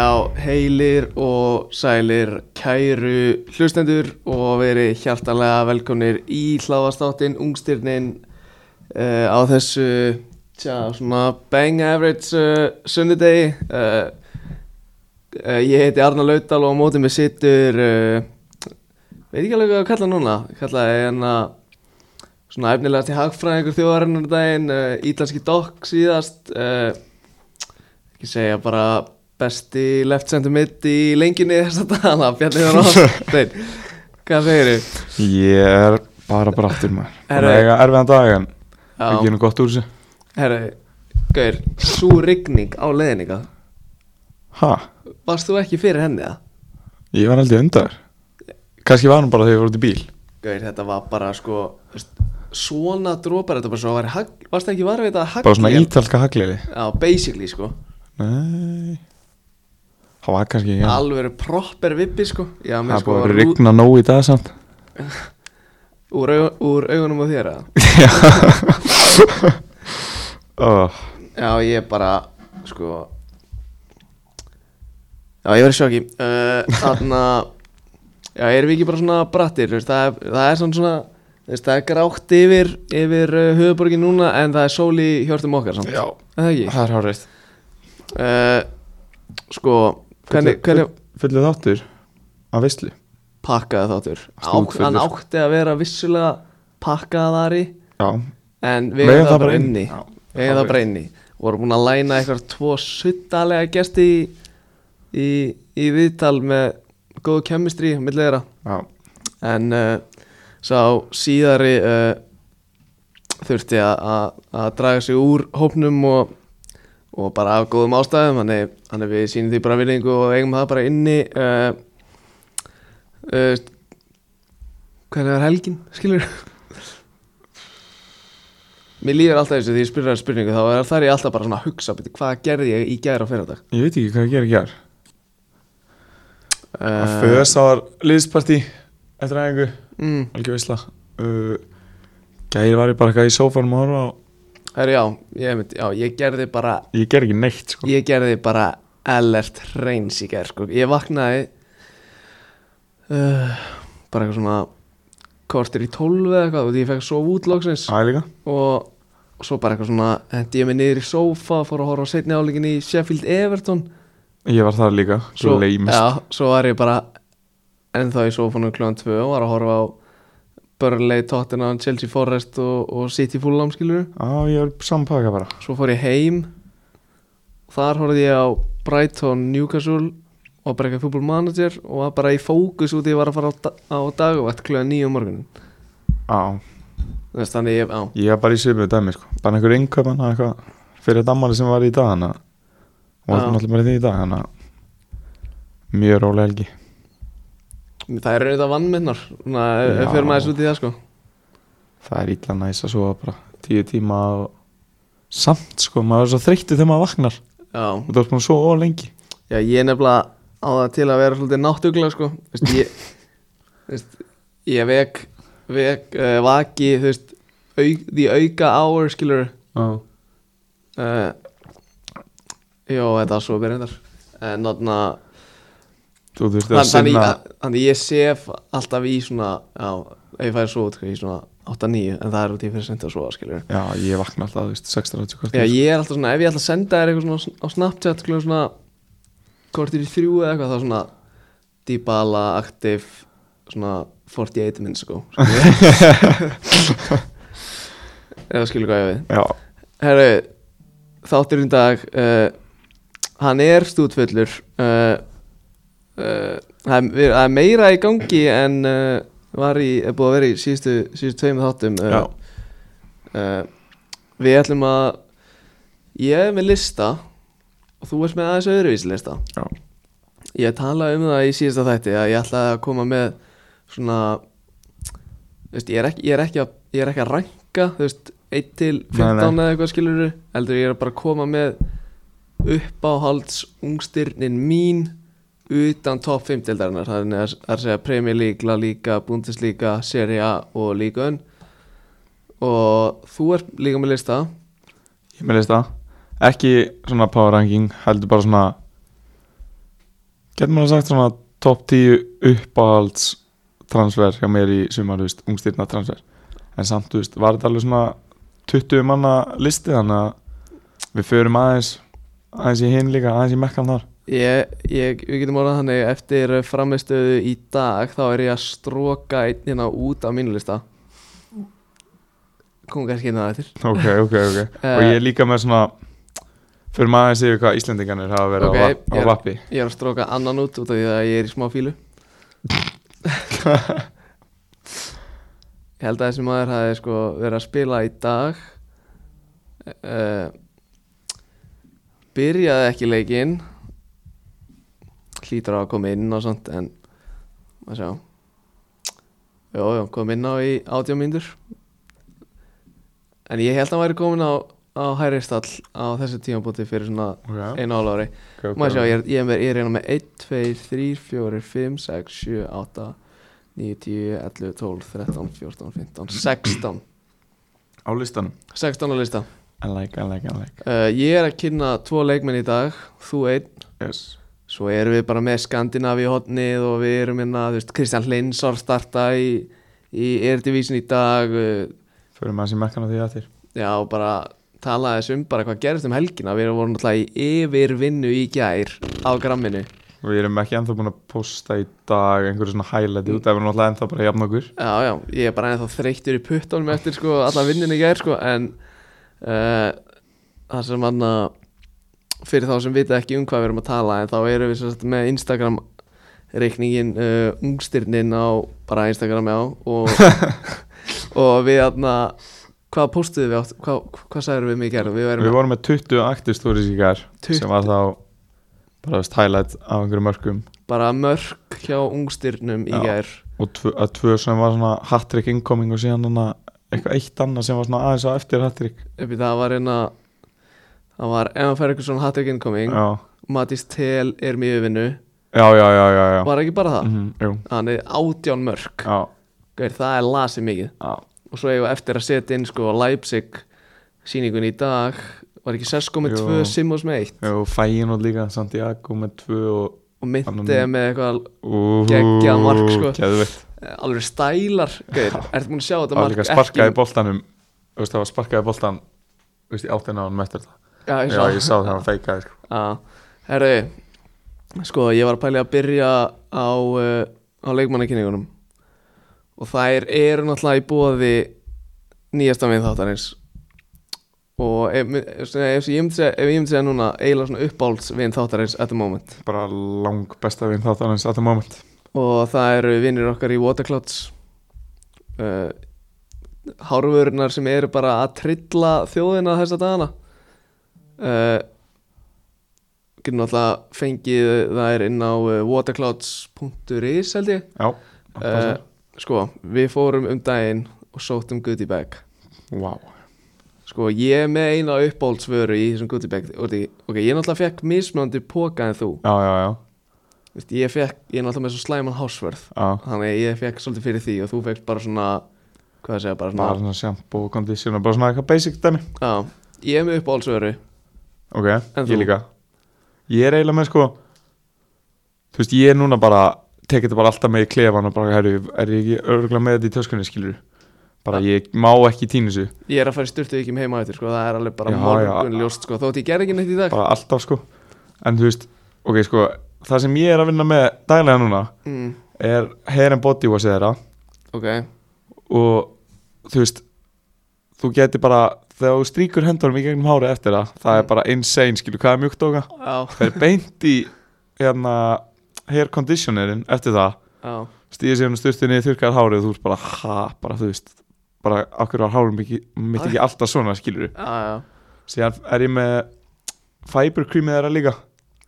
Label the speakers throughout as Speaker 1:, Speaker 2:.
Speaker 1: og heilir og sælir kæru hlustendur og verið hjartanlega velkomnir í hláðastáttin Ungstyrnin uh, á þessu tja, svona bang average uh, sunnudegi uh, uh, Ég heiti Arnar Laudal og á mótið mér situr uh, veit ekki alveg hvað að kalla hann núna kalla ég hann að svona efnilegast í hagfræðingur þjóðarinnar í daginn, uh, ítlanski dokk síðast uh, ekki segja bara besti left center mitt í lengjunni þess að dana, Bjarni Þór Ástein hvað segir þau?
Speaker 2: Ég er bara brattur maður Það
Speaker 1: Herra.
Speaker 2: er eiga erfiðan dag en
Speaker 1: Já.
Speaker 2: ekki nú gott úr þessu
Speaker 1: Herru, Gaur, svo rigning á leðninga
Speaker 2: Ha,
Speaker 1: varst þú ekki fyrir henni það?
Speaker 2: ég var aldrei undar Kanski var hann bara þegar ég voru út í bíl
Speaker 1: Gaur, þetta var bara sko þú veist, svona drópar, þetta bara svo var hag, varst ekki varfið þetta að hagla
Speaker 2: Bara svona ítalska hagliði
Speaker 1: Já, basically sko
Speaker 2: Nei Það var kannski ekki hann.
Speaker 1: alveg proper vippi sko Já,
Speaker 2: Það
Speaker 1: með
Speaker 2: er
Speaker 1: sko
Speaker 2: búið að
Speaker 1: rú-
Speaker 2: rigna nóg í dag samt
Speaker 1: úr, augu, úr augunum á þér að
Speaker 2: Já oh.
Speaker 1: Já, ég bara, sko Já, ég var í sjokki uh, Þarna Já, erum við ekki bara svona brattir þú veist, það, er- það er svona svona þú veist, Það er grátt yfir, yfir uh, höfuborgin núna En það er sól í hjörtum okkar samt.
Speaker 2: Já,
Speaker 1: Er Það ekki
Speaker 2: það er hárið
Speaker 1: uh, Sko, hvernig, hvernig
Speaker 2: Fullu þáttur Af veistlu
Speaker 1: pakkaði þáttur Á,
Speaker 2: Stútfullur.
Speaker 1: Hann átti að vera vissulega pakkaðari
Speaker 2: Já,
Speaker 1: En við erum það bara
Speaker 2: inn.
Speaker 1: inni
Speaker 2: Já,
Speaker 1: Við erum það bara inni Og vorum búin að læna eitthvað tvo suttalega gesti í, í, í viðtal með góðu kemistri millera
Speaker 2: Já,
Speaker 1: en uh, sá síðari uh, þurfti að- að að draga sig úr hópnum og, og bara af góðum ástæðum þannig, þannig við sýnum því bara virðingu og eigum það bara inni uh, uh, hvernig var helgin, skilur Mér líður alltaf þessu því ég spyrir það spurningu þá er- þarf ég alltaf bara svona að hugsa beti, hvað gerði ég í gæra á fyrardag
Speaker 2: ég veit ekki hvað ég ger í gær Að
Speaker 1: uh,
Speaker 2: Föðs var liðspartí eftir aðeingu,
Speaker 1: mm,
Speaker 2: algjör veisla uh, Gæri var ég bara eitthvað í sófanum og horfa á
Speaker 1: herru, já, ég, einmitt- já, ég gerði bara
Speaker 2: Ég ger ekki neitt sko
Speaker 1: Ég gerði bara alert reyns í gerð sko. Ég vaknaði uh, bara eitthvað svona kortir í tólf eða eitthvað og því ég fekk að sofa út loksins
Speaker 2: Það er líka
Speaker 1: og, og svo bara eitthvað svona hendi ég mig niður í sófa fór að horfa á setni áleikin í Sheffield Everton
Speaker 2: Ég var þar líka, svo
Speaker 1: svo,
Speaker 2: leimist
Speaker 1: já, svo var ég bara ennþá í sófanum kljóðan tvö og var að horfa á Burnley, Tottenham, Chelsea Forest og, og City Fulham skilur
Speaker 2: Á, ég var sampaka bara
Speaker 1: Svo fór ég heim Þar horfði ég á Brighton Newcastle og bara eitthvað fútbol manager og var bara í fókus út í að ég var að fara á, da á dagvætt kljóðan nýju morgunin
Speaker 2: Á,
Speaker 1: Þess, þannig ég, á,
Speaker 2: ég var bara í svipuðu dæmi sko Bara einhver innkaupan að eitthvað Fyrir þetta ammali sem var í dag hana Og
Speaker 1: Já.
Speaker 2: var náttúrulega bara í því í dag hana Mjög rólega helgi
Speaker 1: það er auðvitað vannmennar Svona, ef- ef
Speaker 2: Já.
Speaker 1: fyrir maður þessu út í það sko
Speaker 2: Það er illa næs að sofa bara tíu tíma og... Samt sko, maður er svo þreyttu þegar maður vaknar
Speaker 1: Já,
Speaker 2: Og það er svona svo ólengi
Speaker 1: já ég er nefnilega á það til að vera svolítið náttuglega sko Vist, ég, veist, ég vek, vek uh, vaki þú veist, au, því auka hour skilur
Speaker 2: Já
Speaker 1: uh, Jó, þetta er svo byrjandar En þarna
Speaker 2: Þú þurfti að
Speaker 1: þann- Þannig
Speaker 2: sinna
Speaker 1: að- þannig ég sef alltaf í svona Já, ef ég fæði svo út Í svona 8-9 En það er út í fyrir sent að sofa, skiljur
Speaker 2: Já, ég vakna alltaf, þú veist, 16-30 kvart
Speaker 1: Já, ég er alltaf svona Ef ég ætla að senda þér eitthvað svona á Snapchat Skiljur svona Kortir í þrjú eða eitthvað Þá svona Dybala, Active Svona 48 minns, sko Skiljur Eða skiljur hvað ég við
Speaker 2: Já,
Speaker 1: Herru, þátturinn í dag uh, Hann er stútfullur uh, uh, það, er, við- það er meira í gangi en uh, var í, er búið að vera í síðustu, síðustu tveim þáttum
Speaker 2: já,
Speaker 1: uh, Við ætlum að Ég er með lista og þú ert með aðeins öðruvísi lista
Speaker 2: já
Speaker 1: Ég talaði um það í síðasta þætti að ég ætlaði að koma með svona þú veist, ég, er ekki, ég, er ekki að, ég er ekki að ranka þú veist, 1 til
Speaker 2: Nei,
Speaker 1: 15
Speaker 2: nei.
Speaker 1: eða eitthvað skilur heldur ég er bara að koma með uppáhalds ungstirnin mín utan top 5 deildarinnar þannig að það er að segja Premier League, La Liga, Bundesliga, Serie A og Liga Ön og þú ert líka með lista
Speaker 2: Ég með leist það Ekki svona power ranking, heldur bara svona Getur maður sagt svona top 10 uppáhalds transfer hjá mér í sumar, þú veist, ungstyrna transfer en samt, þú veist, var þetta alveg svona 20 manna listi þannig að við förum aðeins aðeins í hinn líka, aðeins í mekkan þar
Speaker 1: Ég, ég, við getum orðað þannig eftir framistöðu í dag þá er ég að stróka einn hérna út af mínu lista kom kannski hérna eftir
Speaker 2: ok, ok, ok, og ég er líka með svona förum aðeins yfir hvað Íslendingarnir hafa verið
Speaker 1: Ok,
Speaker 2: okay, á, va-
Speaker 1: ég-
Speaker 2: á vappi
Speaker 1: ég er að stróka annan út út af því að ég er í smá fílu ég held að þessi maður hafi sko verið að spila í dag uh, byrjaði ekki leikinn hlýtur á að koma inn og svona en maður sjá Jó, jó, kom inn á í átján mínútur En ég held að hann væri komin á, á hæri stall á þessu tímabúti fyrir svona
Speaker 2: ok,
Speaker 1: einu álári
Speaker 2: ok, ok
Speaker 1: Má sjá, ég er, ég er, með- ég er hérna með 1, 2, 3, 4, 5, 6, 7, 8, 9, 10, 11, 12, 13, 14, 15, 16
Speaker 2: á listanum,
Speaker 1: 16 á lista
Speaker 2: I like, I like, I like
Speaker 1: uh, Ég er að kynna tvo leikmenn í dag, þú einn
Speaker 2: yes,
Speaker 1: Svo erum við bara með Skandinavi hotnið og við erum hérna, þú veist, Kristján Hlinsar starta í, í Eredivísin í dag uh,
Speaker 2: förum aðeins í mekkan á því aðeins
Speaker 1: Já, og bara tala þess um bara hvað gerist um helgina Við erum voru náttúrulega í yfirvinnu í gær á gramminu
Speaker 2: og ég erum ekki ennþá búin að posta í dag einhverju svona highlighti út af við erum alltaf ennþá bara jafn okkur
Speaker 1: Já, já, ég er bara ennþá þreyttur í puttunum eftir sko, alla vinninni ég er sko, en uh, það sem manna fyrir þá sem vita ekki um hvað við erum að tala en þá erum við sem sagt, með Instagram reikningin uh, ungstirnin á bara Instagram já og, og við aðna hvað postuðum við átt, hvað, hvað sagðum við mikið erum við
Speaker 2: við
Speaker 1: erum
Speaker 2: vorum með 20 aktiv stóris í gær
Speaker 1: 20.
Speaker 2: sem var þá bara veist highlight af einhverju mörgum
Speaker 1: bara mörk hjá ungstirnum í
Speaker 2: Já.
Speaker 1: gær
Speaker 2: og tvö, að tvö sem var svona hat-trick incoming og síðan hana eitthvað eitt annað sem var svona aðeins á eftir hat-trick
Speaker 1: upp í það var einna það var Evan Ferguson Hattrick Incoming
Speaker 2: já,
Speaker 1: Matís Tel er mjög vinnu
Speaker 2: já, já, já, já, já.
Speaker 1: var ekki bara það
Speaker 2: Mm jú,
Speaker 1: hann er átján mörk
Speaker 2: já,
Speaker 1: Gaur, það er lasið mikið
Speaker 2: já,
Speaker 1: og svo hefur eftir að setja inn sko Leipzig síningun í dag var ekki Sesko með
Speaker 2: Jú.
Speaker 1: tvö, Simons með eitt
Speaker 2: já fæin og líka Santiago með tvö og
Speaker 1: og
Speaker 2: Annan-
Speaker 1: myndið með eitthvað
Speaker 2: Úhú,
Speaker 1: Geggjað mark, sko.
Speaker 2: geðveikt.
Speaker 1: alveg stælar Gaur, ertu múin að sjá þetta
Speaker 2: það var
Speaker 1: mark
Speaker 2: líka sparkaði boltanum þú veist það var sparkaði boltan þú veist, í áttina á hann með þetta
Speaker 1: já, ég
Speaker 2: Já, ég
Speaker 1: sá
Speaker 2: sá það, hann feikaði sko.
Speaker 1: Já. herru sko ég var að pæli að byrja á uh, á leikmannakynningunum og þær eru náttúrulega í bóði nýjasta minn þáttarins og ef, ef, ef, ég myndi segja- ef ég myndi segja núna eiginlega svona uppáhalds vinn þáttarins at the moment
Speaker 2: Bara lang besta vinn þáttan hans at the moment
Speaker 1: og það eru vinnir okkar í Waterclouds uh, hárvörunar sem eru bara að trilla þjóðina þessa dagana uh, getur náttúrulega fengið þær inn á uh, waterclouds.is held ég
Speaker 2: Já,
Speaker 1: uh,
Speaker 2: uh,
Speaker 1: sko, við fórum um daginn og sóttum goodie bag
Speaker 2: wow.
Speaker 1: sko, ég er með eina uppbóldsvöru í þessum goodie bag og því, ok, ég náttúrulega fekk mismjöndi póka en þú
Speaker 2: já, já, já,
Speaker 1: Vist, ég, fekk, ég er náttúrulega með svo slæman hásverð
Speaker 2: já.
Speaker 1: þannig að ég fekk svolítið fyrir því og þú fekst bara svona hvað að segja, bara
Speaker 2: Bara
Speaker 1: svona
Speaker 2: svona shampoo, conditioner, bara svona eitthvað basic dæmi
Speaker 1: já, ég er með uppáhaldsvöru
Speaker 2: Ok,
Speaker 1: En þú?
Speaker 2: ég líka Ég er eiginlega með sko Þú veist, ég er núna bara Tekið þetta bara alltaf með í klefan og bara herru, Er ég ekki örgulega með þetta í töskunni, skilur Bara ég má ekki týna þessu
Speaker 1: ég er að fara í styrtu ekki um heima eftir sko, það er alveg bara
Speaker 2: Já,
Speaker 1: morgun ljóst sko, þótt ég ger ekki neitt í dag
Speaker 2: Bara alltaf sko En þú veist, ok sko Það sem ég er að vinna með daglega núna
Speaker 1: mm,
Speaker 2: Er hair and body wash þeirra
Speaker 1: ok,
Speaker 2: og þú veist þú getur bara, þegar þú stríkur hendunum í gegnum hárið eftir það, það er bara insane skilur, hvað er mjúkt oga?
Speaker 1: já,
Speaker 2: Það er beint í hérna hair conditionerin eftir það
Speaker 1: já
Speaker 2: stíðir sér hann sturtu niður þurrkar hárið og þú ert bara, ha, bara þú veist bara, okkur var hárið mikið, mitt ekki alltaf svona skilur,
Speaker 1: já, já,
Speaker 2: síðan er ég með fiber creamið þeirra líka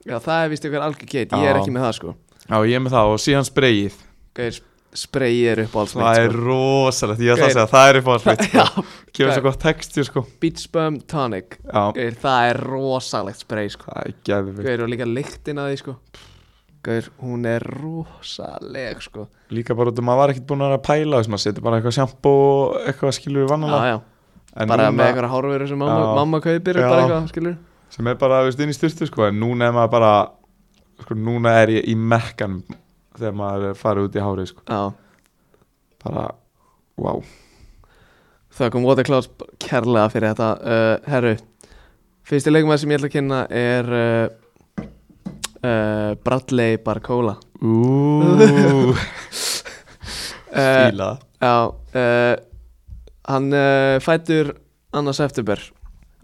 Speaker 1: já, það er vist ykkur algjör geit ég er
Speaker 2: Já.
Speaker 1: ekki með það sko
Speaker 2: já, ég er með það og síðan sprayið
Speaker 1: Gaur, spreyi er uppáhaldsvöru
Speaker 2: það er sko. rosalegt, ég ætla
Speaker 1: Gaur.
Speaker 2: að segja það er upp á allt
Speaker 1: sko. já,
Speaker 2: gefur
Speaker 1: Gaur.
Speaker 2: svo gott textur sko
Speaker 1: beach bum tonic
Speaker 2: já,
Speaker 1: Gaur, það er rosalegt spreyi sko
Speaker 2: það er geðvikt
Speaker 1: Gaur, og líka lyktin að því sko Gaur, hún er rosaleg sko
Speaker 2: Líka bara út af maður var ekkert búin að vera að pæla þess maður setur bara eitthvað sjampó og eitthvað skilur við
Speaker 1: já,
Speaker 2: vannala
Speaker 1: já bara með einhverja hárveru sem mamma,
Speaker 2: Já.
Speaker 1: mamma kaupir
Speaker 2: Já.
Speaker 1: bara eitthvað, skilur
Speaker 2: sem er bara, þú veist, inn í styrtu sko en núna er maður bara sko, núna er ég í mekkanum þegar maður er farið út í hárið sko.
Speaker 1: Já,
Speaker 2: bara, wow
Speaker 1: þökkum Waterclouds kærlega fyrir þetta uh, Herru, fyrsti leikmaður sem ég ætla að kynna er uh, uh, Bradley Barcola uh,
Speaker 2: Úúúú Fíla
Speaker 1: Já uh, Hann uh, fætur annars eftirber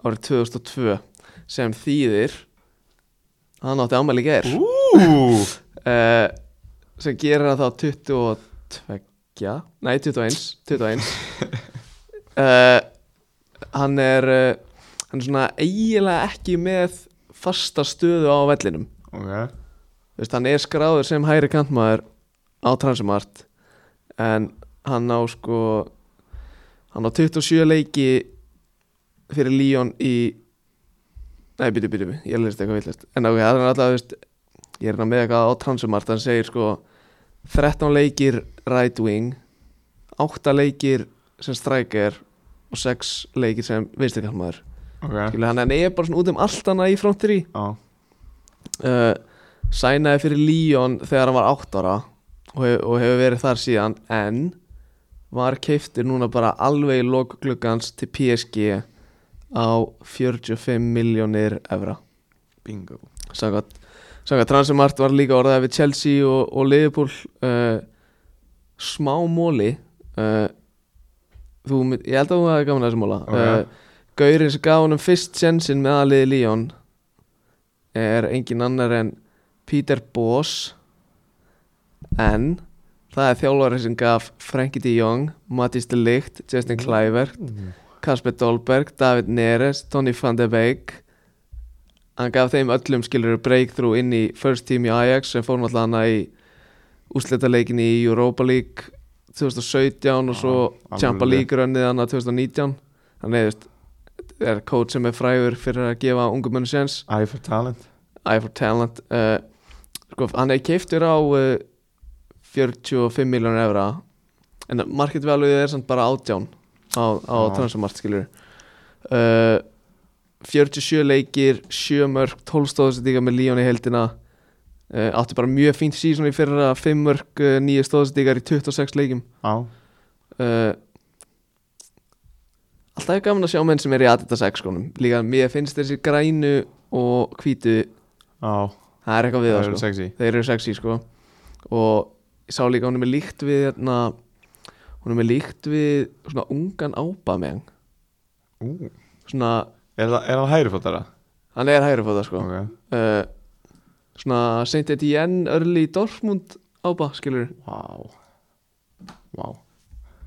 Speaker 1: árið 2002 sem þýðir hann átti ámæli í gær
Speaker 2: Úúúú
Speaker 1: uh, sem gerir hann þá 22 nei 21 21 uh, hann er uh, hann er svona eiginlega ekki með fasta stöðu á vellinum
Speaker 2: Ok,
Speaker 1: Veist, hann er skráður sem hægri kantmaður á transumart en hann á sko hann á 27 leiki fyrir Líón í nei, byrju, byrju, byrju, ég leist eitthvað villist en ok, það er alltaf, veist ég er hann með eitthvað á transumart, hann segir sko 13 leikir right wing 8 leikir sem striker og 6 leikir sem vinstri kantmaður
Speaker 2: ok
Speaker 1: hann hann er bara svona út um allt annað í front 3
Speaker 2: Já,
Speaker 1: uh, sænaði fyrir Líón þegar hann var 8 ára og, hef, og hefur verið þar síðan en var keiftir núna bara alveg í lokgluggans til PSG á 45 miljónir evra
Speaker 2: bingo
Speaker 1: Sangat, sangat Transumart var líka orðað við Chelsea og, og Liverpool uh, smá móli uh, þú, mynd- ég held að þú hefði gaman að þessu móla
Speaker 2: Ok.
Speaker 1: uh, Gaurin sem gaf honum fyrst sjensin með aðliði Líón er engin annar en Peter Bosz en það er þjálfari sem gaf Frankie de Jong, Mattis de Ligt Justin Kluivert Kasper Dolberg, David Neres, Tony van de Beek hann gaf þeim öllum skilur breakthrough inn í first team í Ajax sem fór náttúrulega hana í úsletaleikin í Europa League 2017 og svo
Speaker 2: Já,
Speaker 1: Champa
Speaker 2: alveg.
Speaker 1: League rönnið hana 2019 þannig veist, þetta er coach sem er frægur fyrir að gefa ungum mönnu séns
Speaker 2: Eye for talent
Speaker 1: Eye for Talent uh, sko, hann er keiftur á uh, 45 miljónur evra en market value er samt bara 18 á, á
Speaker 2: Já.
Speaker 1: transfermart skilur uh, 47 leikir 7 mörg, 12 stóðsendinga með Líón í heldina uh, átti bara mjög fínt síðan í fyrra 5 mörg, uh, 9 stóðsendingar í 26 leikim
Speaker 2: Já,
Speaker 1: uh, Alltaf er gaman að sjá menn sem er í Adidas X skónum Líka mér finnst þessi grænu og hvítu
Speaker 2: já
Speaker 1: Það er eitthvað við
Speaker 2: Það
Speaker 1: það
Speaker 2: eru
Speaker 1: sko
Speaker 2: sexy
Speaker 1: Þeir eru sexy sko Og ég sá líka hún er með líkt við hérna, Hún er með líkt við Svona ungan ába með hann
Speaker 2: Ú,
Speaker 1: Svona,
Speaker 2: Er það- er hann hærifótara?
Speaker 1: hann er hægri fóta sko
Speaker 2: Ok
Speaker 1: uh, Svona Saint Etienne Early Dortmund ába skilur
Speaker 2: Vá Vá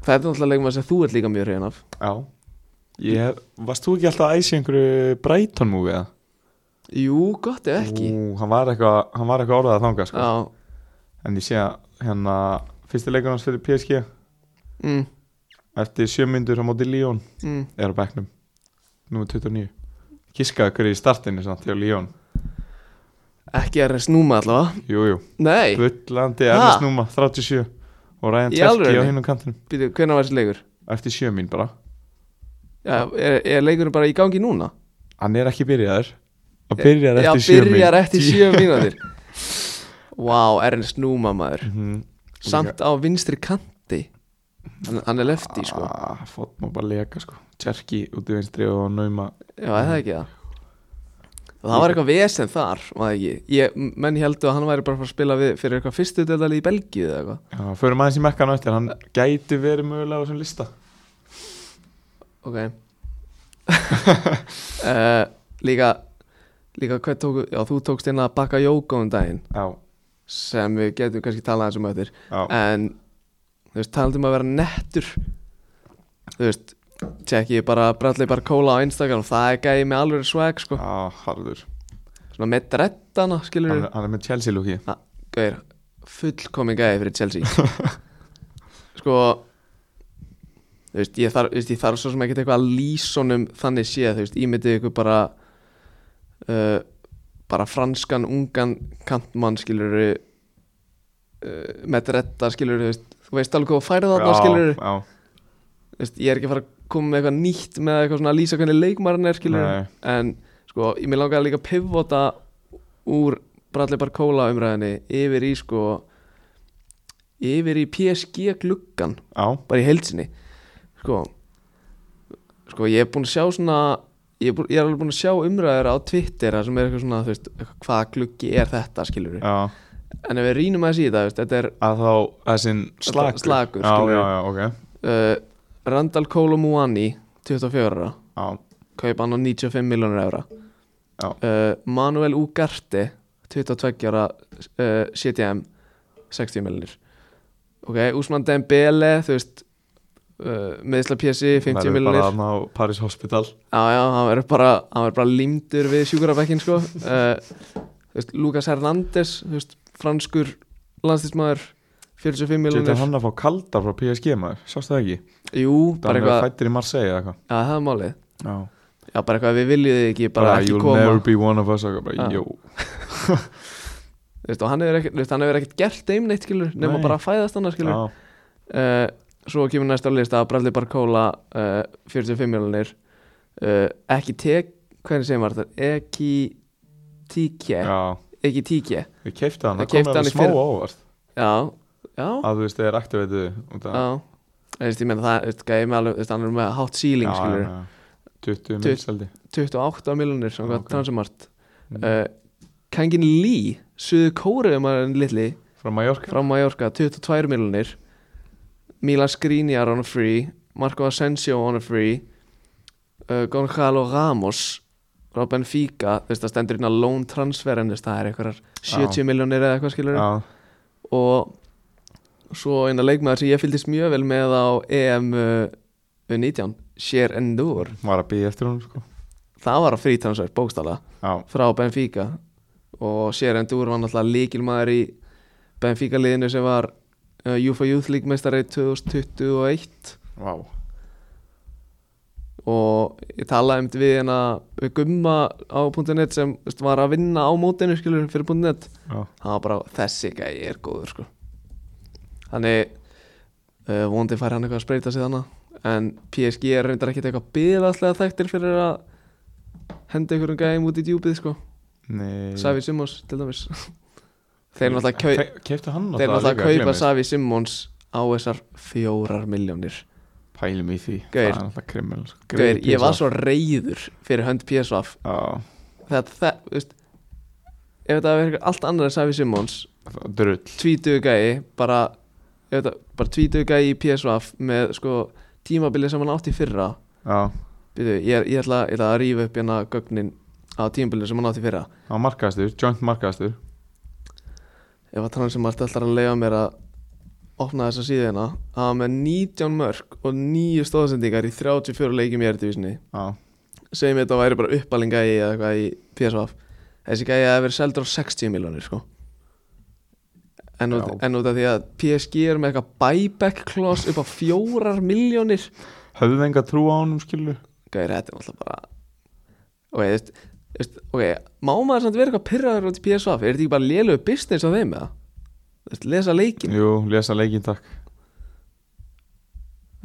Speaker 1: Það er náttúrulega leikum að segja þú ert líka mjög hrein af
Speaker 2: Já Ég hef, varst þú ekki alltaf að æsi einhverju Brighton movie eða?
Speaker 1: Jú, gott ef ekki
Speaker 2: Ú, hann var eitthvað, hann var eitthvað orðað að þanga sko.
Speaker 1: Já,
Speaker 2: En ég sé að hérna Fyrsti leikur hans fyrir PSG
Speaker 1: mm,
Speaker 2: Eftir sjö myndur á móti Líón
Speaker 1: mm.
Speaker 2: Er á bekknum Nú 29 Kiskaði hverju í startinu samt hjá Líón
Speaker 1: ekki að rest núma allavega
Speaker 2: Jú, jú
Speaker 1: Nei,
Speaker 2: Bullandi
Speaker 1: Ha?
Speaker 2: Ernest Núma 37 Og Ryan
Speaker 1: Í
Speaker 2: Tjerki
Speaker 1: alvörunni?
Speaker 2: á hinnum kantinum
Speaker 1: býtu, hvenær var þessi leikur?
Speaker 2: Eftir sjö mín bara
Speaker 1: Já, er, er leikurinn bara í gangi núna?
Speaker 2: Hann er ekki byrjaður Og byrjar
Speaker 1: Já,
Speaker 2: eftir sjö mín
Speaker 1: byrjar eftir sjö mínútur Vá, wow, Ernst Núma maður
Speaker 2: Mhm.
Speaker 1: Samt á vinstri kanti Hann, hann er lefti, sko
Speaker 2: ah, Fótt maður bara leka sko Tjerki út í vinstri og Núma
Speaker 1: Já, er það ekki það Það var eitthvað vesen þar, maður ekki ég, Menn heldur að hann væri bara að fara að spila við, fyrir eitthvað fyrstu delali í Belgíu eða eitthvað
Speaker 2: Já, förum aðeins í mekkan á eftir, hann gæti verið mögulega á þessum lista
Speaker 1: Ok uh, Líka Líka hvað tóku Já, þú tókst inn að bakka jóka um daginn
Speaker 2: Já,
Speaker 1: sem við getum kannski talað eins um öður
Speaker 2: já,
Speaker 1: en þú veist, talandi um að vera nettur þú veist tjekki ég bara Bradley Barcola á Instagram það er gæði með alveg swag sko
Speaker 2: já, harður
Speaker 1: svona með drettana skilur
Speaker 2: hann, er- hann er með Chelsea lúki
Speaker 1: gauðir fullkomin gæði fyrir Chelsea sko þú veist ég þarf, þú veist, ég þarf svo sem ekki eitthvað að lýsonum þannig séð þú veist ímyndið ykkur bara uh, bara franskan ungan kantmann skilur uh, með dretta skilur þú veist þú veist alveg hvað þú færið þarna skilur
Speaker 2: Já,
Speaker 1: Þú veist, ég er ekki að fara að koma með eitthvað nýtt með eitthvað svona að lýsa hvernig leikmarinn er skilur
Speaker 2: Nei.
Speaker 1: en sko, ég mér langaði líka að pivota úr Bradley Barcola umræðinni yfir í sko yfir í PSG gluggan
Speaker 2: Já,
Speaker 1: bara í heilsinni sko, sko ég er búin að sjá svona ég er, búin, ég er alveg búin að sjá umræður á Twitter þar sem er eitthvað svona, þú veist, eitthvað, hvaða gluggi er þetta skilur
Speaker 2: já
Speaker 1: en ef við rýnum að síða, veist, þetta er
Speaker 2: Að þá, þessin slagur
Speaker 1: slakur,
Speaker 2: já,
Speaker 1: skilur.
Speaker 2: já, já, ok
Speaker 1: uh, Randall Kolomuani 24 ára,
Speaker 2: Já,
Speaker 1: kaupa hann á 95 miljónur ára
Speaker 2: Já.
Speaker 1: uh, Manuel Ugarte 22 ára uh, CTM 60 miljónir ok, Usman Dembele þú veist uh, meðsla PSI 50
Speaker 2: Það er bara
Speaker 1: miljónir
Speaker 2: þarna á Paris Hospital
Speaker 1: já, já, hann verður bara, hann verður bara límdur við sjúkurabekkin sko uh, þú veist, Lucas Hernandez þú veist, franskur landslismæður 45
Speaker 2: Þetta er
Speaker 1: miljónir
Speaker 2: hann að fá kaldar frá PSG maður, sástu það ekki?
Speaker 1: jú,
Speaker 2: Það
Speaker 1: bara
Speaker 2: er
Speaker 1: eitthvað,
Speaker 2: fættir í Marseille eða eitthvað
Speaker 1: já, það er málið
Speaker 2: Já,
Speaker 1: Já, bara eitthvað við viljið þið ekki, bara,
Speaker 2: bara
Speaker 1: ekki
Speaker 2: you'll
Speaker 1: koma
Speaker 2: never be one of us og bara,
Speaker 1: Já.
Speaker 2: jú,
Speaker 1: Þú veist, Og hann hefur ekkert, þú veist, hann hefur ekkert gert þeim neitt skilur, nema
Speaker 2: Nei.
Speaker 1: bara að fæðast hann
Speaker 2: já,
Speaker 1: skilur uh, Svo kemur næsta lista Bradley Barcola, uh, 45 miljonir uh, Ekki tek, hvernig segir maður þetta? Ekki tíkje
Speaker 2: já
Speaker 1: Ekki tíkje
Speaker 2: Við keifti hann,
Speaker 1: Við
Speaker 2: það kom
Speaker 1: keypti
Speaker 2: hann
Speaker 1: hann í
Speaker 2: smá
Speaker 1: fyrra.
Speaker 2: ávart
Speaker 1: Já, já,
Speaker 2: að þú veist, þeir aktivitu út
Speaker 1: já
Speaker 2: af
Speaker 1: Þú veist, ég meina það, þú veist, gæði með alveg, þú veist, hann er með hátt
Speaker 2: Já,
Speaker 1: síling
Speaker 2: já,
Speaker 1: skilur
Speaker 2: já. 20
Speaker 1: Tut-
Speaker 2: minnseldi
Speaker 1: 28 miljonir, svona hvað
Speaker 2: Ok.
Speaker 1: transumart
Speaker 2: Mm.
Speaker 1: uh, Kangin Lee, suðu kóruðum að hann litli
Speaker 2: frá Mallorca
Speaker 1: frá Mallorca 22 miljonir Milan Skriniar on a free Marco Asensio on a free uh, Gonzalo Ramos frá Benfica, þú veist það stendur inn að loan transfer en þú veist það er einhverjar 70 miljonir eða eitthvað skilur
Speaker 2: Já,
Speaker 1: og svo eina leikmaður sem ég fylgdist mjög vel með á EM uh, 19 Sher Endur,
Speaker 2: var að býja eftir hún sko
Speaker 1: það var að free transfer bókstala
Speaker 2: Já,
Speaker 1: frá Benfica og Sher Endur var náttúrulega líkilmaður í Benfica liðinu sem var uh, UEFA Youth League meistari 2021
Speaker 2: vá
Speaker 1: og ég talaði um við hérna við gumma á .net sem þú veist, var að vinna á mótinu skilur fyrir .net
Speaker 2: Já,
Speaker 1: hann var bara þessi gæi er góður sko þannig uh, vondi fær hann eitthvað að spreita sig þannig en PSG er reyndar ekkit eitthvað byðaslega þekktir fyrir að henda einhverjum gæim út í djúpið sko
Speaker 2: nei
Speaker 1: Savi Simons til dæmis þeir náttúrulega kau-
Speaker 2: Keifti hann
Speaker 1: þeir náttúrulega
Speaker 2: líka,
Speaker 1: kaupa
Speaker 2: gleymist.
Speaker 1: Savi Simons á þessar fjórar miljónir
Speaker 2: Pælum í því
Speaker 1: Gaur.
Speaker 2: Það er alltaf krimmel sko.
Speaker 1: Gauir, ég var
Speaker 2: PSV.
Speaker 1: svo reyður fyrir hönd PSV
Speaker 2: Já,
Speaker 1: þetta, það, þú veist ef þetta verður eitthvað allt annað en Savi Simons
Speaker 2: það var drull
Speaker 1: tvítugu gæi, bara ef þetta, bara tvítugu gæi í PSV með sko tímabilið sem hann átti í fyrra
Speaker 2: Já,
Speaker 1: Býtu, ég, er- ég, ætla, ég ætla að rífa upp hérna gögnin á tímabilið sem hann átti í fyrra
Speaker 2: það var markaðastur, joint markaðastur
Speaker 1: ef að þannig sem allt ætlar að leiða mér að opna þessa síðina að hann með 19 mörg og 9 stóðsendingar í 34 leikjum í erdivísinni
Speaker 2: Já,
Speaker 1: segjum við þetta væri bara uppalinga í eða eitthvað í PSV þessi gæði að vera seldur á 60 miljonir sko en út,
Speaker 2: Já.
Speaker 1: en út af því að PSG er með eitthvað buyback kloss upp á 4 miljonir
Speaker 2: höfðu enga trú á honum skilur
Speaker 1: gæði þetta er náttúrulega bara ok, þú veist- þú veist, ok, má maður samt vera eitthvað pyrraður út í PSV er þetta ekki bara lélögu business á þeim eða Þú veist, lesa leikin
Speaker 2: Jú, lesa leikinn takk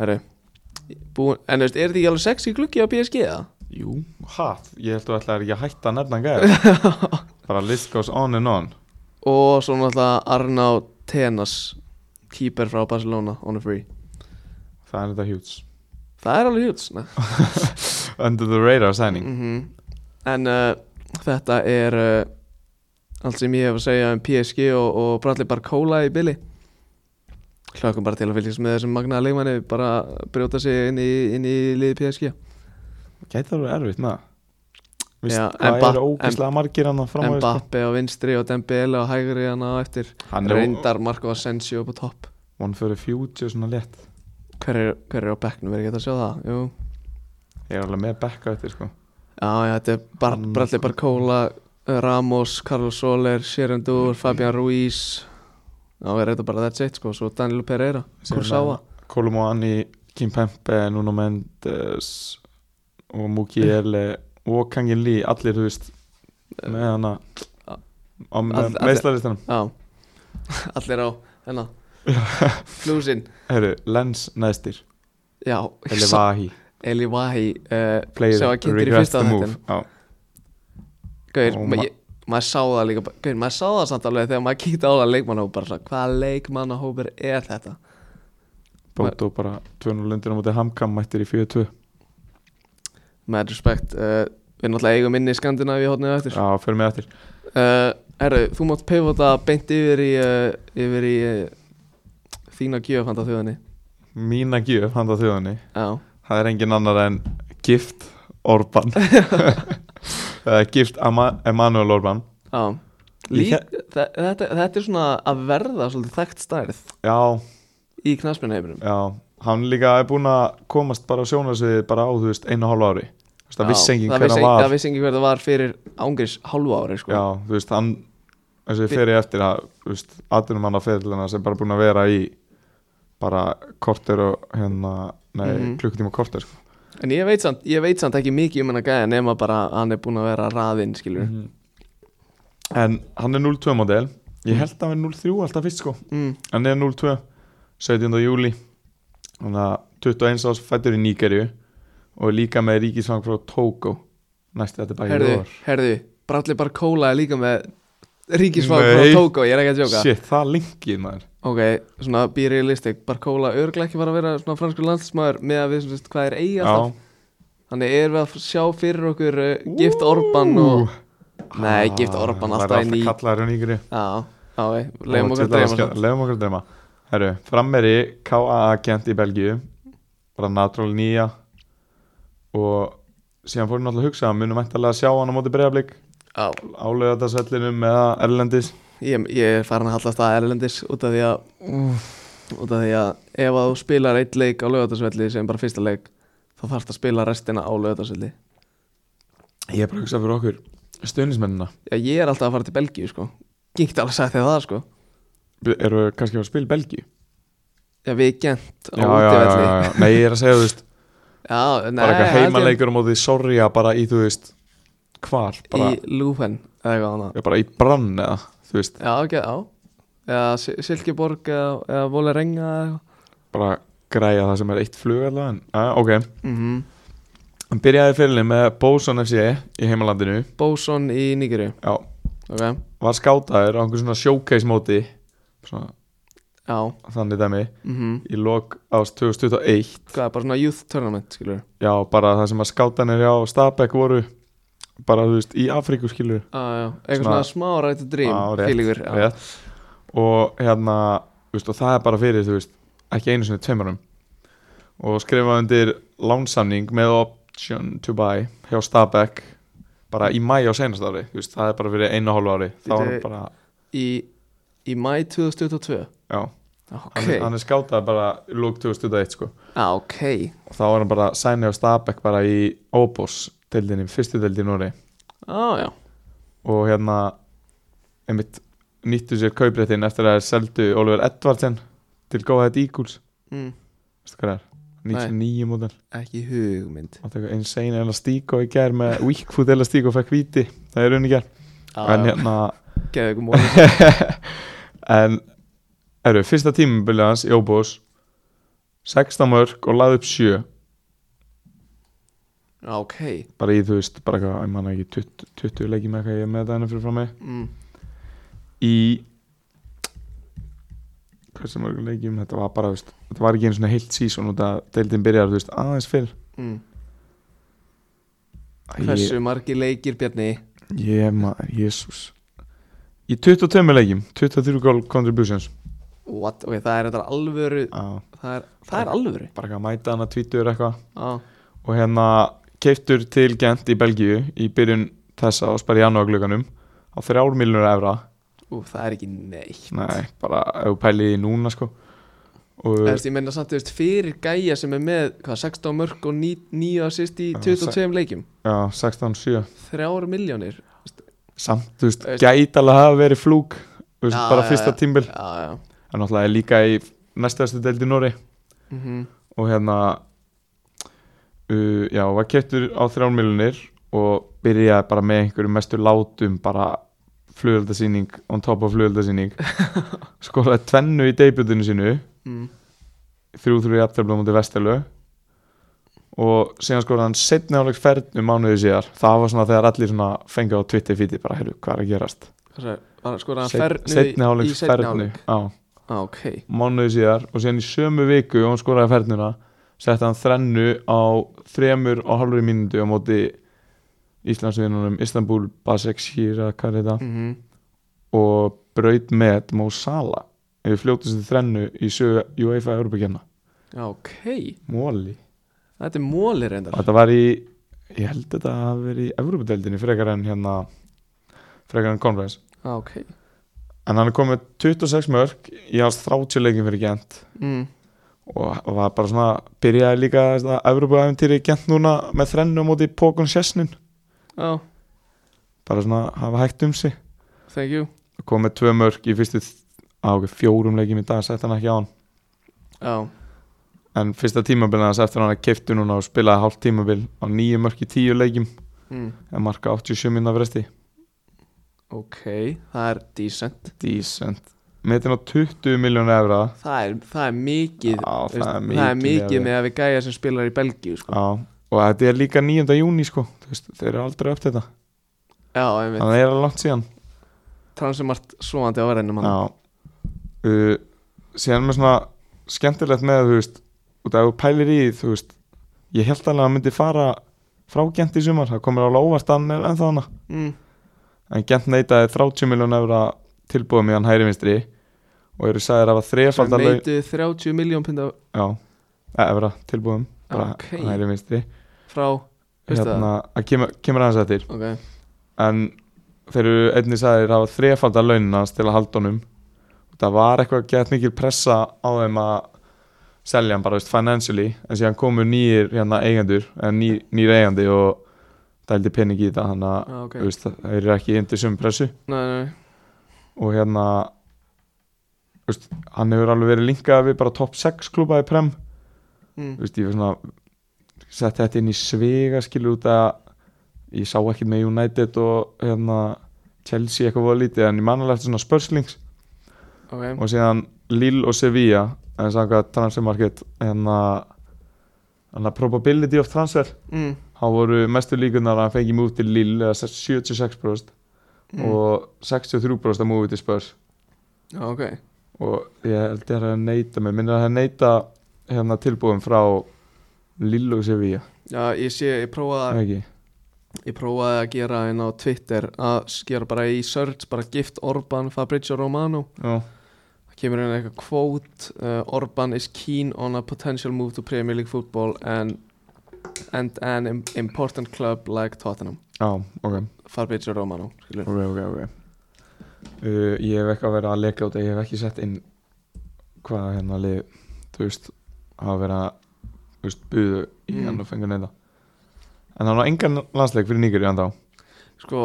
Speaker 1: Herru, búin, en þú veist, er þetta ekki alveg sexy gluggi á PSG það?
Speaker 2: Jú, hatt, ég held að ætla ekki að hætta að nefna gæði Bara list goes on and on
Speaker 1: Og svo náttúrulega Arná Tenas, keeper frá Barcelona on a free.
Speaker 2: Það er þetta hjúts
Speaker 1: Það er alveg hjúts, ne?
Speaker 2: Under the radar signing
Speaker 1: Mm En uh, þetta er uh, allt sem ég hef að segja um PSG og, og Bradley Barcola í bili. Hlökkum bara til að fylgjast með þessum magnaða leikmanni, bara brjóta sig inn í, inn í liði PSG.
Speaker 2: Gæti það að vera erfitt, na Vist,
Speaker 1: Já,
Speaker 2: hvað
Speaker 1: Mba-
Speaker 2: eru ógæslega margir hann að fram á því,
Speaker 1: Mbappe á vinstri og Dembele á hægri hann á eftir.
Speaker 2: sko? Hann er
Speaker 1: Reyndar Marco Asensio upp á topp.
Speaker 2: one for the future svona létt
Speaker 1: Hver er, hver er á bekknum, er ekki hægt að sjá það? Jú.
Speaker 2: Ég er alveg með bekka þetta sko
Speaker 1: Já, já, þetta er bar,
Speaker 2: Hann-
Speaker 1: Bradley Barcola, Ramos, Carlos Soler, Sherendur, Fabian Ruiz Já, er þetta bara that's it, sko, svo Danilo Pereira,
Speaker 2: Sem
Speaker 1: Kursawa
Speaker 2: Kolum og Anni, Kim Pempe, Nuno Mendes og Mukiele og Kangin Lee, allir þú veist með hana
Speaker 1: All-
Speaker 2: á
Speaker 1: all-
Speaker 2: meðslaristanum
Speaker 1: Já, allir á, hérna Flúsin,
Speaker 2: Herru, Lens næstir,
Speaker 1: já,
Speaker 2: Eli Vahi
Speaker 1: Eli Wahi uh,
Speaker 2: player
Speaker 1: sem var kynntur í
Speaker 2: regrets
Speaker 1: fyrsta
Speaker 2: the
Speaker 1: þættin
Speaker 2: move Já,
Speaker 1: Gauir,
Speaker 2: Og
Speaker 1: ma-
Speaker 2: ma-
Speaker 1: ég, maður sá það líka, bara- gaur, maður sá það samt alveg þegar maður kíkti á það leikmannahópar svona, hvaða leikmannahópar er þetta
Speaker 2: Bótó bara 200 lundir á móti Hamkam mættir í 4-2
Speaker 1: með respekt, uh, við náttúrulega eigum inni í Skandinavíu hótnið eftir
Speaker 2: Já, fyrir mig eftir
Speaker 1: uh, Herru, þú mátt pivota beint yfir í, uh, yfir í uh, þína gjöf handa þjóðinni
Speaker 2: Mína gjöf handa þjóðinni
Speaker 1: Já,
Speaker 2: Það er engin annar en gift Orban Eða Gift Ama- Emmanuel Orban
Speaker 1: já Lík, þe- þetta, þetta er svona að verða svolítið þekkt stærð
Speaker 2: Já,
Speaker 1: í knaspinaheiminum
Speaker 2: já Hann líka er búinn að komast bara á sjónarsviðið bara á, þú veist, einu og hálfu ári Þú veist, Það vissi enginn hver hann var
Speaker 1: Það vissi enginn hver það var fyrir ángriðs hálfu ári sko.
Speaker 2: Já, þú veist, hann þessi fyrir eftir að, þú veist, aðdunum hann að fyrirlina sem bara búin að vera í bara korter og hérna, nei,
Speaker 1: Mhm.
Speaker 2: klukkutíma og korter sko.
Speaker 1: En ég veit, samt, ég veit samt ekki mikið um hennar gæja nema bara að hann er búin að vera raðinn skilur mm.
Speaker 2: en hann er 0-2 model
Speaker 1: Mhm.
Speaker 2: ég held að hann er 0-3 alltaf fyrst sko
Speaker 1: Mm.
Speaker 2: hann er 0-2, 17. júli þannig að 21 árs fættur í Níkerju og er líka með ríkisvang frá Tóko næst þetta er bara
Speaker 1: Herðu,
Speaker 2: í orð
Speaker 1: herðu, Bradley Barcola er líka með ríkisvang
Speaker 2: Nei.
Speaker 1: frá Tóko, ég er ekki að sjóka
Speaker 2: shit, það lengið maður
Speaker 1: Ok, svona be realistic, Barcola örglega ekki var að vera svona franskur landsmaður með að við sem sagt hvað er eigi alltaf
Speaker 2: Já.
Speaker 1: Þannig erum við að sjá fyrir okkur uh, gift Orban og Nei,
Speaker 2: Ah,
Speaker 1: gift Orban
Speaker 2: maður er
Speaker 1: alltaf inn í Já,
Speaker 2: alltaf kallaður í Níkerju
Speaker 1: já, við, leiðum okkur að dreyma samt.
Speaker 2: Leifum okkur að dreyma Herru, frammeri KA-agent í Belgíu bara Natrol nýja og síðan fór hann alltaf að hugsa hann munum eftirlega að sjá hann á móti breyðablík
Speaker 1: Já,
Speaker 2: álega þetta svellinum eða erlendis
Speaker 1: ég, ég er farin að hallast að Erlendis út af því að út af því að ef að þú spilar eitt leik á laugatarsvelli sem bara fyrsta leik þá þarfst að spila restina á laugatarsvelli
Speaker 2: Ég er bara að hugsa fyrir okkur stuðnismennina
Speaker 1: Já, ég er alltaf að fara til Belgíu sko Ég get alveg sagt þér það sko
Speaker 2: eru kannski að spila í Belgíu
Speaker 1: Já, við gent á
Speaker 2: Já, já, já,
Speaker 1: útivelli
Speaker 2: já, já. Nei, ég er að segja þú veist
Speaker 1: Já, nei,
Speaker 2: bara eitthvað
Speaker 1: held ég-
Speaker 2: heimaleikur á móti sorja bara í þú veist hvar, bara,
Speaker 1: í Lúfen eða eitthvað annað
Speaker 2: í... bara í brann eða þú veist,
Speaker 1: Já, ok, já eða Sil- Silkeborg eða, eða Volerenga eða eitthvað
Speaker 2: bara græja það sem er eitt flug allavega en, að, ok
Speaker 1: mm
Speaker 2: Mhm. Hann byrjaði fyrirlið með Bóson FC í heimalandinu
Speaker 1: Bóson í Nígeri
Speaker 2: Já,
Speaker 1: ok,
Speaker 2: var skátaður á einhver svona showcase móti svona,
Speaker 1: já
Speaker 2: Þannig dæmi
Speaker 1: mm
Speaker 2: Í lok ás 2021
Speaker 1: Hvað, bara svona youth tournament, skilur
Speaker 2: Já, bara það sem að skátanir á Stabæk voru Bara, þú veist, í Afríku skilur
Speaker 1: Já, já, eitthvað
Speaker 2: Svona-
Speaker 1: svona smá rættu drým
Speaker 2: Já, rétt,
Speaker 1: fílingur já.
Speaker 2: Rétt. Og hérna, þú veist, og það er bara fyrir, þú veist Ekki einu sinni tveimurum Og skrifaði undir lánsamning með option to buy hjá Stabæk Bara í mæ á senast ári, þú veist, það er bara fyrir einu og hálfu ári Þá er hann
Speaker 1: Bíddu,
Speaker 2: bara,
Speaker 1: Í, í mæ 2022
Speaker 2: já
Speaker 1: Ok,
Speaker 2: hann, hann er skátað bara í lók 2001 sko.
Speaker 1: já, ok
Speaker 2: og þá var hann bara sæni á Stabæk bara í Óbós deildinni, fyrstu deildinni núri
Speaker 1: Já, já,
Speaker 2: og hérna einmitt nýttu sér kaupréttin eftir að þeir seldu Oliver Edvardsen til Góðaðið Eagles
Speaker 1: mm.
Speaker 2: veistu hvað það er? 99 mótel
Speaker 1: ekki hugmynd
Speaker 2: og það er insane elastíko í gær með weak food elastíko fekk víti það er unni gær en hérna
Speaker 1: Geðu ykkur móli
Speaker 2: en eru, fyrsta tímabilið hans í Óbós 16 mörg og laði upp 7
Speaker 1: Já, ok
Speaker 2: bara í þú veist, bara eitthvað, ég manna ekki 20, 20 leikið með eitthvað ég er með þetta henni fyrir fram mig
Speaker 1: mm.
Speaker 2: í hversu mörgum leikjum þetta var bara, þú veist, þetta var ekki einu svona heilt sísón út að deildin byrjar, þú veist, aðeins fyrr
Speaker 1: Mm.
Speaker 2: Æ,
Speaker 1: Hversu margir leikir Bjarni?
Speaker 2: Ég, ég maður, jésús í 22 leikjum, 23 goal contributions
Speaker 1: What? Ok, það er þetta alvöru
Speaker 2: á,
Speaker 1: Það er, það er alvöru
Speaker 2: bara eitthvað að mæta hana, tvítur eitthvað
Speaker 1: Já,
Speaker 2: og hérna keiftur til Gent í Belgíu í byrjun þessa og spara í janúarglöganum á 3 miljonur evra
Speaker 1: ú, það er ekki neitt
Speaker 2: Nei, bara ef þú pæli í núna sko og
Speaker 1: Þú veist, ég menna samt, þú veist, fyrir gæja sem er með, hvað, 16 mörg og 9 assist í
Speaker 2: Já,
Speaker 1: 22 leikjum
Speaker 2: já, 16-7
Speaker 1: Þrjára miljónir
Speaker 2: samt, þú veist,
Speaker 1: Þú veist-
Speaker 2: gæti alveg að hafa verið flúk þú veist,
Speaker 1: Já,
Speaker 2: bara
Speaker 1: já,
Speaker 2: fyrsta
Speaker 1: já.
Speaker 2: tímbil
Speaker 1: Já, já
Speaker 2: en náttúrulega er líka í næstastu deild í Nóri
Speaker 1: mm
Speaker 2: og hérna uh, já, var kettur á þrjálf miljonir og byrjaði bara með einhverjum mestu látum bara flugöldasýning, on top of flugöldasýning skoraði tvennu í debutinu sínu
Speaker 1: mm.
Speaker 2: 3-3 jafntefla á móti Vestelö og síðan skoraði hann setni áleik ferð um mánuði síðar það var svona þegar allir svona fengi á Twitter fíti bara heyrðu hvað er að gerast
Speaker 1: Hvað skor hann fernu
Speaker 2: setni áleik
Speaker 1: í setni
Speaker 2: ferðnu
Speaker 1: áleik
Speaker 2: á
Speaker 1: ah, ok,
Speaker 2: mánuði síðar og síðan í sömu viku og hann skoraði ferðnuna setti hann þrennu á þremur og halvri mínútu á móti Íslandsvinunum Istanbul, Basek, Shira, hvað er þetta
Speaker 1: mm
Speaker 2: og braut með Mo Salah yfir fljótustu þrennu í sögu UEFA Europakenna
Speaker 1: ok
Speaker 2: Móli
Speaker 1: þetta er móli reyndar
Speaker 2: Þetta var í, ég held þetta að verið í Evrópadeildinni frekar en hérna frekar en Conference
Speaker 1: ah, ok
Speaker 2: en hann er komið 26 mörg í hans 30 leikin fyrir Gent
Speaker 1: mm.
Speaker 2: og var bara svona, byrjaði líka Evrópaæfintýri Gent núna með þrennu á móti Pókon Sjessnin
Speaker 1: ah,
Speaker 2: bara svona hafa hægt um sig
Speaker 1: thank you
Speaker 2: komið tvö mörg í fyrstu á okkur fjórum leikim í dag, sett hann ekki á hann
Speaker 1: ah.
Speaker 2: en fyrsta tímabilið hans eftir að hann keiptu núna og spilaði hálft tímabil á nýju mörg í tíu leikim
Speaker 1: mm.
Speaker 2: en marka 87 minna fresti
Speaker 1: ok, það er decent
Speaker 2: Decent Metin á 20 miljónu evra
Speaker 1: það er, það er mikið
Speaker 2: Já,
Speaker 1: veist,
Speaker 2: það er
Speaker 1: það er
Speaker 2: mikið
Speaker 1: mikið
Speaker 2: miðað við.
Speaker 1: með að við gæja sem spilar í Belgíu sko.
Speaker 2: Já Og þetta er líka 9. júni sko Þú veist, Þeir eru aldrei upp þetta
Speaker 1: já, einmitt,
Speaker 2: Þannig að það er alveg langt síðan
Speaker 1: transumart svoandi á verðinu mann
Speaker 2: Já uh, Síðan með svona skemmtilegt með þú veist Út af þú pælir í því, þú veist Ég held alveg að hann myndi fara frá Gent í sumar Það komir alveg óvart að hann er ennþá hana
Speaker 1: mm.
Speaker 2: En Gent neitaði 30 miljónu evra tilbúðum í hann hæri vinstri Og eru sagðir að hafa
Speaker 1: sem
Speaker 2: þrefaldar laun-
Speaker 1: meitu 30 miljón pinda
Speaker 2: Já, e, evra tilbúðum Bara
Speaker 1: Ah, Ok.
Speaker 2: hæri vinstri
Speaker 1: frá veistu
Speaker 2: hérna, að kemur, kemur aðeins eftir
Speaker 1: það ok,
Speaker 2: en þeir eru einnig sagðir að hafa þrefaldar launin hans til að halda honum það var eitthvað gett mikil pressa á þeim að selja hann bara veist, financially en síðan komu nýjir hérna, eigendur en ný, nýr eigandi og dældi pening í þetta þannig að
Speaker 1: ah, ok
Speaker 2: þú veist, þeir eru ekki undir sömu pressu
Speaker 1: nei, nei,
Speaker 2: og hérna þú veist, hann hefur alveg verið linkað við bara top 6 klúpa í prem
Speaker 1: mm.
Speaker 2: þú veist, ég var svona sett þetta inn í svega skilur út að ég sá ekkert með United og hérna Chelsea eitthvað voða lítið en ég mannalega eftir svona spörslings
Speaker 1: ok,
Speaker 2: og síðan Lille og Sevilla en samkvæmt transfermarkett hérna hérna probability of transfer
Speaker 1: mm.
Speaker 2: þá voru mestu líkunar að hann fengi múið til Lille eða 76%
Speaker 1: Mm.
Speaker 2: og 63% að múið til spörs
Speaker 1: já, ok
Speaker 2: og ég held ég að það neyta mig minnir að það neyta hérna tilbúin frá Lille og Sevilla
Speaker 1: Já, ég sé, ég prófaði,
Speaker 2: ekki
Speaker 1: ég prófaði að gera einn á Twitter að skera bara í search, bara gift Orban Fabrizio Romano
Speaker 2: Já.
Speaker 1: það kemur inn eitthvað quote uh, Orban is keen on a potential move to Premier League football and, and an im- important club like Tottenham
Speaker 2: Já, ok,
Speaker 1: Fabrizio Romano skilur.
Speaker 2: ok, ok, ok uh, Ég hef ekki að vera að leika út Ég hef ekki sett inn hvað hérna lið Þú veist, hafa verið að Þú veist, buðu í
Speaker 1: Mm.
Speaker 2: hann og fengur neita En hann var engan landsleik fyrir nýgur í hann þá Mm.
Speaker 1: sko,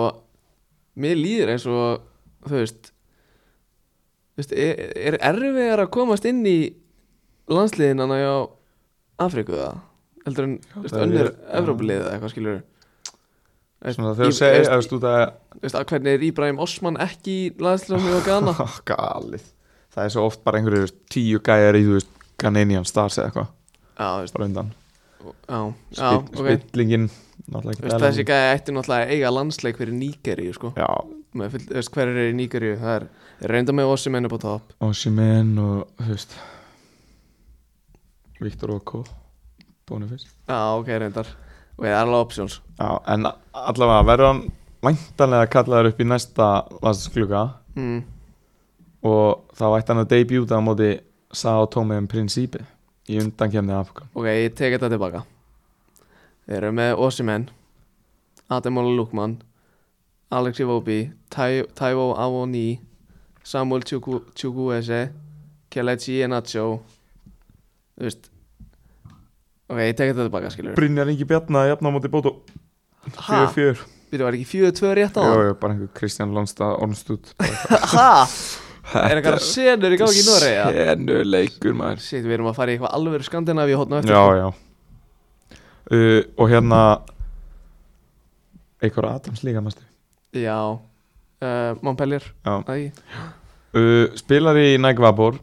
Speaker 1: mér líður eins og þú veist þú veist, er, er erfiðar að komast inn í landsliðin hann á Afriku það heldur en þú veist,
Speaker 2: það er-
Speaker 1: önnur
Speaker 2: já.
Speaker 1: Evrópulið eða eitthvað skilur
Speaker 2: Svona þegar þú segir, þú veist, út að
Speaker 1: veist, að hvernig er Íbrahim Osman ekki í landsliðum og gana
Speaker 2: Ah, Galið Það er svo oft bara einhverju, þú veist, tíu gæjar í, þú veist Ghanenian stars eða eitthvað,
Speaker 1: já, þú veist,
Speaker 2: bara undan
Speaker 1: já, já,
Speaker 2: Spill-
Speaker 1: ok
Speaker 2: Spillingin,
Speaker 1: Þú
Speaker 2: náttúrulega
Speaker 1: veist,
Speaker 2: ekki
Speaker 1: þessi gæði ætti náttúrulega að eiga landsleik fyrir Nígeríu sko.
Speaker 2: Já,
Speaker 1: Með full- þú veist, hver er í Nígeríu það er er reynda með Ossimenn upp á topp
Speaker 2: Ossimen og, þú veist Viktor Oko Boniface
Speaker 1: já, ok, reyndar og það er alveg options
Speaker 2: Já, en a- allavega verður hann væntanlega kallaður upp í næsta landsluga
Speaker 1: mm.
Speaker 2: og þá ætti hann að debuta á móti Sao Tome en Principe í undankemni Afgan
Speaker 1: Ok, ég tek þetta tilbaka Þeir eru með Osimen Ademola Lukman Alexi Vobi Taivo Avoni Samuel Chukwuese Kelechi Enacho Þú veist Ok, ég tek þetta tilbaka, skilur
Speaker 2: Brynjar Ingi Bjarna jafn á móti Bóto
Speaker 1: Ha,
Speaker 2: 4-4
Speaker 1: býtu var ekki 4-2 rétt á
Speaker 2: Jú,
Speaker 1: það?
Speaker 2: jú, bara einhver Kristján Lónstad Ornstútt
Speaker 1: Ha, er eitthvað senur í gangi í Noregi?
Speaker 2: Sennu leikur maður
Speaker 1: Sitt, við erum að fara í eitthvað alvöru skandinavi hóttna eftir
Speaker 2: Já, já uh, Og hérna einhver Adams líka, mástu
Speaker 1: já. já. Uh, Montpellier
Speaker 2: Já.
Speaker 1: Æ,
Speaker 2: uh, Spilar í Nægvabor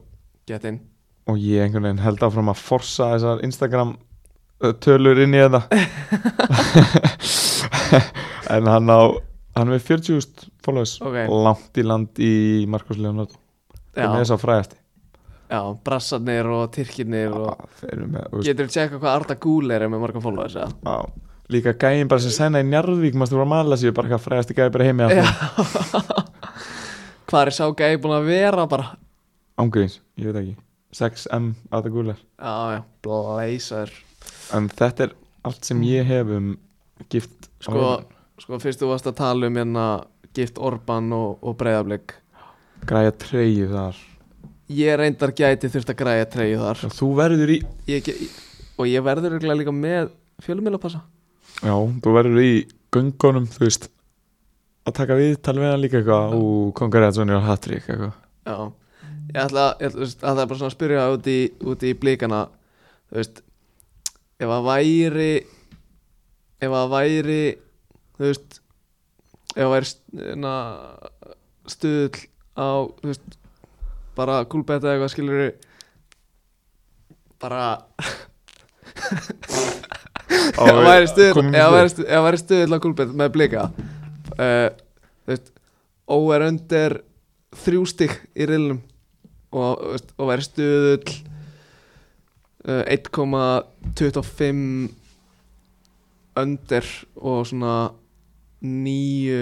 Speaker 1: Get in
Speaker 2: og ég einhvern veginn held áfram að forsa þessar Instagram eh, tölur inn í þetta en hann á hann er með 40.000 followers
Speaker 1: Ok.
Speaker 2: langt í land í Markus Leonardo og með
Speaker 1: já,
Speaker 2: þess að fræðasti
Speaker 1: já, brassarnir og tyrkirnir og
Speaker 2: Ah, Þeir eru með, þú veist,
Speaker 1: getur þú tjekka hvað Arda Gúl er með marga followers eða?
Speaker 2: á, líka gæin bara sem sæna í Njarðvík maður voru að mala sér bara hvað fræðasti gæi bara heimi
Speaker 1: Já. hvað er sá gæði búin að vera bara
Speaker 2: ángurins, ég veit ekki 6M aðdagúlar
Speaker 1: já, já, blæsar
Speaker 2: en þetta er allt sem ég hef um gift á
Speaker 1: sko, sko fyrst þú varst að tala um hérna gift Orban og, og breyðablík
Speaker 2: heimilinu. græja treyju þar
Speaker 1: ég reyndar gæti þurft að græja treyju þar
Speaker 2: Já, þú verður í
Speaker 1: ég, ge- og ég verður örugglega líka með fjölumil passa
Speaker 2: Já, þú verður í göngunum, þú veist að taka við, tala við hann líka eitthvað og kongaræðsson er að hattri eitthvað
Speaker 1: Já, ég ætla, ég ætla, þú veist, ætla bara svona að spyrja út í, út í blíkana Þú veist, ef að væri Ef að væri, þú veist Ef að væri st- na, stuðl á, þú veist Bara kúlbetta eða eitthvað skilur Bara Ef að væri stuðl Ef að væri stuðl, ef að væri stuðl á kúlbetta með blíka uh, Þú veist, óver undir þrjú stygg í rilnum og, þú veist, og væri stuðull uh, 1,25 under og svona 9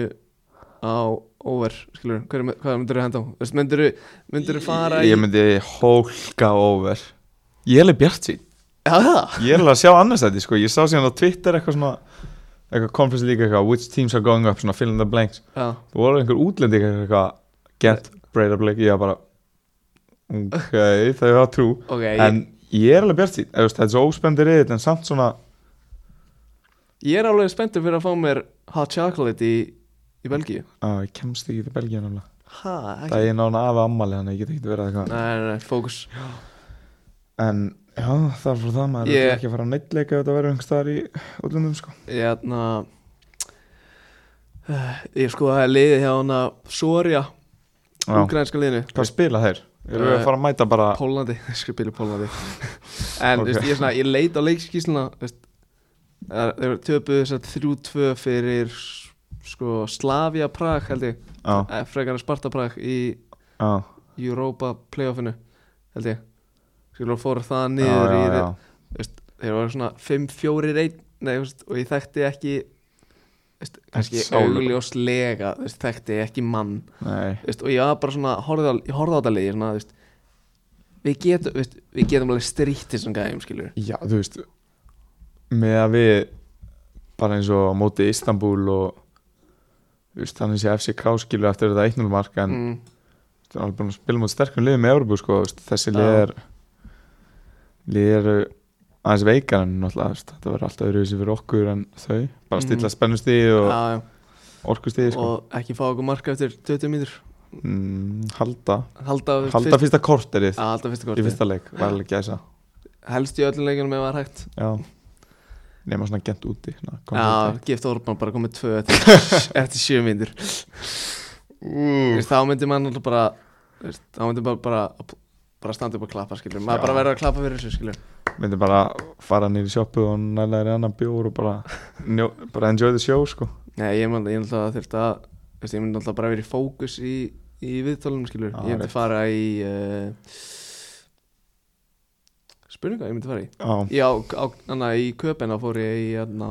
Speaker 1: á over skilur, hvað, er- hvað myndir þú henda á? Þú veist, myndir þú fara í
Speaker 2: Ég myndi hólka over Ég er leið bjart sín
Speaker 1: Já, það,
Speaker 2: Ég er alveg að sjá annars þetta, sko Ég sá síðan á Twitter eitthvað svona eitthvað conference líka eitthvað Which teams are going up, svona fill in the blanks
Speaker 1: já,
Speaker 2: Þú voru einhver útlendi eitthvað Get, Breda Blake, ég var bara Ok, það er það trú
Speaker 1: ok
Speaker 2: En ég er alveg bjart sín Þetta er svo óspendir reyðið en samt svona
Speaker 1: ég, ég er alveg spenntur fyrir að fá mér hot chocolate í, í Belgíu
Speaker 2: að ég kemst ekki til Belgíu náttúrulega
Speaker 1: Ha, ekki
Speaker 2: það er nána af ammali þannig að ég get ekki verið eitthvað
Speaker 1: Nei, nei, nei, fókus
Speaker 2: en já það er frá það maður
Speaker 1: Ég-
Speaker 2: yeah. ekki að fara á neittleika þetta verður einhvers staðar í útlöndum sko
Speaker 1: hérna eh, ég sko það er liðið hjá hana Soria,
Speaker 2: já.
Speaker 1: ukrainska liðinu
Speaker 2: hvað spila þeir? eru við
Speaker 1: Eh,
Speaker 2: að fara að mæta bara
Speaker 1: Pólandi, skripil í Pólandi en okay.
Speaker 2: Ok.
Speaker 1: veist, ég, er svona, ég leit á leikskísluna veist, eh, þeir töpuðu þess að 3-2 fyrir s- sko Slavia Prag held ég,
Speaker 2: á,
Speaker 1: Eh, frekar en Sparta Prag í
Speaker 2: á,
Speaker 1: Europa playoffinu held ég skilur fór það
Speaker 2: já,
Speaker 1: niður
Speaker 2: já,
Speaker 1: í
Speaker 2: já.
Speaker 1: þeir voru svona 5-4-1 nei, þú veist, og ég þekkti ekki þú veist, kannski
Speaker 2: Ekki sálu.
Speaker 1: augljóslega þú veist, þekkti ekki mann
Speaker 2: nei
Speaker 1: þú veist, og ég var bara svona, horfði á, ég horfði á þetta liði svona, þú veist, við, getum, þú veist, við getum alveg strýtt þessum gæðum skilur
Speaker 2: já þú veist með að við bara eins og á móti Istanbul og þú veist þannig sé FCK skilu eftir þetta 1-0 mark en
Speaker 1: mm,
Speaker 2: Það er alveg búin að spila mot sterkum liðum í Európu sko, þú veist, þessi lið
Speaker 1: Já.
Speaker 2: er lið er aðeins veikar en náttúrulega þú veist, þetta verður alltaf öðruvísi fyrir okkur en þau bara
Speaker 1: Mhm.
Speaker 2: stilla spennustigi og ja.
Speaker 1: að,
Speaker 2: orkustigi sko.
Speaker 1: og ekki fá okkur marka eftir 20 mínútur
Speaker 2: mm, halda,
Speaker 1: halda, þú veist,
Speaker 2: halda fyrsta korterið
Speaker 1: að, halda fyrsta
Speaker 2: í
Speaker 1: korti
Speaker 2: fyrsta leik, var alveg gæsa
Speaker 1: helst í öllum leikunum ef það er hægt
Speaker 2: já, nema svona gent úti svona,
Speaker 1: Já,
Speaker 2: konflikt.
Speaker 1: gift Orban bara komið tvö eftir, eftir sjö myndir Vist, Þá myndi mann alltaf bara þú veist, Þá myndi bara bara, bara standa upp og klappa skilur Maður
Speaker 2: Já.
Speaker 1: bara verður að klappa fyrir þessu skilur
Speaker 2: myndi bara fara nýri sjoppu og nælaðir annan bjór og bara, njó, bara enjoy the show sko.
Speaker 1: Nei, ég myndi ég myndi alltaf að þurft að vist, Ég myndi alltaf bara verið í fókus í, í viðtölunum skilur
Speaker 2: Já,
Speaker 1: Ég myndi
Speaker 2: rétt.
Speaker 1: fara í uh, Spurninga, ég myndi fara í
Speaker 2: já,
Speaker 1: Já, á, anna, í köpina fór ég í anna,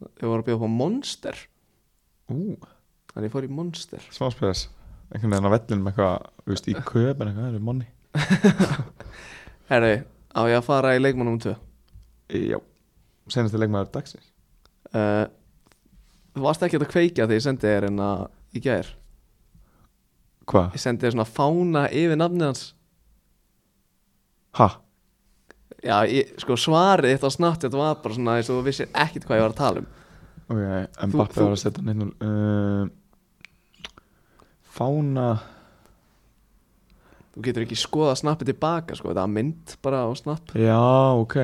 Speaker 1: Ég voru að bjóða upp á Monster
Speaker 2: ú
Speaker 1: Þannig ég fór í Monster
Speaker 2: smá spes einhvern veginn á vellinum eitthvað, þú veist, í köp en eitthvað, það eru manni
Speaker 1: Herri, á ég að fara í leikmannum tvö
Speaker 2: Eh, já, senast að leikmaður dagsins
Speaker 1: uh, Þú varst ekki að kveikja þegar ég sendi þér en að í gær
Speaker 2: hvað?
Speaker 1: Ég sendi þér svona fána yfir nafnið hans
Speaker 2: ha?
Speaker 1: Já, ég, sko svarið þitt á snart Þetta var bara svona eins og þú vissir ekkit hvað ég var að tala um
Speaker 2: ok, en
Speaker 1: Þú-
Speaker 2: Bappi
Speaker 1: þú-
Speaker 2: var að setja hann einn uh, fána
Speaker 1: Þú getur ekki skoða snappið tilbaka sko Það er mynd bara á snapp
Speaker 2: já, ok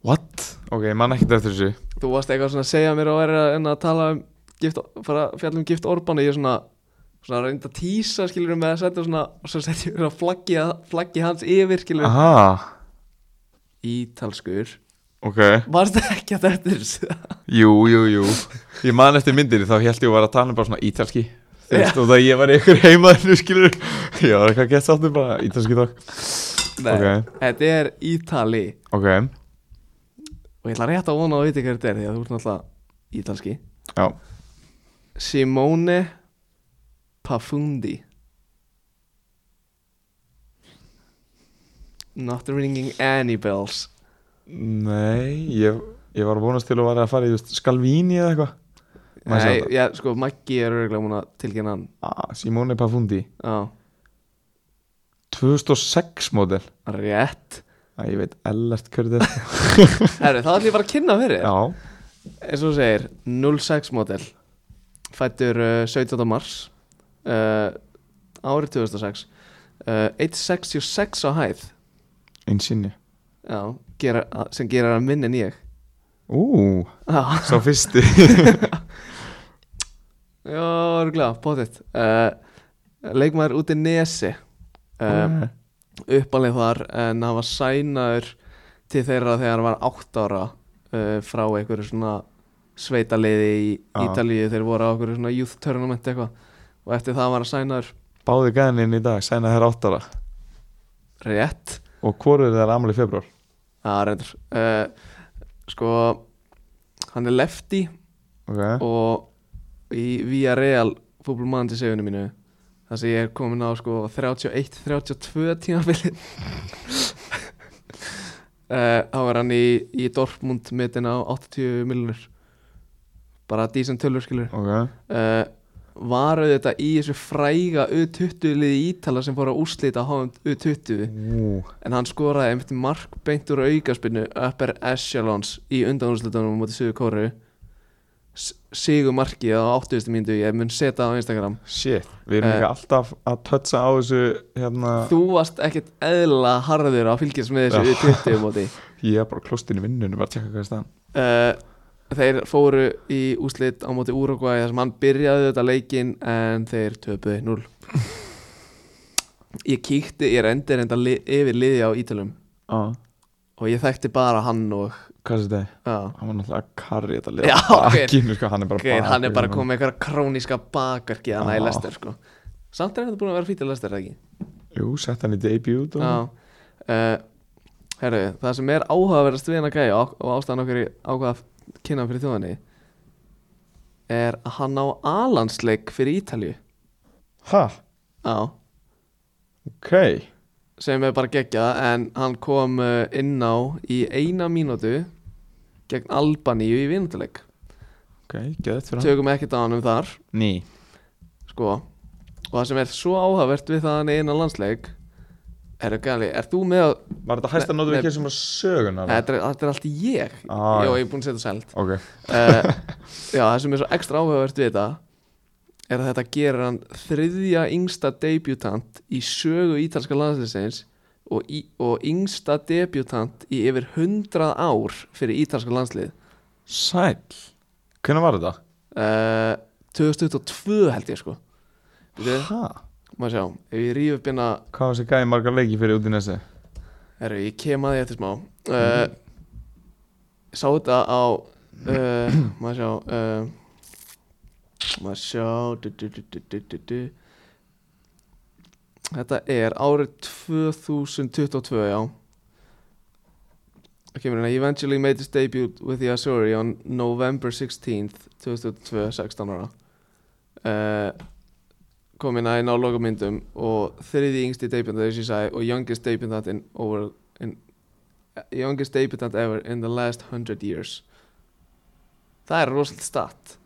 Speaker 2: what? ok, ég man ekkert eftir þessu
Speaker 1: Þú varst eitthvað svona að segja mér og verið en að tala um gift, fara að fjalla um gift Orbán og Ég er svona svona reynda að tísa skilur með að setja svona og svo setja ég svona flaggi, flaggi hans yfir skilur
Speaker 2: aha,
Speaker 1: Ítalskur
Speaker 2: Ok,
Speaker 1: Varst það ekki að þetta er þessu?
Speaker 2: jú, jú, jú Ég man eftir myndinni, þá held ég að vera að tala um bara svona ítalski Þú veist, og það ég var í ykkur heimaðinu, skilur Ég var eitthvað að geta sáttur bara ítalski dag
Speaker 1: Nei,
Speaker 2: Ok.
Speaker 1: þetta er Ítali
Speaker 2: Ok,
Speaker 1: Og ég ætla rétt að vona að viti hver þetta er Því að þú ert náttúrulega ítalski
Speaker 2: já
Speaker 1: Simone Pafundi Not ringing any bells
Speaker 2: Nei, ég, ég var að vonast til að vera að fara í þú veist, Skalvíni eða eitthvað Maður
Speaker 1: Nei,
Speaker 2: sér þetta.
Speaker 1: já, sko, Maggi er örgulega múin að tilkynna hann
Speaker 2: ah, Simone Pafundi
Speaker 1: Já,
Speaker 2: 2006 módel
Speaker 1: rétt
Speaker 2: Æ, ég veit ellert hverju þetta er.
Speaker 1: Herru, það ætlum ég bara að kynna fyrir
Speaker 2: Já,
Speaker 1: Eins og þú segir, 06 model Fættur uh, 17. mars uh, Árið 2006 uh, 166 á hæð
Speaker 2: einsinni
Speaker 1: Já, gera, sem gerir hann minni en ég
Speaker 2: Ú,
Speaker 1: Já
Speaker 2: sá fyrsti
Speaker 1: Já, örgulega, bóttið uh, Leikmaður út í Nesi uh,
Speaker 2: Ah.
Speaker 1: Uppalið þar eh, En hann var sænaður Til þeirra þegar hann var átt ára uh, Frá einhverju svona Sveitaliði í
Speaker 2: Já.
Speaker 1: Ítalíu Þeir voru á einhverju svona youth tournament eitthvað Og eftir það var hann sænaður
Speaker 2: Báði gæðininn í dag, sæna þær áttara
Speaker 1: rétt
Speaker 2: Og hvoru er þær amali februar?
Speaker 1: Það reyndur uh, Sko Hann er lefty
Speaker 2: Ok,
Speaker 1: og í Via Real fútbolmann til segjunum mínu þar sem ég er komin á sko 31-32 tímafili uh, þá er hann í, í Dortmund mitin á 80 miljonur bara dísum tölur skilur
Speaker 2: ok
Speaker 1: uh, var auðvitað í þessu fræga U20 liði Ítala sem fór að úrslita HM U20
Speaker 2: Ú,
Speaker 1: en hann skoraði einmitt mark beint úr aukaspinnu upper echelons í undanúrslutunum á móti Suðu Kóru sigur markið á 80. mínútu ég mun setja það á Instagram
Speaker 2: shit Við erum
Speaker 1: Eh.
Speaker 2: ekki alltaf að tötsa á þessu hérna
Speaker 1: þú varst ekkert eðla harður á fylgjast með þessu 20 móti
Speaker 2: Ég er bara klostinn í vinnunum, bara að tjekka hvað er staðan
Speaker 1: uh, þeir fóru í úslit á móti Uruguay þar sem hann byrjaði þetta leikin en þeir töpuði 0 ég kíkti, ég rendi reynda li yfir liði á Ítalum
Speaker 2: ah.
Speaker 1: og ég þekkti bara hann og
Speaker 2: Hvað er þetta?
Speaker 1: já,
Speaker 2: Hann var náttúrulega að karri þetta
Speaker 1: Já,
Speaker 2: liða
Speaker 1: ok.
Speaker 2: Bakinu, sko, hann er bara
Speaker 1: Geir, hann er
Speaker 2: bakvörður,
Speaker 1: bara
Speaker 2: sko.
Speaker 1: komið með einhverja króníska bakverki þannig í
Speaker 2: Já.
Speaker 1: Lester sko samt er hann búin að vera fítið Lester ekki
Speaker 2: Jú, sett hann í debut og...
Speaker 1: Já uh, Herru, það sem er áhugaverðast við hennar gæja og, og ástæðan okkur í ákvaða að kynna hann fyrir þjóðinni er að hann á alansleik fyrir Ítalju
Speaker 2: Ha,
Speaker 1: Já,
Speaker 2: ok
Speaker 1: sem er bara geggjað en hann kom uh, inn á í eina mínútu gegn Albaníu í vinnutuleik
Speaker 2: Ok, geðið fyrir hann
Speaker 1: tökum ekkert á hann um þar
Speaker 2: Ný
Speaker 1: sko og það sem er svo áhugavert við það hann eina landsleik er það gæli, er þú með að
Speaker 2: Var þetta hæsta
Speaker 1: Nei,
Speaker 2: nótum
Speaker 1: nei.
Speaker 2: ekki sem að sögunar?
Speaker 1: þetta er, þetta er allt ég
Speaker 2: Ah,
Speaker 1: já,
Speaker 2: já.
Speaker 1: ég er búin að setja sælt
Speaker 2: Ok
Speaker 1: uh, já, það sem er svo ekstra áhugavert við þetta er að þetta gerir hann þriðja yngsta debutant í sögu ítalska landsleisins og, í, og yngsta debutant í yfir 100 ár fyrir ítalska landslið
Speaker 2: Sæl Hvernig var þetta?
Speaker 1: uh, 2022 held ég sko Bíddu,
Speaker 2: Ha?
Speaker 1: maður sjá, ef ég ríf upp hérna
Speaker 2: Hvað var þessi gæði margar leiki fyrir út í næstu?
Speaker 1: Herru, ég kem að því eftir smá uh, Sá þetta á uh, Maður sjá uh, Maður sjá du, du, du, du, du, du, du. Þetta er árið 2022, já Það kemur hérna Eventually made his debut with the Azuri on November 16th 2002, 16 ára uh, kom inn aðeins á lokamyndum og þriði yngsti debutant þess ég sagði og youngest debutant in over in, youngest debutant ever in the last 100 years það er rosalega statt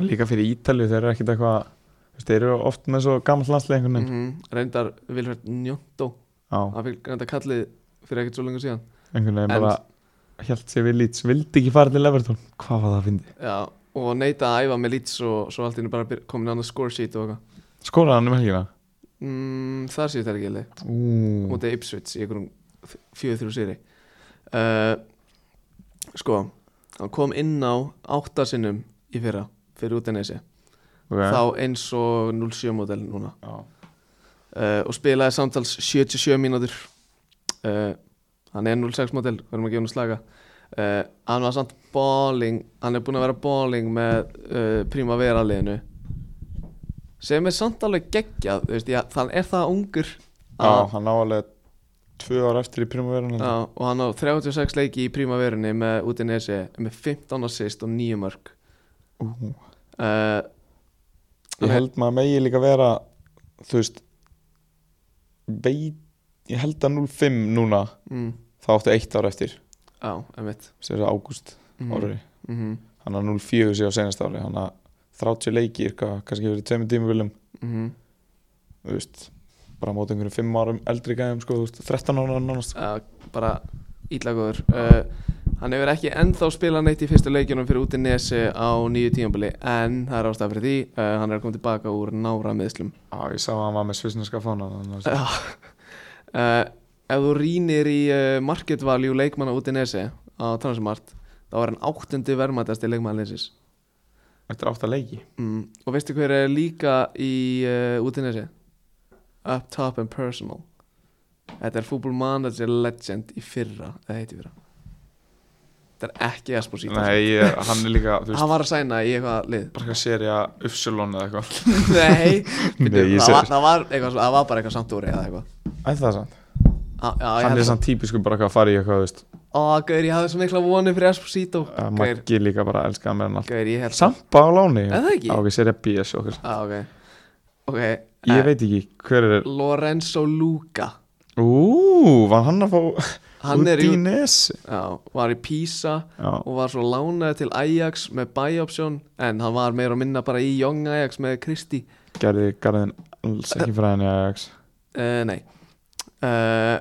Speaker 2: Líka fyrir Ítalju, þeir eru ekkert eitthvað þú veist, Þeir eru oft með svo gammal landslið einhvern
Speaker 1: mm
Speaker 2: veginn
Speaker 1: reyndar Vilfred Njóttó
Speaker 2: Já,
Speaker 1: hann fikk reyndar kallið fyrir ekkert svo lengur síðan
Speaker 2: einhvern veginn
Speaker 1: En-
Speaker 2: bara Hjælt sér við lýts, vildi ekki fara til Evertón Hvað var það að fyndi?
Speaker 1: já, og neita að æfa með lits og svo allt inni bara byr- komin annað score sheet og eitthvað
Speaker 2: Skoraði hann um helgina?
Speaker 1: mm, þar séu þetta ekki leið
Speaker 2: Ú,
Speaker 1: mútið Ipswich í einhverjum fjöðu þrjú sýri uh, sko hann kom inn á áttasinnum í fyrra fyrir út ennesi
Speaker 2: ok
Speaker 1: þá eins og 07 model núna
Speaker 2: Já.
Speaker 1: uh, og spilaði Eh, samtals 77 mínútur uh, hann er 06 model verðum að gefa hann slaga uh, hann var samt bowling hann er búin að vera bowling með uh, Primavera liðinu sem er samt alveg geggjað þú veist, já, þann er það ungur
Speaker 2: Já, hann á alveg tvö ára eftir í primavera
Speaker 1: já, og hann á 36 leiki í Primaverunni með Udinese með 15 assist og 9 mörg
Speaker 2: Ú,
Speaker 1: uh,
Speaker 2: Ég held maður megi líka vera Þú veist veit, Ég held að 05 núna
Speaker 1: mm,
Speaker 2: Það áttu eitt ára eftir
Speaker 1: á, emitt
Speaker 2: sem er ágúst
Speaker 1: mm,
Speaker 2: ári
Speaker 1: mhm,
Speaker 2: Hann að 04 sé á senast ári Hann að 30 leikir hvað, kannski verið tveimur tímubilum
Speaker 1: mhm.
Speaker 2: Þú veist bara á móti einhverjum 5 árum eldri gæðum sko, þú veist, 13 ára nánast
Speaker 1: Já, bara ítla góður uh, hann hefur ekki ennþá spilað neitt í fyrstu leikjunum fyrir út í Nesi á nýju tímabili en það er ástæða fyrir því uh, hann er að koma tilbaka úr nára meðslum
Speaker 2: Já, ég sá að hann var með svisneska fána þannig að-
Speaker 1: uh, Eh, ef þú rýnir í uh, market value leikmanna út í Nesi á Transmart þá er hann áttundi verðmættasti leikmann leikmannalinsis
Speaker 2: Eftir átta leiki
Speaker 1: mm. og veistu hver er líka í uh, út í Nesi up top and personal þetta er football manager legend í fyrra eða heiti fyrra þetta er ekki Esposito
Speaker 2: Nei, ég, hann er líka, þú veist,
Speaker 1: hann var að sæna í eitthvað lið
Speaker 2: bara eitthvað serja Upsilon eða eitthvað
Speaker 1: Nei, Bíddu,
Speaker 2: ég
Speaker 1: það,
Speaker 2: sé-
Speaker 1: var, það, var eitthvað, svo- það var bara eitthvað samt úr eða eitthvað
Speaker 2: Æ, það er sant
Speaker 1: Á, já, ég
Speaker 2: Hann
Speaker 1: held
Speaker 2: er
Speaker 1: að-
Speaker 2: samt típisku bara eitthvað að fara í eitthvað, þú veist
Speaker 1: Ó, Gaur, ég hafði svo mikla vonið fyrir Esposito
Speaker 2: að
Speaker 1: Gaur,
Speaker 2: Maggi líka bara elskaði mér en allt
Speaker 1: Gaur, ég held
Speaker 2: Samt bara á láni
Speaker 1: Er það ekki?
Speaker 2: Á ekki serja BS og okkur
Speaker 1: Á, ok, okay.
Speaker 2: Ég
Speaker 1: eh,
Speaker 2: veit ekki hver er
Speaker 1: Lorenzo Luca
Speaker 2: Ú, var hann að fá
Speaker 1: Hann er í,
Speaker 2: Udinese?
Speaker 1: já, var í Pisa
Speaker 2: Já,
Speaker 1: og var svo lánaði til Ajax með buy-option en hann var meira að minna bara í Young Ajax með Kristi
Speaker 2: gerði garðin alls ekki frá henni Ajax
Speaker 1: uh, Nei uh,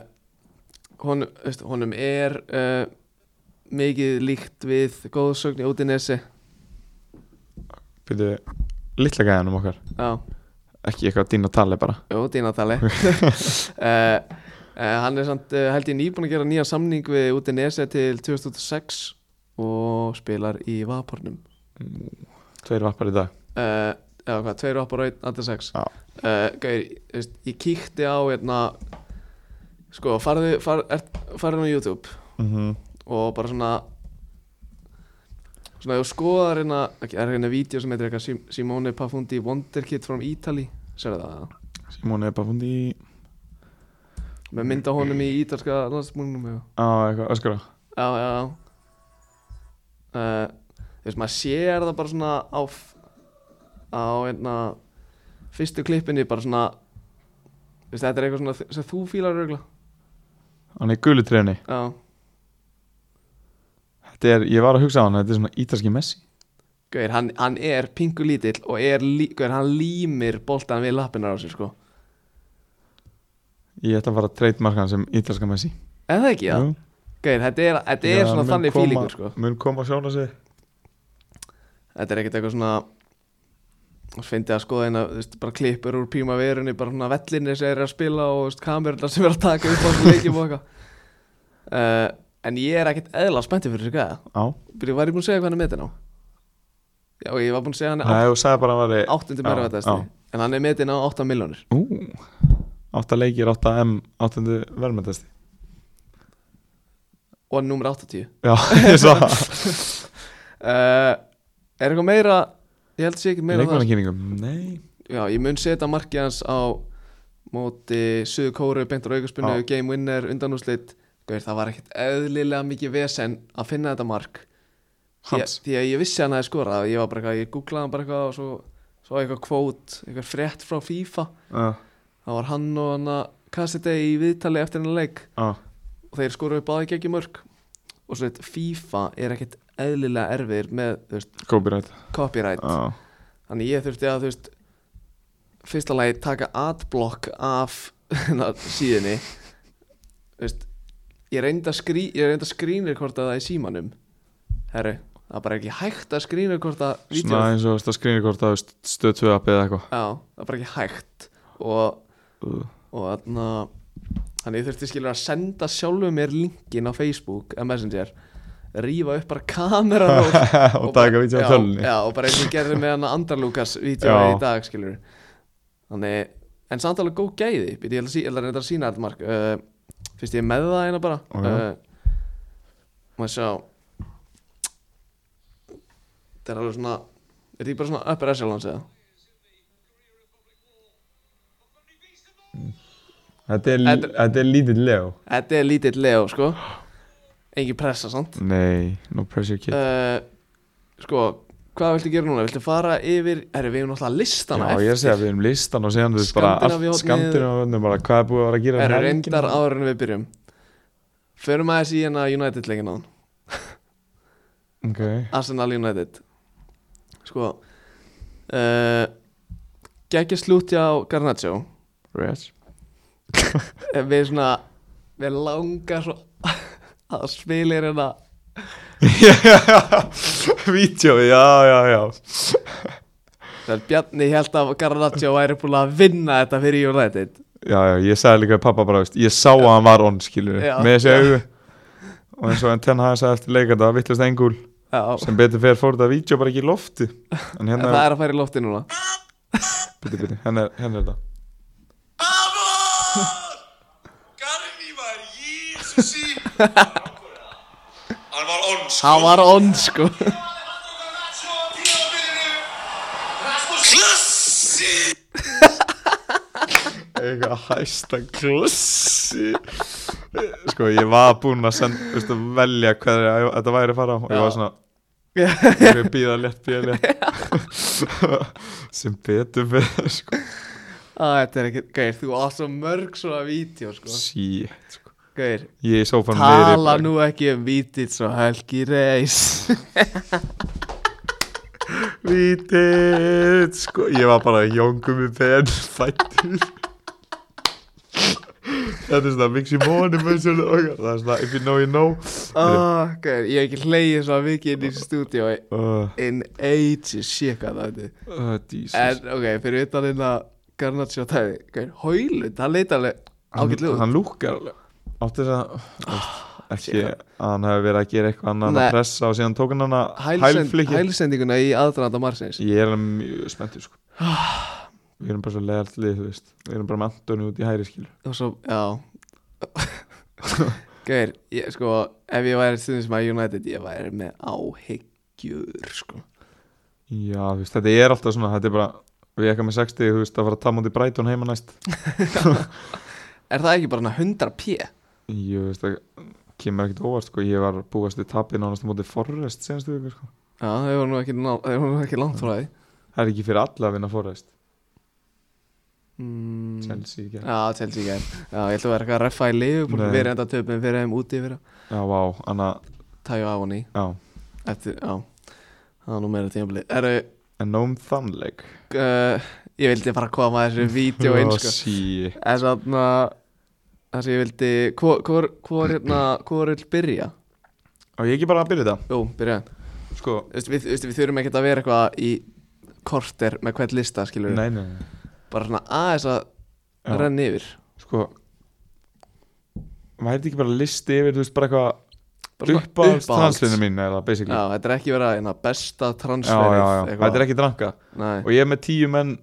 Speaker 1: honum, veist, honum er uh, mikið líkt við góðsögn í Udinese
Speaker 2: Byrju, litla gæðanum okkar
Speaker 1: Já,
Speaker 2: Ekki eitthvað dín og tali bara
Speaker 1: jú, dýnatali uh, Uh, hann er samt uh, held ég nýbúin að gera nýja samning við Udinese til 2006 og spilar í Vapornum
Speaker 2: Tveir vappar í dag
Speaker 1: uh, eða hvað, tveir upp á raun, andir sex
Speaker 2: Já.
Speaker 1: uh, Gauir, þú veist, ég kíkti á hérna, sko, farðu far, er, farðu á YouTube
Speaker 2: mm
Speaker 1: og bara svona svona, ég skoðar hérna ok, það er hérna vídeo sem heitir eitthvað Sim- Simone Pafundi Wonderkid from Italy sérðu það,
Speaker 2: Simón er bara fundi í
Speaker 1: með mynda honum í ítalska landsmúlnum já,
Speaker 2: Á, eitthvað öskara
Speaker 1: já, já uh, þú veist, maður sér það bara svona á f- á hérna fyrstu klippinni bara svona þú veist, þetta er eitthvað svona sem þú fílar regla
Speaker 2: Hann er í gulu trefni
Speaker 1: já,
Speaker 2: Þetta er, ég var að hugsa á hann Þetta er svona ítalski Messi
Speaker 1: gauir, hann, hann er pingu lítill og er, lí, gauir, hann límir boltan við lappinar á sér, sko
Speaker 2: Ég ætla að fara að treytmarka hann sem ítalska Messi
Speaker 1: Er það ekki það?
Speaker 2: Jú.
Speaker 1: Gauðir, þetta er, þetta er
Speaker 2: Já,
Speaker 1: svona
Speaker 2: mun
Speaker 1: þannig
Speaker 2: koma-
Speaker 1: fílingur sko
Speaker 2: Mun koma að sjóna sig
Speaker 1: Þetta er ekkert eitthvað svona Fyndi að skoða hérna, þú veist, bara klippur úr pímaverunni Bara svona vellinni sem er að spila Og þú veist, kamerunna sem er að taka upp á þessu leikjum og eitthvað uh, En ég er ekkert eðla spenntið fyrir þessu gæða
Speaker 2: Á
Speaker 1: Byrju, var ég búinn að segja hvað hann er metin á? Já, og ég var búinn að segja hann er
Speaker 2: Nei, þú sagði bara að hann
Speaker 1: átt-
Speaker 2: var
Speaker 1: áttundi
Speaker 2: já,
Speaker 1: mörgvættast
Speaker 2: já.
Speaker 1: En hann er metin á 8 miljónir
Speaker 2: Ú, átta leikir, átta M, áttundu verðmyndasti
Speaker 1: Og hann er númer 80
Speaker 2: Já, ég sá það
Speaker 1: uh, Er eitthvað meira Ég held sér ekkert meira en það,
Speaker 2: Leikmannakýningum, nei
Speaker 1: Já, ég mun setja markið hans á móti Suðu Kóru, Beintur Auguspunnu,
Speaker 2: Já.
Speaker 1: Game Winner, undanúslit Gauir, það var ekkert eðlilega mikið vesen að finna þetta mark því að,
Speaker 2: Hans,
Speaker 1: því að ég vissi að hann hefði skorað ég var bara eitthvað, ég googlaði hann bara eitthvað og svo, svo eitthvað kvót, eitthvað frétt frá FIFA
Speaker 2: já,
Speaker 1: það var hann og hann að kassiti í viðtali eftir hennar leik
Speaker 2: já
Speaker 1: og þeir skoruðu báði ekki mörg og svo þetta FIFA er ekkert eðlilega erfir með þú veist,
Speaker 2: copyright
Speaker 1: copyright
Speaker 2: Já,
Speaker 1: Þannig ég þurfti að, þú veist, fyrsta lagi taka adblock af hérna, síðinni, þú veist, ég reyndi að, skrí, ég reyndi að skrínirkorta það í símanum, herru, það er bara ekki hægt að skrínirkorta
Speaker 2: svona
Speaker 1: vídeoð,
Speaker 2: eins og það skrýnir hvort að stöð 2 appi eða eitthvað
Speaker 1: já, það er bara ekki hægt og,
Speaker 2: Ú.
Speaker 1: og þarna, þannig ég þurfti skilur að senda sjálfu mér linkin á Facebook, eða Messenger, rífa upp bara kameran og
Speaker 2: Og taka
Speaker 1: bara-
Speaker 2: vítjum á
Speaker 1: já,
Speaker 2: tölunni
Speaker 1: Já, og bara eins og ég gerði með hann Andra Lukas
Speaker 2: Já.
Speaker 1: vítjóði í dag, skilur Þannig, en samt alveg góð gæði Býtti, ég ætla að sí- ég ætla að reynda að sína þetta mark uh, Fyrst ég er með það eina bara
Speaker 2: Ó, já.
Speaker 1: uh, Má sjá þetta er alveg svona er því bara svona uppur echelons eða
Speaker 3: Þetta er,
Speaker 1: Þetta-
Speaker 3: þetta er lítill Leo
Speaker 1: þetta er lítill Leo sko engin pressa samt
Speaker 2: Nei, no pressure kid
Speaker 1: uh, sko hvað viltu gera núna, viltu fara yfir herri við erum náttúrulega listana
Speaker 2: Já, ég er að segja, við erum listan og séðan þú veist bara
Speaker 1: Skandinavíu hornið.
Speaker 2: allt skandinu og bara hvað er búið að vera að gera um
Speaker 1: Herru,
Speaker 2: helgina?
Speaker 1: reyndar áður en við byrjum Förum aðeins í hérna United leikin á hann
Speaker 2: Ok,
Speaker 1: Arsenal United Sko uh, Gekki slúti á Garnaccio
Speaker 2: Reg
Speaker 1: En Við svona Við langar svo að spila í hérna
Speaker 2: Vídeó, já, já, já
Speaker 1: Þegar Bjarni held að Garnaccio væri búin að vinna þetta fyrir United
Speaker 2: Já, já, ég sagði líka við pappa bara, veist, ég sá að hann var on, skilur
Speaker 1: Já.
Speaker 2: Með þessi augu Og eins og enn tenn hafði sagði eftir leikanda að vittlust engul
Speaker 1: Já,
Speaker 2: Sem betur fer fór þetta vídeo bara ekki í lofti En
Speaker 1: en
Speaker 2: hérna,
Speaker 1: það er að fara í lofti núna
Speaker 2: byrju, byrju, hérna er, hérna er þetta
Speaker 4: Amor! Garni var Jésusi Hann var onsk
Speaker 1: Hann var ond sko
Speaker 4: Klassi
Speaker 2: Eitthvað hæsta klossi Sko, ég var búinn að send, veist, að velja hverja þetta væri að fara á og ég var svona Ég er býða létt, býða létt Sem betur fyrir, sko
Speaker 1: Æ, Þetta er ekki, gauð, þú átt svo mörg svona vídeo sko
Speaker 2: Shit, sko
Speaker 1: Gauð,
Speaker 2: Ég er í sófanum niðri
Speaker 1: Tala
Speaker 2: bara-
Speaker 1: nú ekki um vítið svo helgi reis
Speaker 2: Vítið, sko Ég var bara jóngum í pen Fættur Þetta er svona mixi móni Það er svona if you know you know
Speaker 1: oh, okay. Ég hef ekki hleyið svo mikið inn í stúdíó
Speaker 2: uh,
Speaker 1: In ages, shit hvað það er
Speaker 2: uh, Jesus.
Speaker 1: En ok, fyrir utan inn að Garnaccio tæði Gauð, Hólund, hann leita alveg ágætlu
Speaker 2: hann, hann lúkar alveg átti þess að veist, ekki
Speaker 1: shit.
Speaker 2: að hann hefur verið að gera eitthvað annan
Speaker 1: Ah, Nei.
Speaker 2: að pressa og síðan tók hann hann að hælflikki
Speaker 1: Hælsendinguna í aðdraðanda marsins
Speaker 2: ég er alveg mjög spenntið sko.
Speaker 1: Ah.
Speaker 2: við erum bara svo leiðalt lið þú veist. við erum bara með Antoni út í hæri skilur
Speaker 1: Og svo, já Gauð, ég sko Ef ég væri stundin sem að United Ég væri með áhyggjur sko
Speaker 2: já þú veist þetta er alltaf svona þetta er bara við ekki með 60 þú veist að fara að tamma út í Brighton heima næst
Speaker 1: Er það ekki bara hana 100 p?
Speaker 2: ég veist það kemur ekkert óvart sko ég var búast við tapin ánast á móti Forrest senstu viku sko
Speaker 1: Já, þau voru nú ekki, ná, þau voru nú ekki langt frá því
Speaker 2: það er ekki fyrir alla að vinna Forrest
Speaker 1: mm.
Speaker 2: Chelsea ekki
Speaker 1: Já, Chelsea gæm Já, ég ætla að vera eitthvað að reffa í liðu
Speaker 2: Nei.
Speaker 1: Við erum enda töpum fyrir þeim úti fyrir
Speaker 2: já vá anna
Speaker 1: Tæju af hann í
Speaker 2: já
Speaker 1: Eftir, já Það var nú meira tímabli Eru,
Speaker 2: en um nóm þannleik
Speaker 1: uh, ég vildi bara koma að þessu vídeo inn, sko
Speaker 2: sí
Speaker 1: En svona Það sem ég vildi Hvor, hvor, hvor, hérna, hvor vil byrja?
Speaker 2: og ég ekki bara að byrja þetta
Speaker 1: Jú, byrja
Speaker 2: sko
Speaker 1: Þú veist, við, þú veist, við þurfum ekkert að vera eitthvað í korter með hvern lista, skilur
Speaker 2: nei, nei, nei.
Speaker 1: Bara svona aðeins að
Speaker 2: Já.
Speaker 1: renna yfir
Speaker 2: sko væri þetta ekki bara listi yfir þú veist bara eitthvað
Speaker 1: Bara svona
Speaker 2: uppáhalds
Speaker 1: uppáhalds.
Speaker 2: translinu mín eða basically
Speaker 1: Já, þetta er ekki verið að hérna, besta
Speaker 2: já, já,
Speaker 1: transferið
Speaker 2: já. þetta er ekki dranka
Speaker 1: Nei,
Speaker 2: og ég er með tíu menn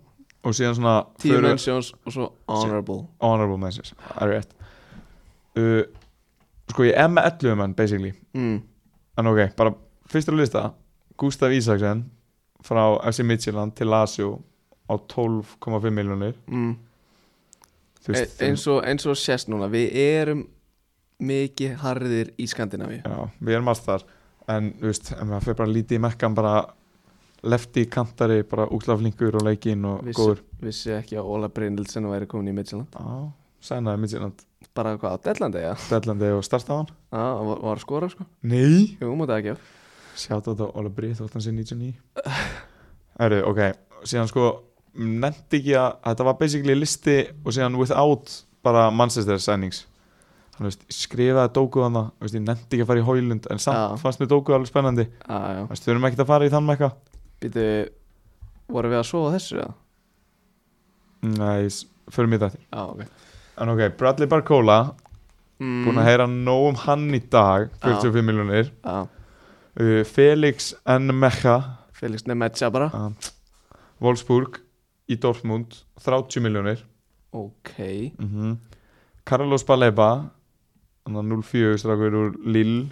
Speaker 2: og síðan svona
Speaker 1: tíu
Speaker 2: förum-
Speaker 1: mentions og svo honorable
Speaker 2: honorable mentions það er rétt uh, sko ég er með 11 menn basically
Speaker 1: mm.
Speaker 2: en ok bara fyrstur að lista Gustaf Ísaksen frá FC Midtjylland til Lazio á 12,5 miljonir
Speaker 1: Mm.
Speaker 2: Þú
Speaker 1: E,
Speaker 2: veist,
Speaker 1: eins, og, eins og sést núna Við erum mikið harðir í Skandinavíu
Speaker 2: Já, við erum alls þar en þú veist, en maður fyrir bara lítið í mekkan bara lefti kantari bara útlaflingur og leikinn og
Speaker 1: Vissi.
Speaker 2: góður
Speaker 1: Vissi ekki að Óla Brindilsen væri komin í Midtjylland
Speaker 2: Já, sænaði Midtjylland
Speaker 1: Bara hvað á Dellandi, já
Speaker 2: Dellandi og starta á hann
Speaker 1: Já, hann var, var að skora sko
Speaker 2: Nei
Speaker 1: Jú, mútið ekki
Speaker 2: Sjátt á þetta Óla Brið þótt hann sé 99 Herru, ok Síðan sko, nefndi ekki að þetta var basically listi og síðan without bara Manchester signings Hann veist, skrifaði Dóku hann það veist, ég nefndi ekki að fara í Hólund en samt
Speaker 1: Já.
Speaker 2: fannst mér Dóku alveg spennandi
Speaker 1: Já, já
Speaker 2: Þú veist, þurfum ekki að fara í þann mekka
Speaker 1: Býtu, vorum við að sofa þessu eða?
Speaker 2: Nei, s- förum í þetta
Speaker 1: Já, ok
Speaker 2: En ok, Bradley Barcola
Speaker 1: mm.
Speaker 2: Búin að heyra nóg um hann í dag
Speaker 1: Já.
Speaker 2: 45 miljonir
Speaker 1: Já,
Speaker 2: uh, Felix N. Mekka
Speaker 1: Felix Nemetja bara
Speaker 2: uh, Wolfsburg Í Dortmund 30 miljonir
Speaker 1: Ok
Speaker 2: Mhm. mm -hmm. Carlos Baleba hann var 0-4 strákur úr Lille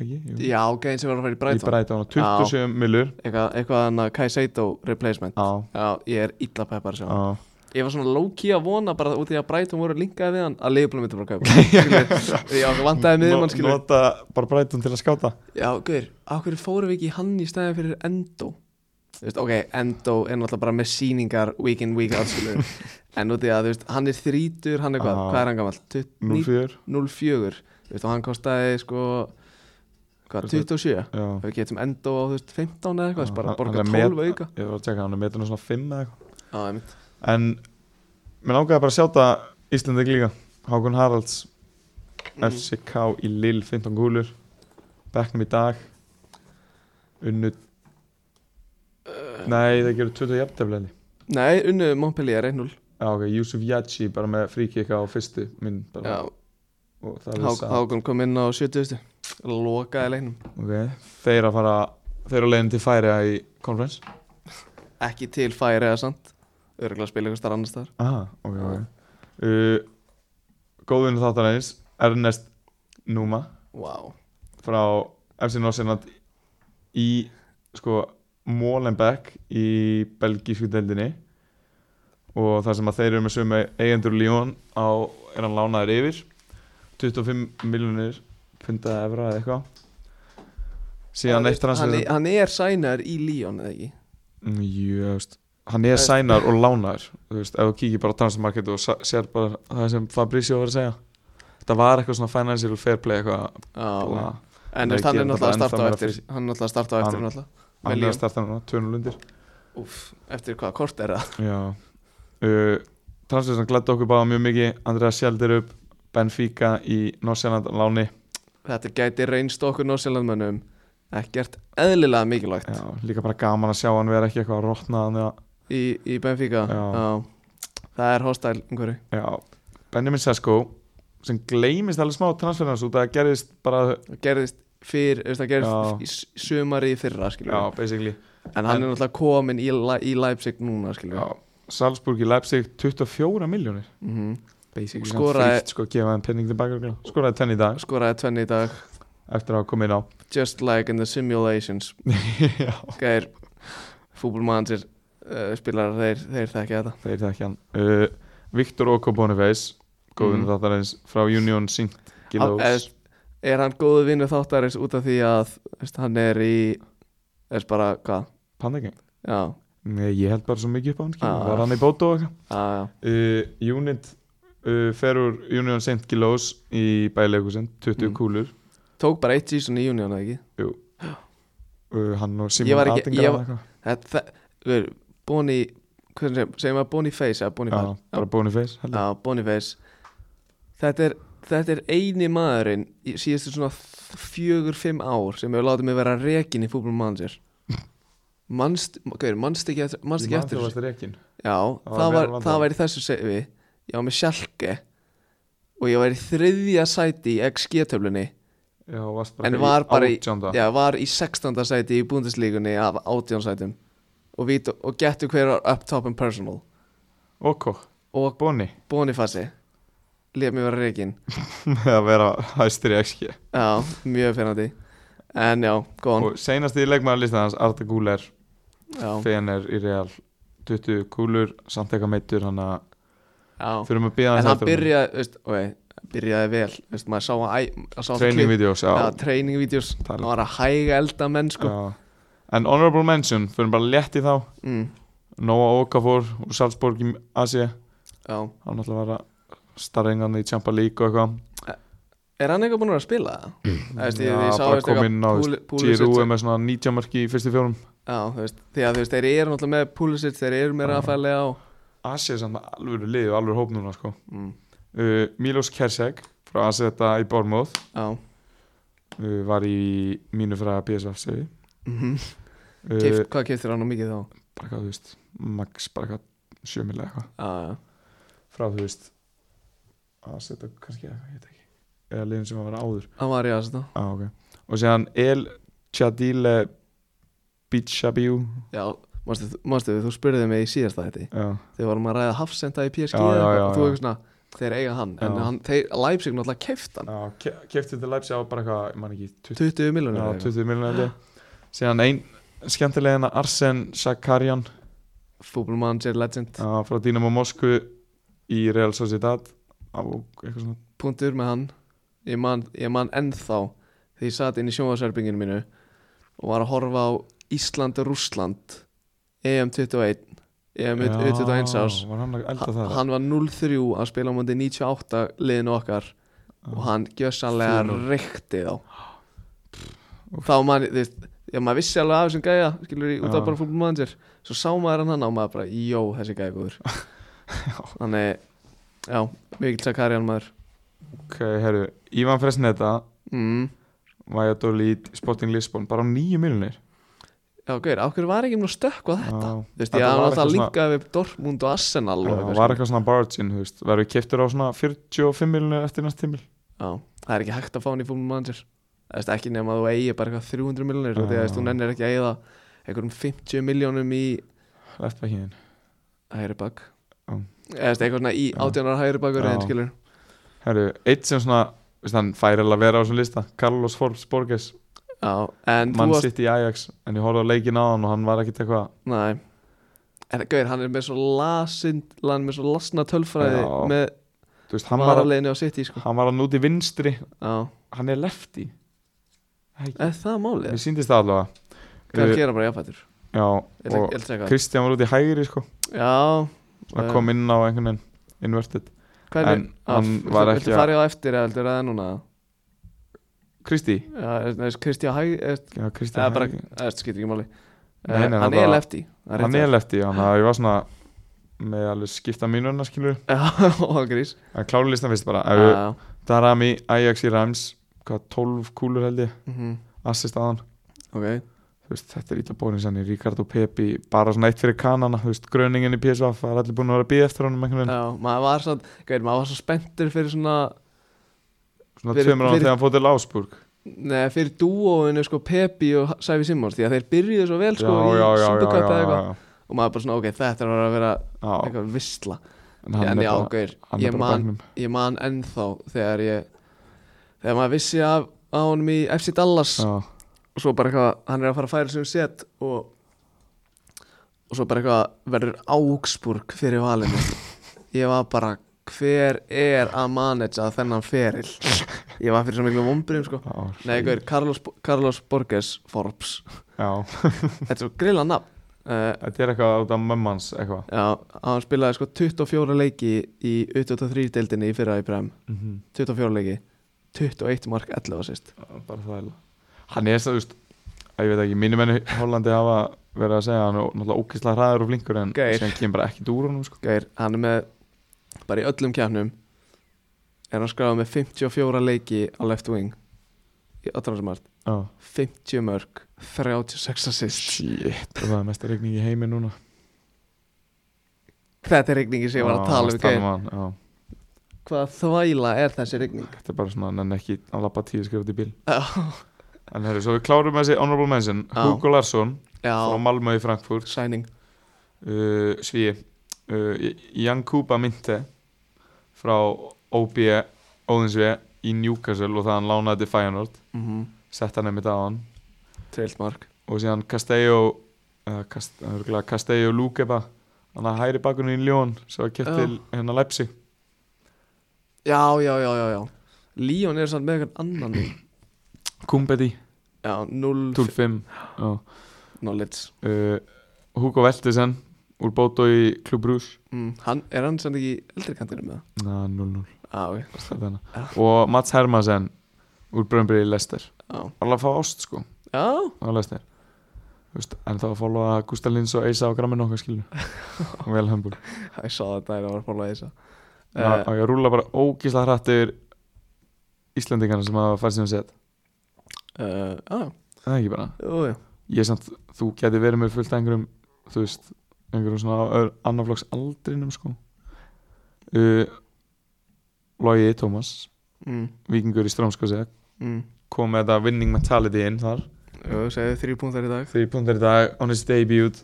Speaker 2: ekki? Jú.
Speaker 1: Já, gæðin sem var að fara í
Speaker 2: Í
Speaker 1: Brighton
Speaker 2: Brighton á 27 millur
Speaker 1: Eitthvað, eitthvað annað Kaiseito replacement
Speaker 2: Já.
Speaker 1: ég er illa peppar sjá
Speaker 2: Já,
Speaker 1: Ég var svona low-key að vona bara út í að Brighton voru linkaði við hann að Leifblum myndi bara kaupa Skilur, Já, það vantaði miður mann skilur
Speaker 2: Nota bara Brighton til að skáta
Speaker 1: Já, guður, af hverju fórum við ekki í hann í stæðin fyrir Endo? Þú veist, ok, Endo er náttúrulega bara með sýningar week in, week out skilur En út í að, þú veist, hann er þrítur, hann er hvað,
Speaker 2: Já.
Speaker 1: hvað er hann gamall? 20
Speaker 2: 0-4
Speaker 1: 04 Þú veist, og hann kostaði sko hvað, 27
Speaker 2: Já
Speaker 1: við getum enda á þú veist 15 eða eitthvað, þess bara
Speaker 2: Hann-
Speaker 1: borga
Speaker 2: hann er
Speaker 1: 12
Speaker 2: met-
Speaker 1: auka
Speaker 2: Ég var að tjekka, hann er metunum svona 5 eða eitthvað
Speaker 1: Já, einmitt.
Speaker 2: En Mér langaði bara að sjáta Íslandik líka Hákon Haralds
Speaker 1: Mhm.
Speaker 2: FCK í Lill 15 gúlur Becknum í dag Unnu
Speaker 1: Eh.
Speaker 2: Nei, það gerur 20 jafntefnilegni
Speaker 1: Nei, unnu Montpellier 1-0
Speaker 2: Já, ok, Yusuf Yachi bara með fríkika á fyrstu minn bara,
Speaker 1: Já,
Speaker 2: og það er
Speaker 1: Há-
Speaker 2: satt.
Speaker 1: Hákon kom inn á 70 lokaði leiknum
Speaker 2: Ok, þeir að fara þeir að leiðin til færiða í conference
Speaker 1: ekki til færi eða sant örgulega að spila eitthvað starf annars þar
Speaker 2: Aha, ok, ok uh, Góðinu þáttarins Ernest Numa
Speaker 1: wow.
Speaker 2: frá FC Norsenland í sko Molenbeek í belgísku deildinni og þar sem að þeir eru með sömu eigendur Líón á er hann lánaður yfir 25 miljonir pundaði evra eða eitthvað síðan eitt
Speaker 1: hann,
Speaker 2: transfer
Speaker 1: er- hann er sænar í Líón eða ekki
Speaker 2: Mm, Jú, þú veist, hann er sænar og lánar Þú veist, ef þú kíkir bara á transfermarket og sa- sér bara það sem Fabrizio var að segja Þetta var eitthvað svona financial fair play eitthvað
Speaker 1: Já,
Speaker 2: bla.
Speaker 1: en veist, hann
Speaker 2: Nei,
Speaker 1: er
Speaker 2: gerum
Speaker 1: náttúrulega að
Speaker 2: þetta
Speaker 1: starta á
Speaker 2: ennþá meira
Speaker 1: eftir
Speaker 2: fyrir-
Speaker 1: hann er náttúrulega að starta á eftir
Speaker 2: Hann-
Speaker 1: náttúrulega
Speaker 2: Hann er
Speaker 1: Leon.
Speaker 2: að starta núna, 200 undir
Speaker 1: Úf, eftir hvað kort er það
Speaker 2: Já uh, Transfermarket glæddi okkur báða mjög mikið Andrea Sjaldir upp, Benfica í Norseland láni
Speaker 1: þetta gæti reynst okkur Norsilandmönnum ekkert eðlilega mikilvægt
Speaker 2: Já, líka bara gaman að sjá hann vera ekki eitthvað að rotna hann eða-
Speaker 1: í, í Benfica
Speaker 2: Já.
Speaker 1: það er hostile umhverju
Speaker 2: Já, Benjamin Sesko sem gleymist alveg smá transferans út að það gerðist bara
Speaker 1: það gerðist fyrr, þú veist, það
Speaker 2: Já.
Speaker 1: gerðist í s- sumari í fyrra skilur
Speaker 2: Já, basically
Speaker 1: en hann er náttúrulega komin í, Le- í Leipzig núna skilur
Speaker 2: Já, Salzburg í Leipzig 24 miljónir
Speaker 1: Mhm. Og
Speaker 2: Basically
Speaker 1: skoraði-
Speaker 2: fríkt, sko, gefa þeim penning tilbaka örugglega. Skoraði tenni í dag
Speaker 1: skoraði tvenni í dag
Speaker 2: eftir að hafa komið inn á
Speaker 1: just like in the simulations
Speaker 2: Já,
Speaker 1: gæðir fútbolmannsir uh, spilar þeir, þeir þekki þetta
Speaker 2: þeir þekkja hann uh, Viktor Oko Boniface góðun
Speaker 1: Mhm.
Speaker 2: mm. þáttarins frá Union Sint Gillows
Speaker 1: er, er hann góðu vinnu þáttarins út af því að þú veist, hann er í er bara hvað
Speaker 2: Pandagang
Speaker 1: já,
Speaker 2: Nei, ég held bara svo mikið upp á hann ah.
Speaker 1: Ah.
Speaker 2: Var hann í bótu og eitthvað
Speaker 1: já, já,
Speaker 2: uh, Unit uh, fer úr Union Sint Gillows í bæleikusinn 20
Speaker 1: Mhm.
Speaker 2: kúlur
Speaker 1: tók bara eitt season í júnión ekki
Speaker 2: uh, Hann og
Speaker 1: Ég var
Speaker 2: Simon
Speaker 1: ekki-
Speaker 2: Attingar
Speaker 1: ég
Speaker 2: eða
Speaker 1: var-
Speaker 2: eitthvað.
Speaker 1: þetta, við erum Bonnie hvernig segir- segir maður Boniface eða
Speaker 2: Já,
Speaker 1: Boniface
Speaker 2: bara Boniface held ég.
Speaker 1: Já, Boniface Þetta er, þetta er eini maðurinn í síðustu svona fjögur, fimm ár sem hefur látið mig vera rekin í fútbol manager Manst, gauður, manst ekki eftir, manst ekki
Speaker 2: Ég man
Speaker 1: eftir
Speaker 2: þegar
Speaker 1: þessu?
Speaker 2: varst rekin
Speaker 1: Já,
Speaker 2: var
Speaker 1: það
Speaker 2: vel
Speaker 1: var,
Speaker 2: vandað.
Speaker 1: það var í þessu sefi Ég var með Schalke og ég var í þriðja sæti í XG-töflunni
Speaker 2: Já, varst bara
Speaker 1: en var bara í,
Speaker 2: átjánda
Speaker 1: já, var í 16. sæti í búndisleikunni af 18 sætum og, vít, og getur hver var up top and personal
Speaker 2: Oko,
Speaker 1: og
Speaker 2: Boni
Speaker 1: Boniface lef mér vera rekin
Speaker 2: með að vera hæstur í XG
Speaker 1: Já, mjög fennandi En já, góðan
Speaker 2: og seinast í leikmaðarlistan hans Arda Gúler,
Speaker 1: já,
Speaker 2: Fener í Real 20 kúlur, samt eitthvað meittur hann að
Speaker 1: já.
Speaker 2: þurfum að bíða
Speaker 1: En
Speaker 2: hans
Speaker 1: hann byrjaði, veist, ok, byrjaði vel veist, Maður sá að æ, sá
Speaker 2: training videos já,
Speaker 1: Já, training videos
Speaker 2: Talent.
Speaker 1: Hann var að hæga elda menn sko
Speaker 2: já. en honorable mention, fyrir bara létt í þá
Speaker 1: mm,
Speaker 2: Noah Okafor úr Salzburg í Asia
Speaker 1: Já,
Speaker 2: hann ætla að vera starringandi í Champa League og eitthvað
Speaker 1: er hann eitthvað búin að vera að spila það? Þú veist, ég,
Speaker 2: Mm, Já,
Speaker 1: ég sá
Speaker 2: bara
Speaker 1: veist, eitthvað
Speaker 2: kominn á,
Speaker 1: Púli- Púlisic-
Speaker 2: Giroud er með svona 90 marki í fyrstu fjórum
Speaker 1: Já, þú veist, því að þú veist, þeir eru náttúrulega með Pulisic Þeir eru með Rafaelega og
Speaker 2: Asia er samt alvöru lið og alvöru hóp núna sko.
Speaker 1: mm,
Speaker 2: uh, Milos Kersek frá Aseta í Bormóð
Speaker 1: Já,
Speaker 2: uh, var í mínu fræða PSV segi
Speaker 1: mm
Speaker 2: uh,
Speaker 1: Keift, hvað keiftir hann á mikið þá?
Speaker 2: bara hvað þú veist max bara hvað sjömilega eitthvað
Speaker 1: Já, já,
Speaker 2: frá þú veist Aseta kannski eitthvað, ég veit ekki eða liðin sem að vera áður
Speaker 1: hann var í aðeins þá
Speaker 2: ah, okay. og séðan El Chadile Bichabiu
Speaker 1: Já, manstu, manstu, þú spurðið mig í síðasta þetta
Speaker 2: já,
Speaker 1: þegar vorum að ræða hafsenda í PSG
Speaker 2: Já,
Speaker 1: eða
Speaker 2: já,
Speaker 1: eitthvað
Speaker 2: já,
Speaker 1: og þú
Speaker 2: já.
Speaker 1: eitthvað svona þeir eiga hann en
Speaker 2: Já.
Speaker 1: hann, þeir, Leipzig náttúrulega keift hann
Speaker 2: Kæftið til Leipzig á bara eitthvað, ég man ekki 20,
Speaker 1: 20
Speaker 2: já,
Speaker 1: miljonir
Speaker 2: 20 miljonar síðan ein skemmtilega hérna Arsen Sakarian
Speaker 1: fútbolmanager legend
Speaker 2: já, frá Dynamo Moskvu í Real Sociedad á eitthvað svona
Speaker 1: punktur með hann ég man, ég man ennþá þegar ég satt inn í sjónvarsverfinginu mínu og var að horfa á E Ísland-Rúsland EM21 E EM21
Speaker 2: Já,
Speaker 1: ás
Speaker 2: var hann að elda
Speaker 1: Ha-
Speaker 2: það
Speaker 1: hann var 0-3 að spila á múndi 98 liðinu okkar
Speaker 2: Ah.
Speaker 1: og hann gjössanlega
Speaker 2: 4-0.
Speaker 1: reykti þá þá mann þú veist, já maður vissi alveg af þessum gæja skilur í út af
Speaker 2: Já.
Speaker 1: bara fútbolmanager svo sá maður hann hann og maður bara, jó, þessi gæja er góður þannig, já, mikill Sakarian maður
Speaker 2: ok, herru, Ivan Fresneta
Speaker 1: mm.
Speaker 2: Maja Dorlít, Sporting Lisbon bara á 9 miljonir
Speaker 1: já, gauður, á hverju var ekki mér að stökkva þetta
Speaker 2: Já.
Speaker 1: þú veist,
Speaker 2: Ah, Þetta
Speaker 1: ég
Speaker 2: var
Speaker 1: hafði alltaf
Speaker 2: eitthvað
Speaker 1: líka við Dortmund og Arsenal og
Speaker 2: það
Speaker 1: eitthvað
Speaker 2: var
Speaker 1: svona.
Speaker 2: eitthvað svona bargin, þú veist verður keftur á svona 45 miljonir eftir næst tímil
Speaker 1: já, það er ekki hægt að fá hann í fútbolmanager það veist, ekki nema að þú eigi bara eitthvað 300 miljonir og því að
Speaker 2: Já.
Speaker 1: þú veist, þú nennir ekki að eiga einhverjum 50 miljonum í
Speaker 2: leftbækiðin
Speaker 1: hægri bak
Speaker 2: Já.
Speaker 1: eða veist, eitthvað svona í
Speaker 2: Já.
Speaker 1: 18 ára hægri bakur
Speaker 2: Já.
Speaker 1: einn skilur
Speaker 2: Herru, eitt sem svona veist, hann fær alveg að vera á þessum lista Carlos Forbes Borges,
Speaker 1: já, en þú
Speaker 2: mann
Speaker 1: varst
Speaker 2: sitt í Ajax en ég horfði á leikin á hann og hann var ekkit eitthvað
Speaker 1: Nei En gauðir, hann er með svo lasind Hann er með svo lasna tölfræði
Speaker 2: Já,
Speaker 1: Með
Speaker 2: þú veist, hann var, að,
Speaker 1: varaleginni á City sko.
Speaker 2: hann var að núti vinstri
Speaker 1: Já,
Speaker 2: hann er lefti
Speaker 1: er það
Speaker 2: mér
Speaker 1: málið?
Speaker 2: síndist það allavega
Speaker 1: Hvað
Speaker 2: Herru,
Speaker 1: gera bara jáfættur?
Speaker 2: Já,
Speaker 1: Ég ætla- ég ætla
Speaker 2: og
Speaker 1: að segja eitthvað.
Speaker 2: Kristján var út í hægri sko,
Speaker 1: Já,
Speaker 2: að
Speaker 1: Já.
Speaker 2: kom inn á einhvern veginn inverted,
Speaker 1: hvernig Ah,
Speaker 2: en hann var ekki
Speaker 1: Viltu
Speaker 2: að-
Speaker 1: farið á eftir eða heldur að það er núna?
Speaker 2: Kristi
Speaker 1: Já, Kristján Hæg Það
Speaker 2: já,
Speaker 1: er
Speaker 2: Kristján
Speaker 1: bara,
Speaker 2: hægri
Speaker 1: það skýtir ekki máli
Speaker 2: Nei, nei,
Speaker 1: Eh, Hann
Speaker 2: það
Speaker 1: er
Speaker 2: bara-
Speaker 1: lefti
Speaker 2: hann er lefti, þannig að ég var svona með alveg skipta mínuna skilur
Speaker 1: Já, og grís
Speaker 2: að klára listan fyrst bara,
Speaker 1: Já,
Speaker 2: ef við
Speaker 1: já,
Speaker 2: Darami, Ajax í Rams hvað, 12 kúlur held ég
Speaker 1: mhm,
Speaker 2: assist að hann
Speaker 1: Ok,
Speaker 2: þú veist, þetta er ítla bónins hann í Ríkard og Pepi bara svona eitt fyrir kanana, þú veist, gröningin í PSV það er allir búin að vera að býða eftir honum einhvern veginn
Speaker 1: já, maður var svo Gauðir, maður var svo spenntur fyrir svona
Speaker 2: svona
Speaker 1: fyrir-
Speaker 2: tveimur ára
Speaker 1: fyrir-
Speaker 2: þegar hann fótt til Ásburg
Speaker 1: Nei, fyrir dúóinu sko Pepi og Sæfi Simons því að þeir byrjuðu svo vel sko í Supercup eða eitthvað
Speaker 2: já,
Speaker 1: og maður bara svona, ok, þetta er að vera
Speaker 2: já,
Speaker 1: eitthvað vissla
Speaker 2: en hann
Speaker 1: en
Speaker 2: er
Speaker 1: já,
Speaker 2: bara
Speaker 1: gaur,
Speaker 2: hann
Speaker 1: ég
Speaker 2: er bara
Speaker 1: man,
Speaker 2: bæknum
Speaker 1: ég man ennþá þegar ég þegar maður vissi af á honum í FC Dallas
Speaker 2: já,
Speaker 1: og svo bara eitthvað, hann er að fara að færa sem set og og svo bara eitthvað verður Augsburg fyrir valinu ég var bara, hver er að manetja þennan feril ég var fyrir svo miklu vombriðum sko
Speaker 2: já,
Speaker 1: Nei, gaur, Carlos, Carlos Borges Forbes
Speaker 2: já,
Speaker 1: Þetta er svo grilla nafn uh,
Speaker 2: þetta er eitthvað út af mömmans eitthvað
Speaker 1: Já, hann spilaði sko 24 leiki í 23 deildinni í fyrra í prem 24 leiki 21 mark 11 assist
Speaker 2: bara það er hann er það, þú veist, að ég veit ekki mínum enni Hollandi hafa verið að segja hann er náttúrulega ókysla hraður og flinkur en
Speaker 1: Gaur.
Speaker 2: sem kemur bara ekki dúr honum sko.
Speaker 1: Gaur, hann er með bara í öllum kjarnum er hann skráði með 54 leiki á left wing í öllum 50 mörg 36 assist
Speaker 2: shit, það er mesta regning í heimi núna
Speaker 1: Þetta er rigningi sem ég var
Speaker 2: Já,
Speaker 1: að tala um
Speaker 2: varst
Speaker 1: gaur.
Speaker 2: hann, já.
Speaker 1: Hvaða þvæla er þessi rigning?
Speaker 2: Þetta er bara svona, hann er ekki að lappa tíu skrifað í bíl
Speaker 1: Já,
Speaker 2: En herru, svo við klárum þessi honorable mention
Speaker 1: Já.
Speaker 2: Hugo Larsson frá
Speaker 1: já,
Speaker 2: Malmö í Frankfurt
Speaker 1: sæning
Speaker 2: uh, Svíi uh, Jan Kuba Minte frá OB Óðinsvi í Newcastle og það hann lánaði til Feyenoord
Speaker 1: mm
Speaker 2: sett hann einmitt á hann
Speaker 1: Trillt mark
Speaker 2: og síðan Castello uh, Cast, örugglega Castello Lúkeba hann að hæri bakunni í Ljón sem var kett
Speaker 1: Já.
Speaker 2: til hérna Leipzig
Speaker 1: Já, já, já, já, já Líón er samt með eitthvað annan í.
Speaker 2: Kumbedi
Speaker 1: Já, 0
Speaker 2: 25 Já.
Speaker 1: knowledge
Speaker 2: uh, Hugo Veltesen úr Bótó í Klub Rús
Speaker 1: mm, hann, Er hann samt ekki í eldri kantinu með það?
Speaker 2: Na, 0-0
Speaker 1: Já, ok
Speaker 2: Þetta hana. og Mats Hermansen úr Brönnbyrði í Lester
Speaker 1: Já,
Speaker 2: alveg að fá ást sko
Speaker 1: já,
Speaker 2: á Lester Vist, en þá að fólva Gustaf Lins og Eisa á gramminu okkar skilju vel hambúr
Speaker 1: ég sá þetta þegar ég var að fóla Eh, þess
Speaker 2: og
Speaker 1: að
Speaker 2: ég rúla bara ógísla hratt yfir Íslendingarna sem hafa farið síðan set
Speaker 1: Já,
Speaker 2: það er ekki bara
Speaker 1: jú, jú
Speaker 2: ég samt þú geti verið mér fullt af einhverjum þú veist einhverjum svona annaflokks aldrinum sko uh, Logi Thomas
Speaker 1: mm,
Speaker 2: vikingur í Strámskósi
Speaker 1: mm.
Speaker 2: kom með þetta winning mentality inn þar
Speaker 1: Jú, segðu þrjú púntar í dag
Speaker 2: Þrý punktar í dag, on his debut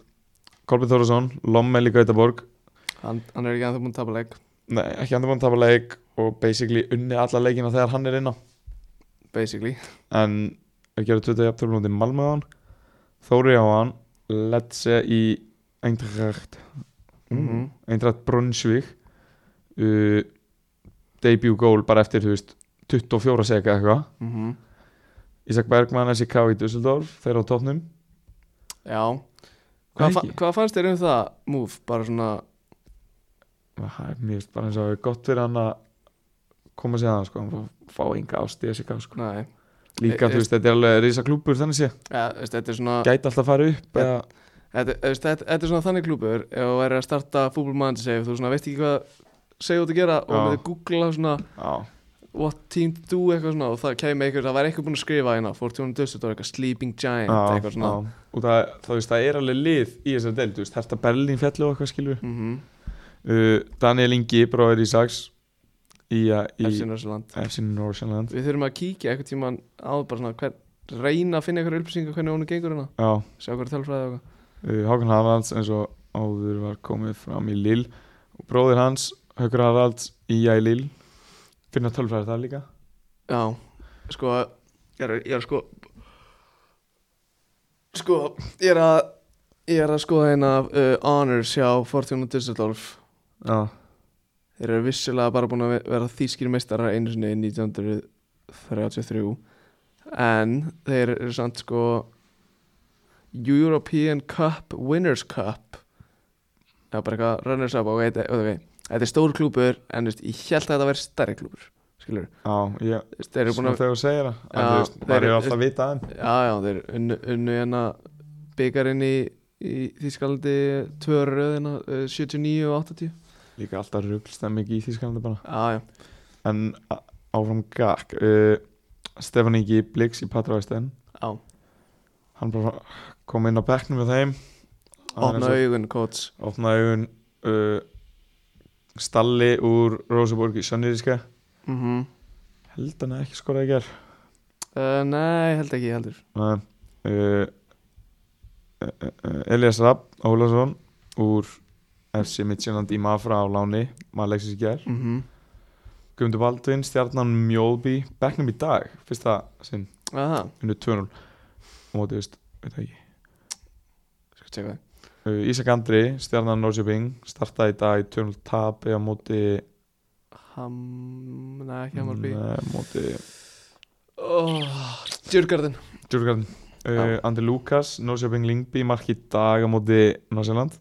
Speaker 2: Kolbjörn Þórðarsson, Lommel í Gautaborg
Speaker 1: Hann, hann er ekki að það búin að tapa leik
Speaker 2: Nei, ekki andur búin að tapa leik og basically unni alla leikina þegar hann er inná
Speaker 1: basically
Speaker 2: en er gerðið 20 jafntöflum út í Malmöðan Þóri á hann Letse í Eintracht mm.
Speaker 1: Mhm.
Speaker 2: Eintracht Brunsvík uh, debut goal bara eftir þú veist 24 seka eitthvað
Speaker 1: mm
Speaker 2: Ísak Bergmann, SK í Dusseldorf þeir á topnum
Speaker 1: Já Hvað, fa
Speaker 2: Ekki.
Speaker 1: hvað fannst þér um það move? Bara svona
Speaker 2: Mér finnst bara eins og gott fyrir hann að koma sér að hann sko, hann fá- fá enga ást í SK sko.
Speaker 1: Nei
Speaker 2: líka þú veist, þetta er alveg risa klúpur þannig sé,
Speaker 1: ja, veist, Þetta er svona
Speaker 2: gæti alltaf að fara upp
Speaker 1: Ja.
Speaker 2: eða,
Speaker 1: þetta, veist, þetta, þetta er svona þannig klúpur Ef þú væri að starta fútbolmann Segir þú svona veist ekki hvað Segir þú ert að gera Og
Speaker 2: Já.
Speaker 1: myndi googla svona
Speaker 2: á,
Speaker 1: What team to do eitthvað svona Og það kæmi eitthvað Það væri eitthvað búin að skrifa hérna Fortune Dusset og eitthvað Sleeping Giant
Speaker 2: á,
Speaker 1: Eitthvað svona
Speaker 2: á. og það, það, veist, það er alveg lið í þessari deild, þú veist, herta Berlín fjallu og eitthvað skilur
Speaker 1: mm -hmm.
Speaker 2: uh, Daniel Ingi, bróður í Sags í, uh, í
Speaker 1: FC Norseland
Speaker 2: FC Norseland
Speaker 1: Við þurfum að kíkja eitthvað tíman á bara svona hvern, reyna að finna eitthvað upplýsingar hvernig honum gengur hana
Speaker 2: á, uh,
Speaker 1: sjá hvað er tölfræði og eitthvað
Speaker 2: Hákon Haralds eins og áður var komið fram í Lill og bróður hans, Haukur Haralds í að Lill finna tölfræðar það líka
Speaker 1: Já, sko ég er, ég er sko sko, ég er að ég er að skoða hérna uh, honors hjá Fortuna Düsseldorf
Speaker 2: á,
Speaker 1: þeir eru vissulega bara búin að ve- vera þýskir meistarar einu sinni 1933 en þeir eru samt sko European Cup Winners Cup já bara eitthvað runners up ok, þetta- ok, þetta er stór klúpur en þú veist, ég held að þetta væri stærri klúpur skilur,
Speaker 2: á, ég
Speaker 1: þú veist, þeir eru búin
Speaker 2: svona
Speaker 1: að
Speaker 2: þegar þú segir það en
Speaker 1: Já,
Speaker 2: þú veist,
Speaker 1: þeir eru-
Speaker 2: maður er alltaf að vita aðeim
Speaker 1: já já, þeir unnu, unnu hérna byggarinn í, í Þýskalandi tvö röðina 79 og 80
Speaker 2: líka alltaf rugglstemming í Þísklandi bara
Speaker 1: já já,
Speaker 2: en a- áfram gag uh, Stefán Ingi Blix í Patravæsten
Speaker 1: já,
Speaker 2: hann bara kom inn á bekknum með þeim Hann er
Speaker 1: opna
Speaker 2: svo-
Speaker 1: augun coach
Speaker 2: opna augun uh, Stalli úr Rósaborg í Sönniríska
Speaker 1: mhm
Speaker 2: held hann hafi ekki skoraði í ger
Speaker 1: Uh, nei, held ekki, heldur
Speaker 2: uh, uh, uh, Elias Rapp Ólason úr FC Midtjylland í Mafra á Láni maður leiksins í ger
Speaker 1: mm
Speaker 2: Guðmundur Baldvin, Stjarnan Mjólby Becknum í dag, fyrsta sinn
Speaker 1: Aha,
Speaker 2: unnu 2-0 og mótið, veist, veit það ekki
Speaker 1: skal tjekka það
Speaker 2: uh, Ísak Andri, Stjarnan Norrköping startaði í dag í 2-0 tap eða móti
Speaker 1: Ham, nei, ekki Hammarby
Speaker 2: Nei, móti
Speaker 1: oh, Djurgarden
Speaker 2: Djurgarn uh, Andri Lukas, Norrköping Lingby marki í dag á móti Norsjöland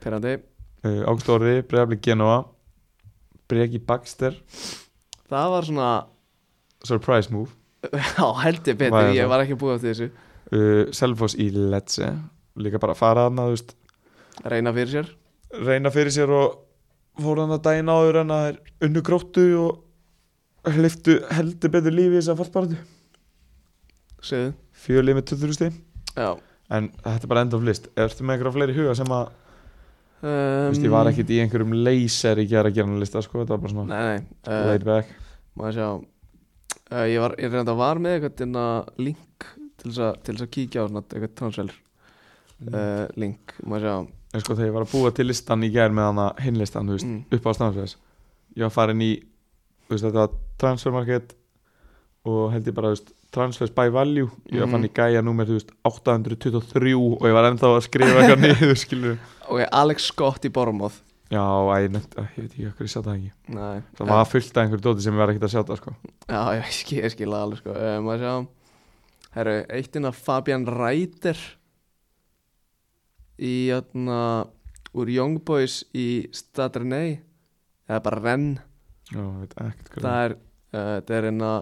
Speaker 1: Perandi,
Speaker 2: uh, Ágúst Orri, Breiðafli Genoa Breki Baxter
Speaker 1: það var svona
Speaker 2: Surprise move
Speaker 1: Já, heldur
Speaker 2: Var
Speaker 1: betur,
Speaker 2: það?
Speaker 1: ég var ekki búið eftir þessu
Speaker 2: uh, Selfoss í Lecce líka bara að fara aðna, þú veist
Speaker 1: Reyna fyrir sér
Speaker 2: reyna fyrir sér og fór hann að dæna áður en að þeir unnu gróttu og hliftu heldur betur lífi í þess að fallbarðu
Speaker 1: Segðu
Speaker 2: fjölið með 20 stíð
Speaker 1: Já
Speaker 2: en þetta er bara end of list ertu með einhverja fleiri í huga sem að þú
Speaker 1: um,
Speaker 2: veist ég var ekkit í einhverjum leyser í gera að gera hann lista sko þetta var bara svona
Speaker 1: Nei, nei uh,
Speaker 2: laid back
Speaker 1: Maður sjá uh, Ég var, ég reynda var með eitthvað inna link til þess að, til þess að kíkja á svona eitthvað transfer
Speaker 2: Mm.
Speaker 1: uh, link Maður sjá
Speaker 2: en sko þegar ég var að búa til listan í gær með hann að hinn listan þú veist
Speaker 1: Mm.
Speaker 2: upp á stafnsveðis ég var farin í þú veist þetta var transfermarket og held ég bara þú veist transfers by value ég var
Speaker 1: Mhm.
Speaker 2: farin í gæja númer þú veist 823 og ég var ennþá að skrifa eitthvað niður skilur
Speaker 1: Ok, Alex Scott í Bormóð
Speaker 2: já, æ, nefnt, æ, ég veit ekki okkur ég sá það ekki
Speaker 1: Nei
Speaker 2: það var fullt af einhverju dóti sem ég var ekkert að sjá það sko
Speaker 1: Já, ég skil, ég skil það alveg sko uh, Maður sjá Herru, eitt innan Fabian Reiter Í jæna Úr Young Boys í Stadrenei Eða bara Renn
Speaker 2: já, ég veit ekkert hvað
Speaker 1: Það er uh, Það er inna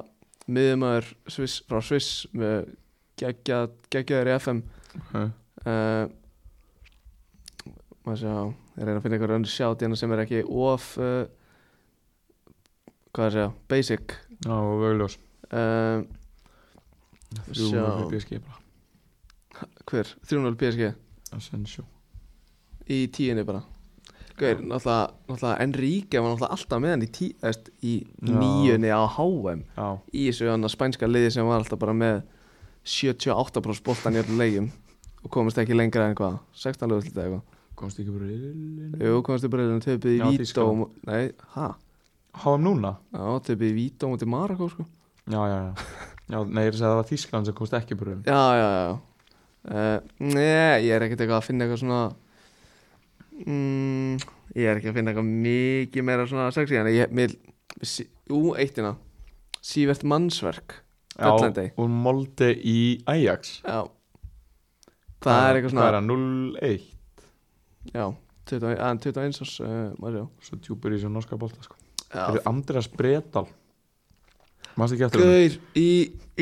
Speaker 1: Miðumöður Sviss, frá Sviss Með geggja, geggjaður í FM
Speaker 2: er
Speaker 1: uh, Maður sjá Ég reyna að finna einhver öndur sjátt hérna sem er ekki of uh, Hvað að segja Basic
Speaker 2: já, og vögljós
Speaker 1: uh,
Speaker 2: þrjú
Speaker 1: Sjá.
Speaker 2: mörg PSG bara
Speaker 1: Hver? 3-0 PSG
Speaker 2: Asensio
Speaker 1: í tíunni bara Gauir, náttúrulega, náttúrulega Enrique var náttúrulega alltaf með hann í, tí, eðst, í
Speaker 2: Já.
Speaker 1: níunni á HM
Speaker 2: já,
Speaker 1: í þessu hann spænska liði sem var alltaf bara með 78% boltan í öllum leikjum og komist ekki lengra en hvað 16 lögultið eitthvað
Speaker 2: komst ekki bara riðilinn
Speaker 1: Jú, komast í breyðinu töpuð í
Speaker 2: Já,
Speaker 1: Vító
Speaker 2: Þýskaland.
Speaker 1: mó- Nei, hæ?
Speaker 2: HM núna?
Speaker 1: Já, töpuð í Vító mútið Marakó sko
Speaker 2: Já, já, já, já Nei, ég er að segja að það var Þískland sem komst ekki bara riðilinn
Speaker 1: Já, já, já uh, Nei, ég er ekkert eitthvað að finna eitthvað svona mm, Ég er ekki að finna eitthvað mikið meira svona sexy En ég, mér, sí, ú, eittina Sívert Mannsverk Döllandi.
Speaker 2: Já, úr Molde í Ajax
Speaker 1: Já Það er eitthvað
Speaker 2: Hvað
Speaker 1: svona
Speaker 2: er það? 0-1
Speaker 1: Já, 20 aðeins 21 árs uh, maður sjá
Speaker 2: Svo djúpur í þessu norska bolta sko Það
Speaker 1: Já,
Speaker 2: eru Andreas Bredal Manst ekki eftir það?
Speaker 1: Gaur í,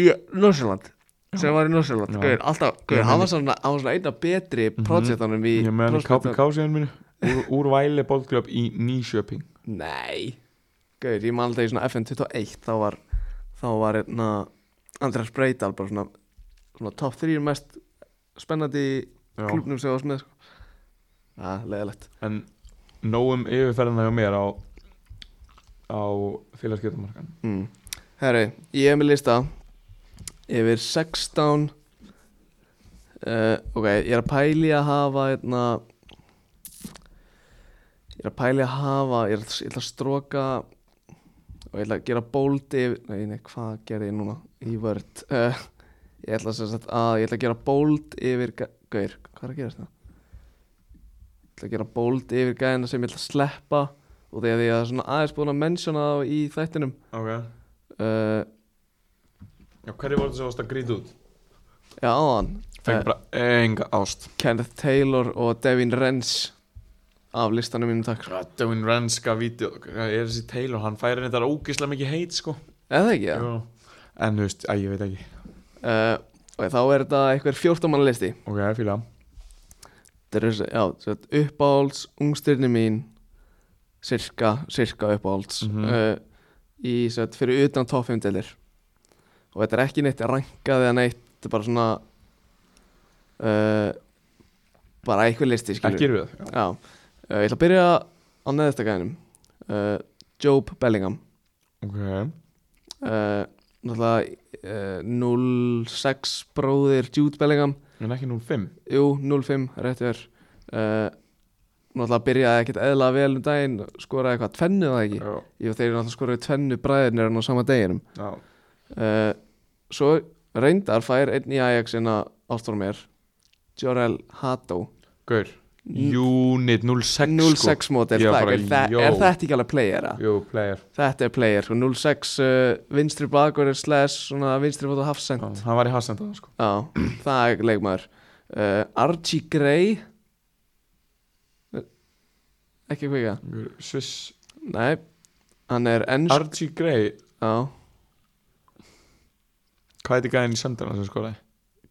Speaker 1: í Norsjöland sem var í Norsjöland
Speaker 2: Já.
Speaker 1: Gaur, alltaf, gaur,
Speaker 2: Ég
Speaker 1: hann
Speaker 2: meina- Mhm.
Speaker 1: var svona, hann var svona einn af betri projektanum í
Speaker 2: Ég er með hann í
Speaker 1: prospektunum.
Speaker 2: KPK síðan mínu Úr, úr Væle Bólklöp í Nýsjöping
Speaker 1: Nei Gauður, ég man alltaf í svona FN21 þá var, þá var einna Andrés Breidal bara svona, svona top 3 mest spennandi í
Speaker 2: Já.
Speaker 1: klubnum sem var með sko. Það, leðilegt
Speaker 2: En nógum yfirferðina hjá mér á á félagsgetumarkan
Speaker 1: mm. Herru, ég hef með lista yfir 16 uh, Ok, ég er að pæli að hafa einna Ég er að pæli að hafa Ég er að, ég ætla að stroka Og ég ætla að gera bóldi Nei, nei, hvað gerði ég núna í vörd uh, Ég ætla sem sagt að Ég ætla að gera bóld yfir ga- Gaur, hvað er að gera þetta? Ég ætla að gera bóld yfir gæðina sem ég ætla að sleppa Og þegar ég er svona aðeins búin að mensjona þá í þættinum
Speaker 2: Ok
Speaker 1: uh,
Speaker 2: Já, hverju voru þessi ást að gríta út?
Speaker 1: Já, áðan
Speaker 2: Fengi
Speaker 1: Eh,
Speaker 2: bara enga ást
Speaker 1: Kenneth Taylor og Devin Renz Af listanum mínum takk sko.
Speaker 2: Döwin Renska vídeo Er þessi Taylor, hann færi þetta ógislega mikið heit sko
Speaker 1: Eða ekki, já
Speaker 2: Jú. En þú veist, að ég veit ekki
Speaker 1: uh, Og þá er þetta einhver 14 mann listi
Speaker 2: Ok, fíla
Speaker 1: Þetta er þessi, já, sett, uppáhalds Ungstyrni mín Sirka, sirka uppáhalds mm
Speaker 2: Mhm.
Speaker 1: Í, sett, fyrir utan top 5 delir Og þetta er ekki neitt rankað eða neitt Þetta er bara svona uh, Bara einhver listi skilur
Speaker 2: Ekki erum við það
Speaker 1: Já, uh, ég ætla að byrja á neðstakæðinum uh, Job Bellingham
Speaker 2: Ok
Speaker 1: uh, Náttúrulega uh, 06 bróðir Jude Bellingham
Speaker 2: En ekki 0-5
Speaker 1: Jú, 05, réttu er uh, Náttúrulega byrjaði ekkert eðla vel um daginn Skoraði eitthvað tvennu það ekki
Speaker 2: Já,
Speaker 1: Jú, þeir eru náttúrulega skoraði tvennu bræðirnir en á sama deginum
Speaker 2: já
Speaker 1: uh, Svo reyndar fær einn í Ajax en að ástóra mér Jorel Hato
Speaker 2: Gaur Unit 06
Speaker 1: 06 mótel,
Speaker 2: sko. Ég var
Speaker 1: það
Speaker 2: bara,
Speaker 1: er, það-
Speaker 2: jó.
Speaker 1: er þetta ekki alveg playera?
Speaker 2: sko. Jú, player
Speaker 1: Þetta er player, sko 06 uh, vinstri bakur er slash svona vinstri fót og hafsend
Speaker 2: Já, Hann var í hasenda sko.
Speaker 1: Já, það er leikmaður uh, Archie Gray Ekki kvika
Speaker 2: Gaur, Swiss
Speaker 1: Nei, hann er ennsku
Speaker 2: Archie Gray
Speaker 1: Já,
Speaker 2: Hvað heitir gæðin í söndana sem skoraði?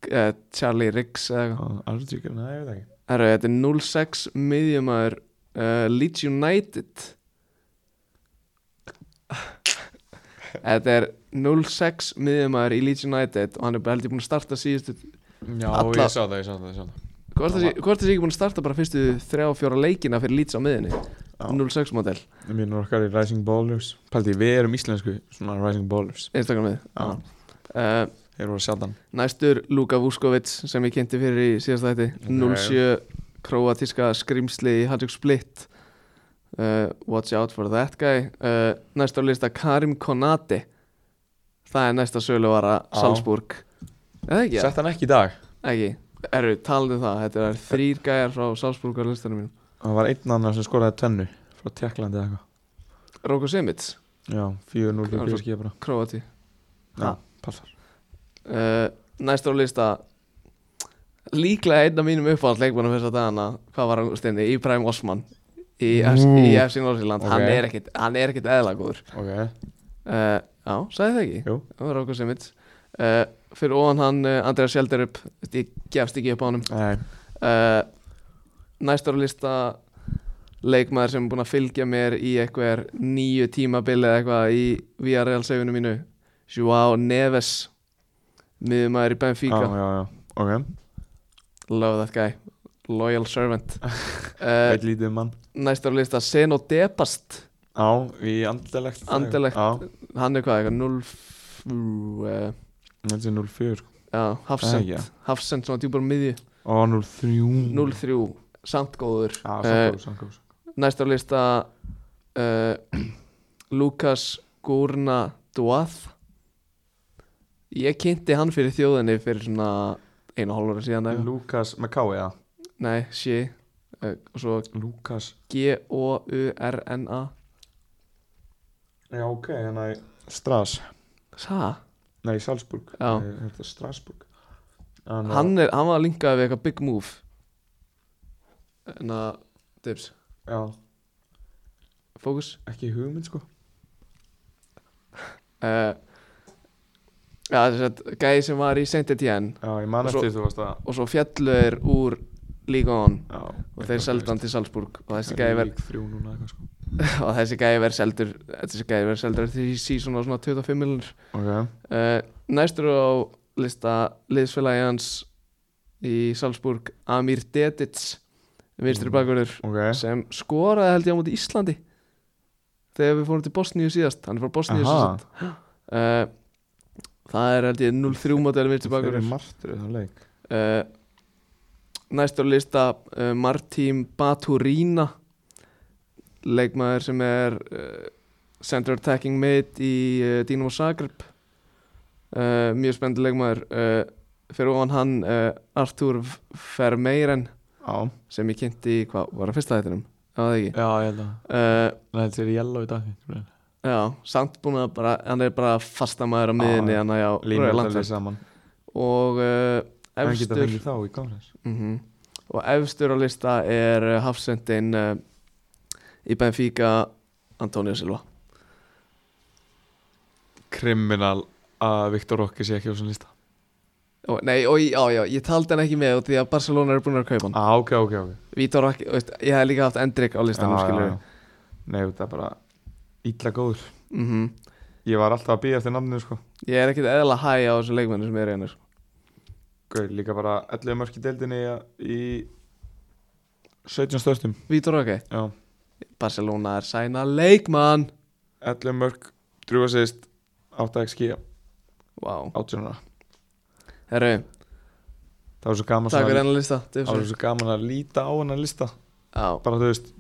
Speaker 1: uh, Charlie Riggs eða eitthvað.
Speaker 2: Ah, Archie Gray, nei, ég veit ekki
Speaker 1: Herru, þetta er 06 miðjumæður uh, Leeds United Þetta er 06 miðjumæður í Leeds United og hann er bara held ég búin að starta síðustu
Speaker 2: Já,
Speaker 1: Alla-
Speaker 2: ég sá það, ég sá það, ég sá það
Speaker 1: Hvort það sé hvort það sé ekki búin að starta bara fyrstu þrjá fjóra leikina fyrir Leeds á miðinni 06 model,
Speaker 2: Mínur okkar í Rising Ballers Paldi, við erum íslensku Svona Rising Ballers
Speaker 1: einstakar mið
Speaker 2: Já.
Speaker 1: uh,
Speaker 2: Þeir voru sjaldan
Speaker 1: Næstur Luka Vuskovic sem ég kynnti fyrir í síðasta þætti 07 kroatíska skrimsli í Hajduk Split uh, Watch out for that guy uh, Næstur á lista Karim Konati Það er næsta söluvara
Speaker 2: Já.
Speaker 1: Salzburg Eða ekki?
Speaker 2: Sett hann ekki í dag
Speaker 1: Ekki, eru talandi um það Þetta er þrýr gæjar frá Salzburg á listanum mínum
Speaker 2: Það var einn annar sem skoraði tvennu Frá Tjekklandi eða eitthvað
Speaker 1: Roko Simits,
Speaker 2: Já,
Speaker 1: Hvað
Speaker 2: 4-0 fyrir
Speaker 1: er svo-
Speaker 2: Björski bara
Speaker 1: Kroati
Speaker 2: Já,
Speaker 1: Ha.
Speaker 2: passar
Speaker 1: uh, Næstur á lista Líklega einn af mínum uppáhalds leikmannum þess að dagana Hvað var hann stinni? Íbrahim Osman Í, F-
Speaker 2: Nú.
Speaker 1: í FC Norsíland
Speaker 2: Ok.
Speaker 1: hann, er ekkit- hann er ekkit eðla góður
Speaker 2: Ok,
Speaker 1: uh, Já, sagði það ekki
Speaker 2: jú
Speaker 1: Það var okkur sem mitt uh, Fyrir ofan hann uh, Andrea Sjeldur upp Ég gefst ekki upp á hann
Speaker 2: Nei,
Speaker 1: uh, Næstur á lista Leikmaður sem er búin að fylgja mér Í eitthvað nýju tímabili eða eitthvað Í VRL seifinu mínu Joao Neves Miðumæður í Benfica
Speaker 2: já, já, já Ok,
Speaker 1: Love that guy Loyal servant uh,
Speaker 2: eitt lítið mann
Speaker 1: Næstur á lista Seno Depast
Speaker 2: Á, í andalegt
Speaker 1: Anderlecht.
Speaker 2: Já,
Speaker 1: Hann er hvað, eitthvað 0 fú, uh,
Speaker 2: þetta er
Speaker 1: Já,
Speaker 2: 04 Það er
Speaker 1: Hafsend
Speaker 2: ekki, Mm. já.
Speaker 1: Hafsend svona djúpar á miðju
Speaker 2: Ó, 03
Speaker 1: 0-3 samt góður
Speaker 2: Já,
Speaker 1: Eh,
Speaker 2: samkóður, samkóður
Speaker 1: Næst á lista uh, Lukas Gurna Duath Ég kynnti hann fyrir þjóðinni fyrir svona einu og hálfur síðan eða-
Speaker 2: Lukas McCoy, já
Speaker 1: Nei, sí uh, og svo
Speaker 2: Lukas
Speaker 1: G-O-U-R-N-A
Speaker 2: Já, ok, hérna í Stras
Speaker 1: Sá,
Speaker 2: Nei, Salzburg
Speaker 1: Já.
Speaker 2: Eh, Þetta eh, er Strasburg Hann,
Speaker 1: hann, er, hann var að linkaði við eitthvað big move En að, dips,
Speaker 2: Já,
Speaker 1: fókus
Speaker 2: ekki hugmynd, sko
Speaker 1: uh, Já, þess að gæði sem var í Saint Etienne
Speaker 2: Já, ég man
Speaker 1: Og svo-
Speaker 2: eftir þú varst að
Speaker 1: og svo fjallu er úr Lígón
Speaker 2: Já
Speaker 1: og þeir seldu hann til Salzburg og þessi gæði verð
Speaker 2: Lík þrjú núna eitthvað, sko
Speaker 1: og þessi gæði verð seldur þessi gæði verð seldur eftir því síðan á svona 25 miljonir
Speaker 2: Ok
Speaker 1: uh, næstur á lista liðsfélagi hans í Salzburg Amir Dedic
Speaker 2: Mm.
Speaker 1: vinstri bakverður
Speaker 2: Ok
Speaker 1: sem skoraði held ég á móti Íslandi þegar við fórum til Bosníu síðast hann er frá Bosníu
Speaker 2: Aha.
Speaker 1: síðast uh, það er held ég 0-3 mótel vinstri
Speaker 2: Þeir eru
Speaker 1: bakverður
Speaker 2: martrið á leik
Speaker 1: uh, næstur lista uh, Martín Baturína leikmaður sem er uh, center attacking mid í uh, Dinamo Zagreb uh, mjög spenndi leikmaður uh, fyrir ofan hann uh, Artur Vermeiren
Speaker 2: Já
Speaker 1: sem ég kynnti, í- hvað var að fyrsta þættinum? Já, það ekki
Speaker 2: Já, ég held að
Speaker 1: uh,
Speaker 2: Það held sér yellow í dag
Speaker 1: Já, samt búin að bara, hann er bara fastamæður á
Speaker 2: Já,
Speaker 1: miðinni
Speaker 2: já.
Speaker 1: hann að já, Royal
Speaker 2: Línur þetta alveg
Speaker 1: Landfeld.
Speaker 2: saman
Speaker 1: og uh,
Speaker 2: Hann geta
Speaker 1: efstur
Speaker 2: fengið þá í konferens
Speaker 1: Mhm. Og efstur á lista er uh, hafsendin uh, í Benfica Antonio Silva
Speaker 2: Kriminal að Viktor Rokki sé ekki á þessum lista
Speaker 1: og, Nei, og, já, já, ég taldi hann ekki með út því að Barcelona er búin að kaupa hann
Speaker 2: Á, Ah, ok, ok, ok
Speaker 1: Vítor Raki, veist, ég hef líka haft Endrik á listanum, skilur við
Speaker 2: Nei, þetta er bara illa góður
Speaker 1: mm
Speaker 2: Ég var alltaf að býja eftir namninu sko
Speaker 1: Ég er ekkit eðla hæ á þessu leikmennu sem er einur
Speaker 2: Gauð, líka bara 11 mörk í deildinni í 17 störstum
Speaker 1: Vítor Raki,
Speaker 2: Já,
Speaker 1: Barcelona er sæna leikmann
Speaker 2: 11 mörk, drúga sýst 8 xg,
Speaker 1: Vá,
Speaker 2: 18 ára
Speaker 1: herru,
Speaker 2: Það var svo gaman
Speaker 1: takk fyrir
Speaker 2: svona,
Speaker 1: hennar lista
Speaker 2: Það var svo gaman að líta á hennar lista
Speaker 1: Já,
Speaker 2: Bara þú veist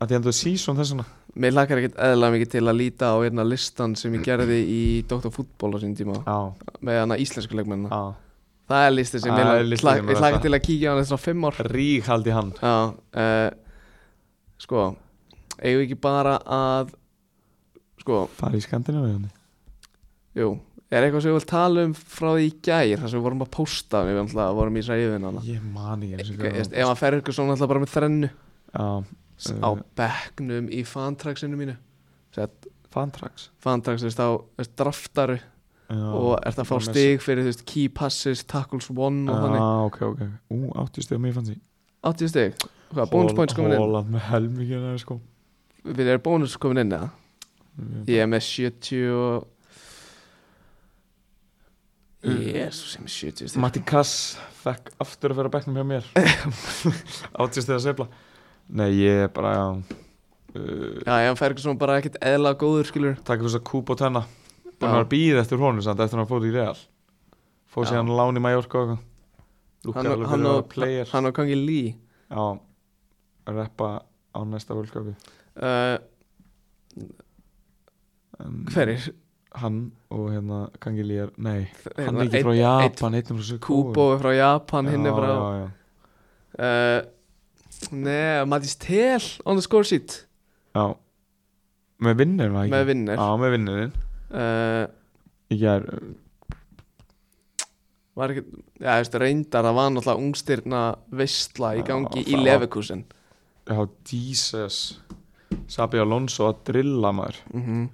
Speaker 2: að því endur season þessuna
Speaker 1: mér lakar ekkit eðla mikið til að líta á einna listan sem ég gerði í Dr. Fútbol á sín tíma
Speaker 2: Já,
Speaker 1: með hana íslensku leikmennina
Speaker 2: já
Speaker 1: Það er listið sem
Speaker 2: Það
Speaker 1: ég
Speaker 2: er listi
Speaker 1: hlak-
Speaker 2: sem
Speaker 1: ég
Speaker 2: er
Speaker 1: hlakka
Speaker 2: þetta.
Speaker 1: til að kíkja á hann eftir svona fimm ár
Speaker 2: Rík haldi hann
Speaker 1: Já, uh, sko eigum við ekki bara að sko,
Speaker 2: Fari í skandinu við hann
Speaker 1: jú er eitthvað sem við vilt tala um frá því í gær þar sem við vorum að pósta, við alltaf vorum í sæðin hana
Speaker 2: Ég mani ég
Speaker 1: Ég veist, ef hann fer ykkur svona alltaf bara með þrennu
Speaker 2: Já,
Speaker 1: s-
Speaker 2: Eh.
Speaker 1: á bekknum í fantraksinu mínu
Speaker 2: fantrax
Speaker 1: fantraks, þú veist, á þú veist, draftaru og ert að fá
Speaker 2: bara með-
Speaker 1: stig fyrir, þú veist, key passes tackles one og
Speaker 2: Já,
Speaker 1: þannig
Speaker 2: ok, ok Ú, 80 stegum ég fann því
Speaker 1: 80 stig, hvað, bónus points komin inn
Speaker 2: Hóland með helmingin eða sko
Speaker 1: við erum bónus komin inn, eða?
Speaker 2: Mm.
Speaker 1: Ég er með 70 og...
Speaker 2: Mm.
Speaker 1: Jésus, ég er með 70 stig.
Speaker 2: Matti Kass fekk aftur að vera á bekknum hjá mér 80 steg að sefla Nei, ég er bara uh,
Speaker 1: Já, ég fer ekki svona bara ekkert eðla góður, skilur
Speaker 2: Takk fyrir þess að kúp og tenna Búin
Speaker 1: Já.
Speaker 2: að vera býð eftir honum samt Eftir að hann fór í Real Fór
Speaker 1: Já.
Speaker 2: síðan lán í Mallorca og eitthvað Lúkar
Speaker 1: Hann og-
Speaker 2: alveg
Speaker 1: hann
Speaker 2: fyrir að
Speaker 1: og-
Speaker 2: vera player
Speaker 1: Hann og Kangi Lý
Speaker 2: Já, reppa á næsta völskapi
Speaker 1: uh, Hverir?
Speaker 2: Hann og hérna Kangi Lýjar Nei,
Speaker 1: Þeir
Speaker 2: hann
Speaker 1: var
Speaker 2: er ekki
Speaker 1: einn-
Speaker 2: frá
Speaker 1: einn-
Speaker 2: Japan Einn frá Suður
Speaker 1: Kubo er frá Japan, hinn er frá
Speaker 2: já, já.
Speaker 1: uh, Nei, Matís Tel on the score sheet
Speaker 2: Já Með vinnurinn var ekki
Speaker 1: með vinnir
Speaker 2: Já, með vinnurinn
Speaker 1: uh,
Speaker 2: Ég er
Speaker 1: Var ekki, já, þú veist, reyndar það var náttúrulega ungstyrna veistla í
Speaker 2: Já,
Speaker 1: gangi í
Speaker 2: það var-
Speaker 1: Leverkusen
Speaker 2: Já, Jesus Sabi Alonso að drilla maður
Speaker 1: mm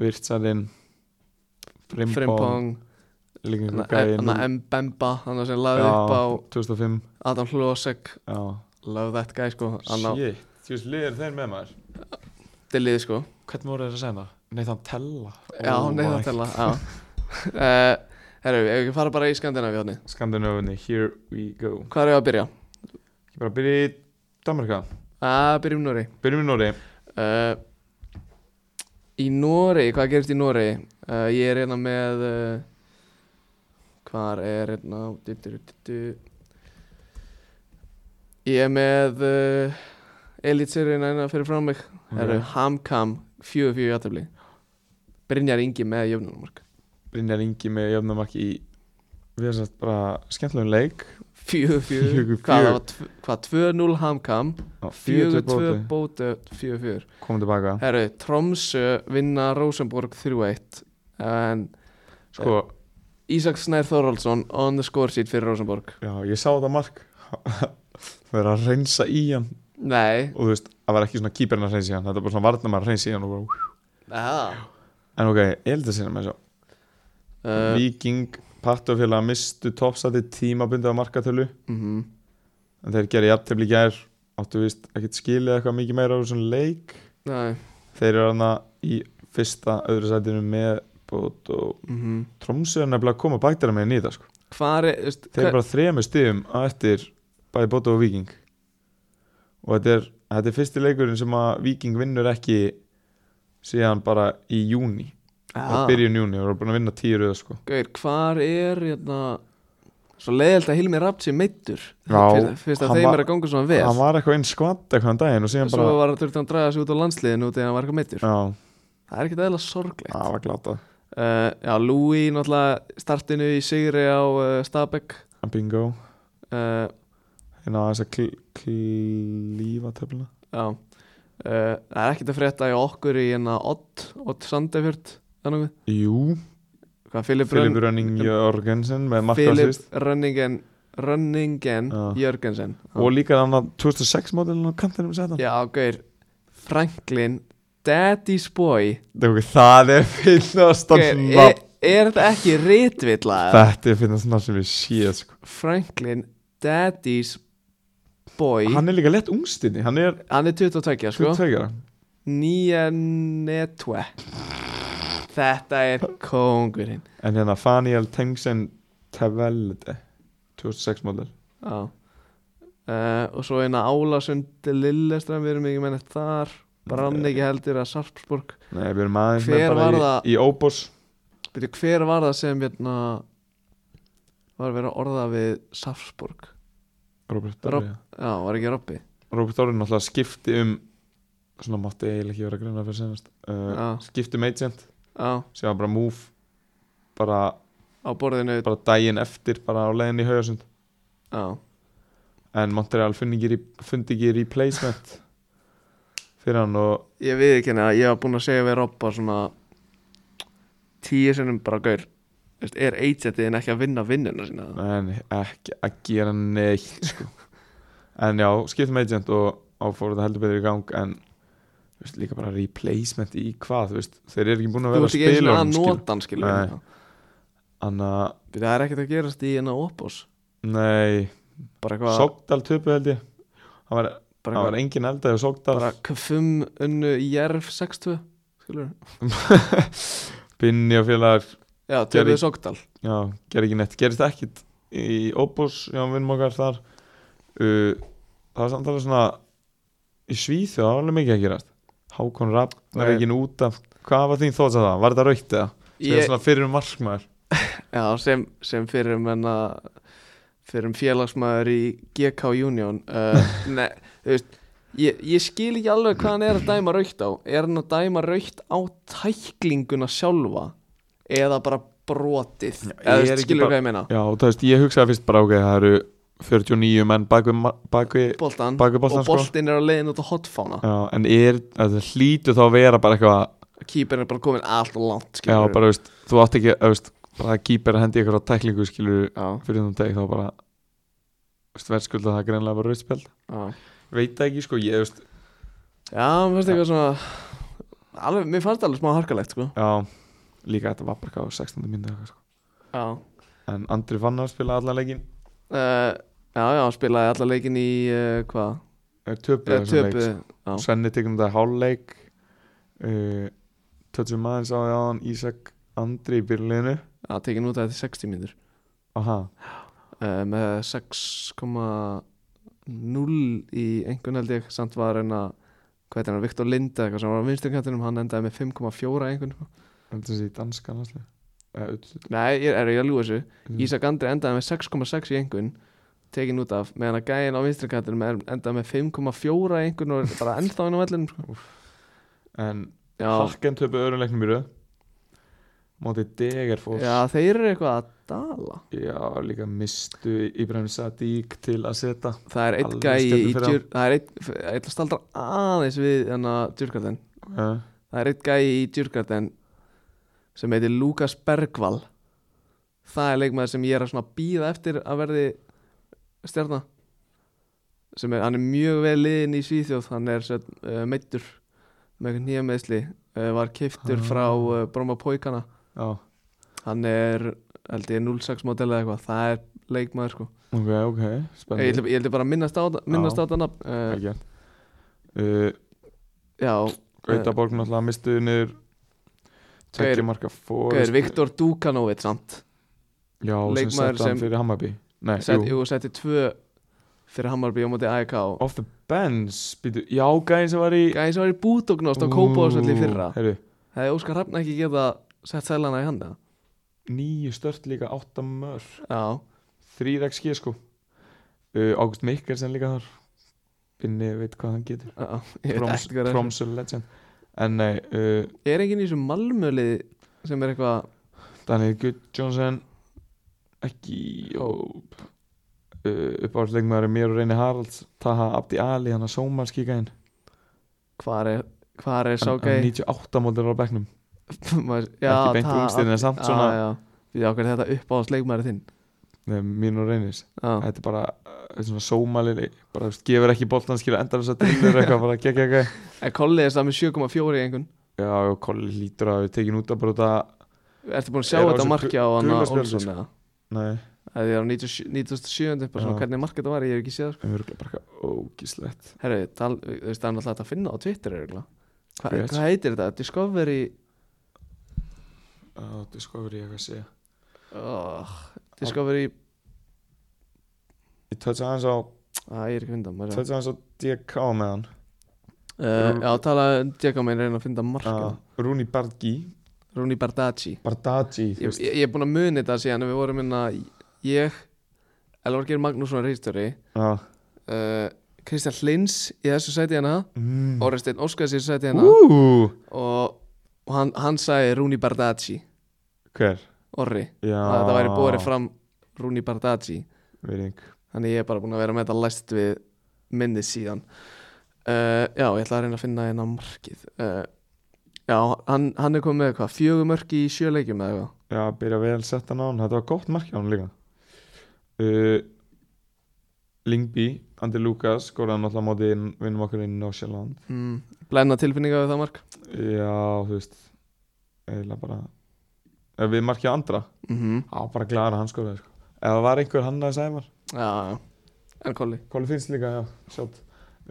Speaker 2: Virtsalinn Frimpong
Speaker 1: Frimpong,
Speaker 2: Líka einhver gæi
Speaker 1: hann að Mbemba, hann sem laði upp á
Speaker 2: Já, 2005
Speaker 1: Adam Hlosek
Speaker 2: Já
Speaker 1: Love that guy sko Hann á
Speaker 2: Shit Þú veist, liður þeir með maður
Speaker 1: dillið sko
Speaker 2: Hvernig voru þeir að segja það? Nei, þann tella
Speaker 1: Já, oh nei það tella Já uh, Herru, ef ekki fara bara í Skandinavíu hérna? hann
Speaker 2: Skandinavinni, here we go
Speaker 1: Hvað er ég að byrja?
Speaker 2: Ég bara byrja í Danmarka
Speaker 1: Að Ah, byrjum Nóri
Speaker 2: Byrjum í Nóri
Speaker 1: uh, Í Nóri, hvað gerist í Nóri? Uh, ég er hérna með uh, Hvar er hérna du, du, du, du, du. Ég er með uh, Elitserien eina fyrir fram mig Það eru Hamkam 4-4 játtöfli Brynjar Ingi með jöfnumark
Speaker 2: Brynjar Ingi með jöfnumarki í við erum sagt bara skemmtilegum leik
Speaker 1: 4-4
Speaker 2: Fjögur,
Speaker 1: Hvað það
Speaker 2: fjögur.
Speaker 1: var tv- hvað, 2-0 Hamkam 4-2
Speaker 2: 4-2
Speaker 1: bóta 4-4
Speaker 2: komum tilbaka
Speaker 1: Herru, Tromsö vinna Rosenborg 3-1 En
Speaker 2: sko,
Speaker 1: Ísak Snær Þorvaldsson on the score sheet fyrir Rosenborg
Speaker 2: já, ég sá þetta mark það er að reynsa í hann
Speaker 1: Nei
Speaker 2: og þú veist, það var ekki svona kýperinn að reynsa í hann þetta er bara svona varnar að reynsa í hann og bara,
Speaker 1: Aha.
Speaker 2: en ok, ég held að sinna með þessu
Speaker 1: Uh,
Speaker 2: Viking, pattofélag mistu toppsæti tímabundið á markatölu
Speaker 1: mhm.
Speaker 2: en þeir gerði jafntefli í gær áttu vist ekkert skilið eitthvað mikið meira á þessum leik
Speaker 1: Nei
Speaker 2: þeir eru hana í fyrsta öðru sætinu með bót og
Speaker 1: mhm.
Speaker 2: Tromsö er nefnilega að koma bæktæra með nýta sko.
Speaker 1: Hvar er, þú veist
Speaker 2: þeir
Speaker 1: hver-
Speaker 2: eru bara þremur stigum á eftir bæði bót og Viking og þetta er, þetta er fyrsti leikurinn sem að Viking vinnur ekki síðan bara í júni
Speaker 1: Ah.
Speaker 2: ah. byrjun júni, þeir eru búin að vinna tíu röða sko.
Speaker 1: Gauir, hvar er hérna Svo leiðilt að Hilmi Rapp sé meittur
Speaker 2: Já,
Speaker 1: Fyrst- Fyrst að
Speaker 2: hann
Speaker 1: þeim
Speaker 2: var-
Speaker 1: er að ganga svona vel
Speaker 2: hann var eitthvað einn skvatt eitthvað en daginn og síðan
Speaker 1: Svo
Speaker 2: bara
Speaker 1: var hann þurfti hann að draga sig út á landsliðinu Þegar hann var eitthvað meittur
Speaker 2: já,
Speaker 1: Það er ekkert eðla sorglegt
Speaker 2: það var glata
Speaker 1: uh, Já, Louis náttúrulega startinu í sigri á uh, Stabæk
Speaker 2: bingo
Speaker 1: uh,
Speaker 2: hérna aðeins að kl klífa töfluna
Speaker 1: Já uh, Það er ekkert að frétta í okkur í hérna Ott, Ott Sandefjörd Þannig við
Speaker 2: Jú,
Speaker 1: Hvað, Filip
Speaker 2: Filip
Speaker 1: Rönn
Speaker 2: Rönning Jörgensen með marka
Speaker 1: Filip
Speaker 2: sýst
Speaker 1: Rönningen Rönningen
Speaker 2: Já.
Speaker 1: Jörgensen
Speaker 2: og líka þannig 2006 mótilin á kantinum sætan
Speaker 1: Já, gauir Franklin Daddy's Boy
Speaker 2: það er finnast
Speaker 1: Gaur, er, er þetta ekki ritvilla? eða?
Speaker 2: þetta er finnast nafn sem ég sé sko.
Speaker 1: Franklin Daddy's Boy Hann,
Speaker 2: hann er líka lett ungstinni, hann er
Speaker 1: er 22 sko
Speaker 2: 22 ára
Speaker 1: Nýja netve Þetta er kóngurinn
Speaker 2: en hérna Faniel Tengsen Tevelde 2006 mótil
Speaker 1: Já Uh, og svo eina Álasund Lilleström, við erum ekki mennið þar
Speaker 2: Eh.
Speaker 1: Brann ekki heldur að Sarpsborg
Speaker 2: Nei, við erum aðeins
Speaker 1: Hver
Speaker 2: með
Speaker 1: var
Speaker 2: bara
Speaker 1: það?
Speaker 2: í, í Óbos
Speaker 1: Byrju, hver var það sem hérna, var að vera að orða við Sarpsborg?
Speaker 2: Robert
Speaker 1: Rob-
Speaker 2: Dorri ja.
Speaker 1: Já, var ekki Robby?
Speaker 2: Robert Dorri náttúrulega skipti um svona mátti eiginlega ekki vera að grunna fyrir senast uh,
Speaker 1: Já.
Speaker 2: skipti um agent
Speaker 1: Já,
Speaker 2: sem var bara move bara,
Speaker 1: á borðinu
Speaker 2: bara daginn eftir bara á leiðin í haugasund
Speaker 1: Já,
Speaker 2: en Montreal fundi ekki, re- fundi ekki replacement fyrir hann og
Speaker 1: ég við ekki henni að ég var búinn að segja við Robba svona tíu sinnum bara gaur Veist, er agentiðin ekki að vinna vinnuna sína
Speaker 2: en ekki að gera neitt sko. en já, skipti um agent og áfór þetta heldur betur í gang en þú veist, líka bara replacement í hvað þú veist, þeir eru ekki búin að
Speaker 1: Þú
Speaker 2: vera að
Speaker 1: ert ekki einu
Speaker 2: spila
Speaker 1: sinni að
Speaker 2: honum, skilur.
Speaker 1: nota hann skilur við.
Speaker 2: Nei. Þannig að,
Speaker 1: Byrju, Það er ekkert að gerast í hérna opos
Speaker 2: nei
Speaker 1: Bara eitthvað
Speaker 2: Sogdal töpu held ég það var,
Speaker 1: bara,
Speaker 2: það var
Speaker 1: eitthvað-
Speaker 2: engin eldaði á Sogdal
Speaker 1: bara kfum unnu í Jerv 6-2 skilur við.
Speaker 2: Binni og félagar
Speaker 1: Já,
Speaker 2: Gerði-
Speaker 1: Tjöfið Sogdal
Speaker 2: já, gerði ekki neitt, gerist ekkit í Opus, já, vinnum okkar þar uh, það var samt alveg svona í Svíþjóð, það var alveg mikið að gerast Hákon Rapp, það er
Speaker 1: Nei.
Speaker 2: ekki út af hvað var þín þótt að það, var þetta raukt eða sem er
Speaker 1: Ég-
Speaker 2: svona fyrir um markmaður
Speaker 1: Já, sem, sem fyrir um enna fyrir um félagsmaður í GK Union uh, ne, þú veist ég, ég skil ekki alveg hvað hann er að dæma raukt á er hann að dæma raukt á tæklinguna sjálfa eða bara brotið eða þú
Speaker 2: Já, ég er
Speaker 1: veist,
Speaker 2: ekki
Speaker 1: skilur
Speaker 2: bara-
Speaker 1: hvað ég meina
Speaker 2: já, og það veist, ég hugsaði fyrst bara ok, það eru 49 menn bakvið ma- bakvið,
Speaker 1: boltan,
Speaker 2: Bak við boltann,
Speaker 1: og
Speaker 2: sko.
Speaker 1: boltin er á leiðin út á hotfána
Speaker 2: já, en er, það hlýtu þá að vera bara eitthvað
Speaker 1: kýperin er bara komin allt og langt
Speaker 2: Já,
Speaker 1: skilurðu.
Speaker 2: bara, veist, þú átt ekki, að, veist, bara að kýpa er að hendi ykkur á tæklingu, skilur
Speaker 1: já,
Speaker 2: fyrir þannig deg, þá bara veist, verðskulda það greinlega bara rauðspjald
Speaker 1: já.
Speaker 2: Veit það ekki, sko, ég, veist
Speaker 1: já, mér finnst eitthvað svona alveg, mér fannst það alveg smá harkalegt sko.
Speaker 2: Já, líka þetta var bara hvað á 16. mínútu eitthvað, sko
Speaker 1: já
Speaker 2: En Andri Fannar spilaði allan leikin
Speaker 1: uh, já, já, spilaði alla leikin í uh, hvað
Speaker 2: Töpu,
Speaker 1: Eða töpu já.
Speaker 2: Svenni tekum þetta hálfleik uh, Tötsum aðeins á því áðan Ísak Andri í byrjuleginu
Speaker 1: Já, tekin út af þetta 60 mínútur
Speaker 2: Aha,
Speaker 1: uh, með 6,0 í einhvern held ég samt var en að hvað heitir hann, Viktor Linda eitthvað sem var á vinsturkantinum, hann endaði með 5,4 einhvern
Speaker 2: endur þessi í danska landslega Mm.
Speaker 1: Nei, ég er ég að ljúa þessu Ísak Andri endaði með 6,6 í einhvern tekin út af meðan að gæin á vinstri kantinum er endað með 5,4 einhvern og er bara ennþá inn á vellin
Speaker 2: En
Speaker 1: já,
Speaker 2: Hakken töpu öðrunleiknum í röð Móti Degerfors
Speaker 1: já, þeir eru eitthvað að dala
Speaker 2: Já, líka mistu Íbrahim Sadík til að setja
Speaker 1: það er eitt
Speaker 2: Alveg
Speaker 1: gæi í
Speaker 2: stefnu fyrir
Speaker 1: djur, það er eitt, ég ætla að staldra aðeins við þannig að djurgarðin
Speaker 2: uh,
Speaker 1: það er eitt gæi í Djurgarden sem heitir Lukas Bergvall það er leikmaður sem ég er að svona býða eftir að verði stjarnar sem er, hann er mjög vel liðin í Svíþjóð hann er uh, meittur með nýja meðsli uh, var keiftur
Speaker 2: Ah.
Speaker 1: frá uh, Broma Póikana
Speaker 2: Já,
Speaker 1: hann er, held ég, 06 modell eða eitthvað það er leikmaður sko
Speaker 2: ok, ok,
Speaker 1: ég
Speaker 2: spennandi
Speaker 1: held, ég held bara að minnast á, þetta- minnast á
Speaker 2: Já.
Speaker 1: þetta nafn
Speaker 2: Vel
Speaker 1: uh,
Speaker 2: gert. uh,
Speaker 1: já,
Speaker 2: Gautaborg náttúrulega mistu niður
Speaker 1: Gaur-
Speaker 2: Tvekki marka fór
Speaker 1: hver, Viktor Dukanovic samt
Speaker 2: Já, sem
Speaker 1: leikmaður
Speaker 2: setja hann
Speaker 1: sem-
Speaker 2: fyrir Hammarby Nei,
Speaker 1: Sett,
Speaker 2: jú,
Speaker 1: jú, setti tvö fyrir Hammarby á móti AEK
Speaker 2: off the bench býtu, Já, gæðin sem var í
Speaker 1: Gæði sem var í bútóknost á Kópavásvelli í fyrra
Speaker 2: Herru,
Speaker 1: Hefði Óskar Hrafn ekki geta sett sælana í handa
Speaker 2: nýju stört líka, átta mör
Speaker 1: Já,
Speaker 2: Þrýr XG sko uh, Ágúst Mikkelsen líka þar Binni veit hvað hann getur
Speaker 1: já, ég veit
Speaker 2: Proms-
Speaker 1: ekki hvað það er
Speaker 2: Promsul legend En nei, uh,
Speaker 1: Er enginn í þessu malmölið sem er eitthvað
Speaker 2: Daniel Gudjónsson ekki hóp uh, uppáhaldsleikmaður er mér og Reyni Haralds Taha Abdi Ali, hann að sómalski gæinn
Speaker 1: Hvar er, hvar er sá
Speaker 2: Hann- hann
Speaker 1: gæi
Speaker 2: 98 mótur á bekknum
Speaker 1: Maður-
Speaker 2: ekki beint
Speaker 1: það-
Speaker 2: ungstirinn, en samt
Speaker 1: já,
Speaker 2: svona-
Speaker 1: Já, já, okkur þetta upp á sleikmæri þinn
Speaker 2: Nei, mín og Reynis
Speaker 1: Já,
Speaker 2: þetta er bara uh, svona sómalili bara þú veist, gefur ekki boltan skilur endar þess að drillur eitthvað bara gekk ekki
Speaker 1: en kollið er það með 7,4 í einhvern
Speaker 2: já, og Kolli hlýtur að við tekið út að bara þetta
Speaker 1: Ertu búin að sjá
Speaker 2: Er á
Speaker 1: þetta
Speaker 2: þessu
Speaker 1: markja á
Speaker 2: gu-
Speaker 1: hann
Speaker 2: gula
Speaker 1: að
Speaker 2: spjaldið,
Speaker 1: Olsson
Speaker 2: sko.
Speaker 1: eða?
Speaker 2: nei,
Speaker 1: Það er á 97 97. bara svona
Speaker 2: Já.
Speaker 1: hvernig markja þetta var, ég hef ekki séð það, sko.
Speaker 2: við erum bara eitthvað ógíslegt
Speaker 1: Herru, tal, þú veist, það er náttúrulega hægt að finna á Twitter eiginlega. Hva,
Speaker 2: Yes.
Speaker 1: Hvað heitir þetta? Discovery
Speaker 2: já, þú sko verið ég að segja
Speaker 1: oh,
Speaker 2: Ah.
Speaker 1: Discovery
Speaker 2: ég tötsa aðeins á
Speaker 1: Æ, ég er ekki að finna maður uh,
Speaker 2: tötsa aðeins á DK með hann
Speaker 1: Já, tala um Diego meina reyna að finna marka
Speaker 2: uh, Rúni Bargi
Speaker 1: Rúni Bardacci
Speaker 2: Bardagi
Speaker 1: ég, ég, ég er búin að muni þetta síðan við vorum hérna Ég, Elvar Geir Magnússon reistöri
Speaker 2: ah.
Speaker 1: uh, Kristján Hlins í þessu sæti hérna
Speaker 2: mm.
Speaker 1: Orri Steinn Óskars í þessu sæti hérna
Speaker 2: Ú,
Speaker 1: Og, og hann, hann sagði Rúni Bardacci
Speaker 2: Hver?
Speaker 1: Orri
Speaker 2: Já
Speaker 1: að þetta væri borið fram Rúni Bardacci
Speaker 2: Virðing.
Speaker 1: Þannig ég er bara búin að vera með þetta læst við minni síðan uh, Já, ég ætla að reyna að finna hérna markið uh, Já, hann, hann er komið með eitthvað Fjögumörk í sjöleikjum eða eitthvað
Speaker 2: Já, byrja vel setta hann á hann Þetta var gott mark hjá hann líka uh, Lingby Andi Lukas skoraði náttúrulega á móti inn- vinnum okkur í Norsjaland
Speaker 1: mm, Blenna tilfinninga við það mark
Speaker 2: Já, þú veist eiginlega bara Ef við markja andra
Speaker 1: mm -hmm.
Speaker 2: Já, bara glæður að hann skoraði sko. Ef það var einhver hann að sæmar
Speaker 1: Já, já, en kolli
Speaker 2: Kóli finnst líka, já, sjátt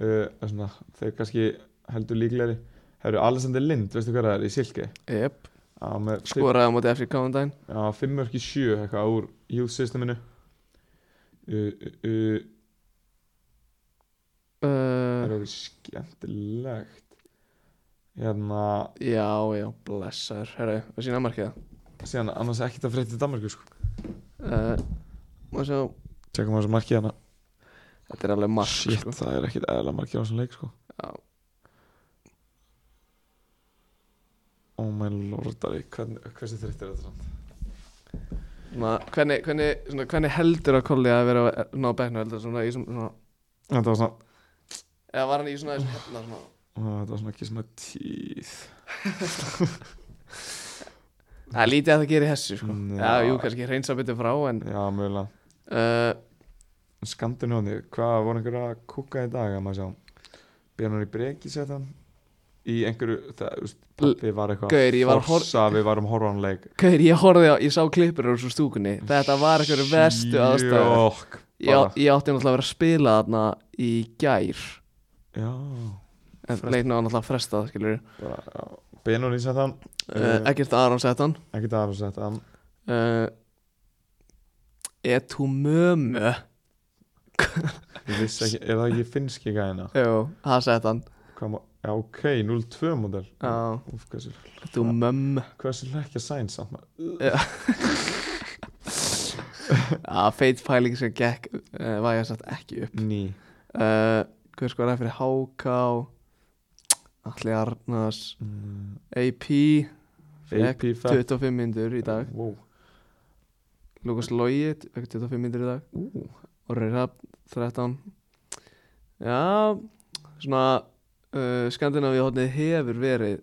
Speaker 2: uh, en svona, Þeir kannski heldur líklegri Hefur Alexander Lind, veistu hvað það er, í Silke
Speaker 1: yep.
Speaker 2: Já, með
Speaker 1: Skoraði á móti FCK um daginn
Speaker 2: Já, fimm mörk í sjö eitthvað úr youth systeminu uh, uh, uh, Það er
Speaker 1: uh,
Speaker 2: orðið skemmtilegt Hérna
Speaker 1: Já, já, blessar Herra, við sína markið
Speaker 2: Síðan annars ekkert að frétta í Danmarku sko
Speaker 1: uh, Má sjá,
Speaker 2: Tekum við þessu marki hérna
Speaker 1: þetta er alveg mark
Speaker 2: Shit,
Speaker 1: sko.
Speaker 2: það er ekkert eðla marki á þessum leik sko
Speaker 1: Já.
Speaker 2: Oh my lordari, hvern, hversu þreytt er þetta samt?
Speaker 1: svona, hvernig, hvernig, svona, hvernig heldur að kolli að vera á- ná bekknu heldur svona, í svona, svona
Speaker 2: Þetta var svona,
Speaker 1: Eða var hann í svona þessum hefna svona
Speaker 2: ó, þetta var svona ekki sem að tíð
Speaker 1: Það er lítið að það gerir hessu sko
Speaker 2: Mm,
Speaker 1: Já,
Speaker 2: já.
Speaker 1: jú, kannski hreinsa betur frá en
Speaker 2: Já, mögulega
Speaker 1: uh,
Speaker 2: Skandinóni, hvað voru einhver að kúka í dag að maður sjá Bjarnar í breki setja hann í einhverju, það, þú veist, pappi var eitthvað
Speaker 1: Gaur, ég var að hor-
Speaker 2: Forsa, við varum horfanleik
Speaker 1: Kaur, ég horfði á, ég sá klippur úr svo stúkunni Þetta var eitthvað vestu aðstæður
Speaker 2: Sjokk,
Speaker 1: ég,
Speaker 2: bara.
Speaker 1: ég átti náttúrulega að vera að spila þarna í gær
Speaker 2: Já,
Speaker 1: En leiknum var náttúrulega frestað, skilur
Speaker 2: bara, já Bjarnar í setja hann,
Speaker 1: uh,
Speaker 2: Eh.
Speaker 1: Ekkert Aron sett hann
Speaker 2: ekkert aðra setja hann
Speaker 1: uh, Etu mömu
Speaker 2: Ég vissi ekki, er það ekki finnski gæðina?
Speaker 1: Jú, það sett hann
Speaker 2: Hvað má, já, ok, 0-2 model
Speaker 1: Já.
Speaker 2: Úf, hversu,
Speaker 1: Etu mömmu
Speaker 2: hversu lekkja sæns samt maður
Speaker 1: Já, feit pæling sem gekk uh, vægja satt ekki upp
Speaker 2: Ný
Speaker 1: uh, Hver skoraði fyrir HK Alli Arnars
Speaker 2: Mm,
Speaker 1: AP Fekk
Speaker 2: AP fett
Speaker 1: 25 myndur í dag
Speaker 2: wow.
Speaker 1: Lukas Lógi 25 myndur í dag
Speaker 2: Ú,
Speaker 1: Orri Rapp 13 Já Svona uh, Skandinavíu hóttnið hefur verið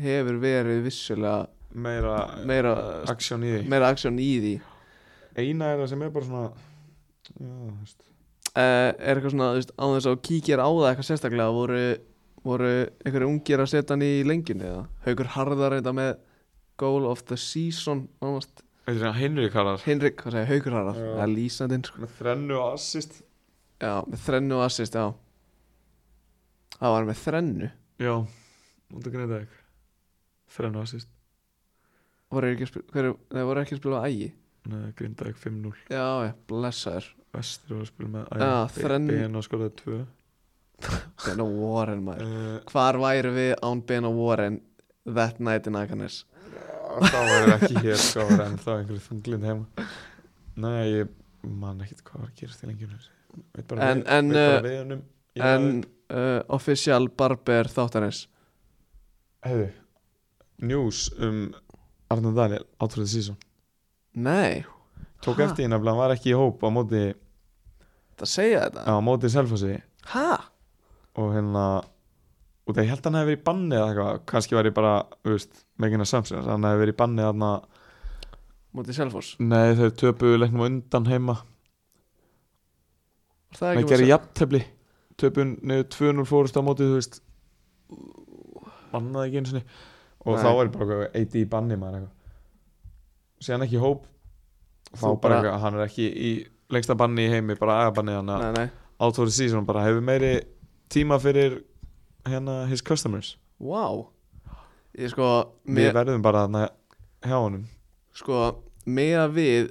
Speaker 1: Hefur verið vissulega
Speaker 2: Meira
Speaker 1: Meira,
Speaker 2: uh, Action í því
Speaker 1: Meira aksjón í því
Speaker 2: Eina er það sem er bara svona Já, þú veist
Speaker 1: uh, er eitthvað svona, þú veist, á þess að kíkja á það eitthvað sérstaklega, voru, voru einhverju ungir að setja hann í lengjunni eða Haukur Harðar reynda með goal of the season, nánast
Speaker 2: Þetta er hann Henrik Harðar
Speaker 1: Hinrik, hvað segja, Haukur Harðar,
Speaker 2: Já.
Speaker 1: það er lýsandinn sko.
Speaker 2: Með Þrennu og assist
Speaker 1: já, með þrennu og assist, já það var með þrennu
Speaker 2: Já, mútu að greita þig Þrennu og assist
Speaker 1: voru ekki að spila, hverju, þeir voru ekki að spila á ægi
Speaker 2: Nei, Grindavík 5-0
Speaker 1: já, já, blessaður,
Speaker 2: Vestur var að spila með
Speaker 1: Já, Ah, þrenn-
Speaker 2: Ben og skoraði 2
Speaker 1: Ben og Warren maður,
Speaker 2: uh,
Speaker 1: hvar væri við án Ben og Warren that night in Akanes
Speaker 2: Þá var ég ekki hér sko, Þá var ennþá einhverju þunglind heima Nei, ég man ekkit hvað var að gerast í lengjunum Veit bara
Speaker 1: En-
Speaker 2: við,
Speaker 1: en,
Speaker 2: veit bara
Speaker 1: uh,
Speaker 2: við honum Ég
Speaker 1: en uh, official barber þáttanins
Speaker 2: Hefðu, njús um Arnar Daniel átrúðið sísón
Speaker 1: nei,
Speaker 2: Tók
Speaker 1: Ha?
Speaker 2: eftir því nefnilega, hann var ekki í hóp á móti,
Speaker 1: það segja þetta
Speaker 2: á móti selfassi
Speaker 1: Hæ?
Speaker 2: og hérna og það ég held að hann hefði verið í banni eða eitthvað kannski var ég bara, þú veist, meginn að samsins hann hefði verið í banni þarna
Speaker 1: Mótið Selfoss
Speaker 2: nei þau töpuðu leiknum á undan heima
Speaker 1: Var það
Speaker 2: það
Speaker 1: ekki
Speaker 2: gerir
Speaker 1: mótið
Speaker 2: jafntefli töpuðu neðu 2-0 fórust á móti þú veist bannaði ekki einu sinni og
Speaker 1: Nei.
Speaker 2: þá er bara eitthvað AD í banni maður eitthvað síðan ekki í hóp og þá
Speaker 1: Þú
Speaker 2: bara
Speaker 1: bara-
Speaker 2: eitthvað, hann er ekki í lengsta banni í heimi, bara agabanni hann
Speaker 1: Nei, nei
Speaker 2: átóri síðan bara hefur meiri tíma fyrir hérna his customers
Speaker 1: Vá Ég sko
Speaker 2: við
Speaker 1: mér,
Speaker 2: verðum bara þarna hjá honum
Speaker 1: Sko Með að við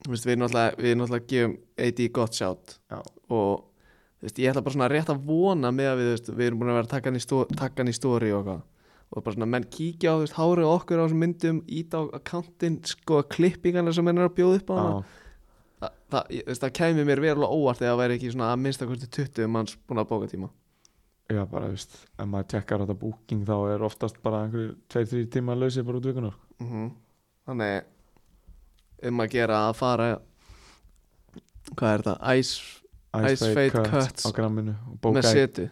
Speaker 1: Þú veist, við náttúrulega Við náttúrulega gefum AD gott sjátt
Speaker 2: Já.
Speaker 1: Og Þú veist, ég ætla bara svona rétt að vona Með að við, þú veist Við erum búin að vera að taka hann í, stó, taka hann í stóri og hvað Og bara svona menn kíkja á, þú veist Hárið á okkur á þessum myndum Íta á akkantinn Sko klippingarna sem henn er að bjóða upp á hana
Speaker 2: Já.
Speaker 1: Þa, það, ég- þú veist, það kæmi mér verulega óvart Þegar það væri ekki svona að minnsta kosti 20 manns búin að bóka tíma
Speaker 2: Já, bara, þú veist, ef maður tekkar á þetta booking þá er oftast bara einhverju 2-3 tíma lausir bara út vikunar.
Speaker 1: -hmm. Þannig um að gera að fara hvað er þetta? Ice, Ice Fate Cuts.
Speaker 2: á gramminu og
Speaker 1: með
Speaker 2: bóka í,
Speaker 1: setu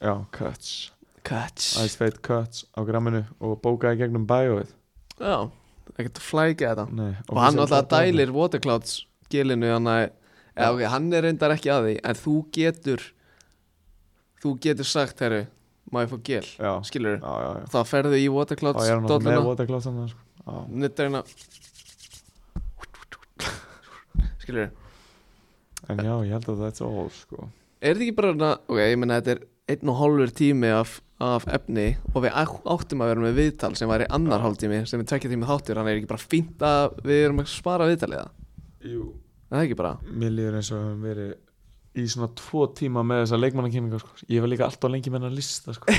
Speaker 2: já, cuts
Speaker 1: Cuts
Speaker 2: Ice Fate Cuts á gramminu og bóka í gegnum bæjóið
Speaker 1: Já, ekkert að flækja þetta
Speaker 2: Nei,
Speaker 1: og hann alltaf dælir Waterclouds gilinu hann að ja, ok, hann er reyndar ekki að því en þú getur þú getur sagt herru má ég fá gil,
Speaker 2: Já,
Speaker 1: skilur
Speaker 2: já, já, já.
Speaker 1: þá ferðu í
Speaker 2: Þá
Speaker 1: Waterclouds
Speaker 2: er hann alltaf með
Speaker 1: dolluna
Speaker 2: watercloth saman sko. Já.
Speaker 1: nuttar hérna skilur
Speaker 2: En já, ég held að that's all sko.
Speaker 1: Er þetta ekki bara svona, ok, ég meina þetta er einn og hálfur tími af, af efni og við á- áttum að vera með viðtal sem væri annar hálftími sem er tvekja tími þáttur, hann er ekki bara fínt að við erum að spara viðtalið það,
Speaker 2: Jú
Speaker 1: er það ekki bara
Speaker 2: Mér líður eins og við höfum verið í svona tvo tíma með þessa leikmannakynninga sko. Ég var líka alltaf lengi með hennar lista sko.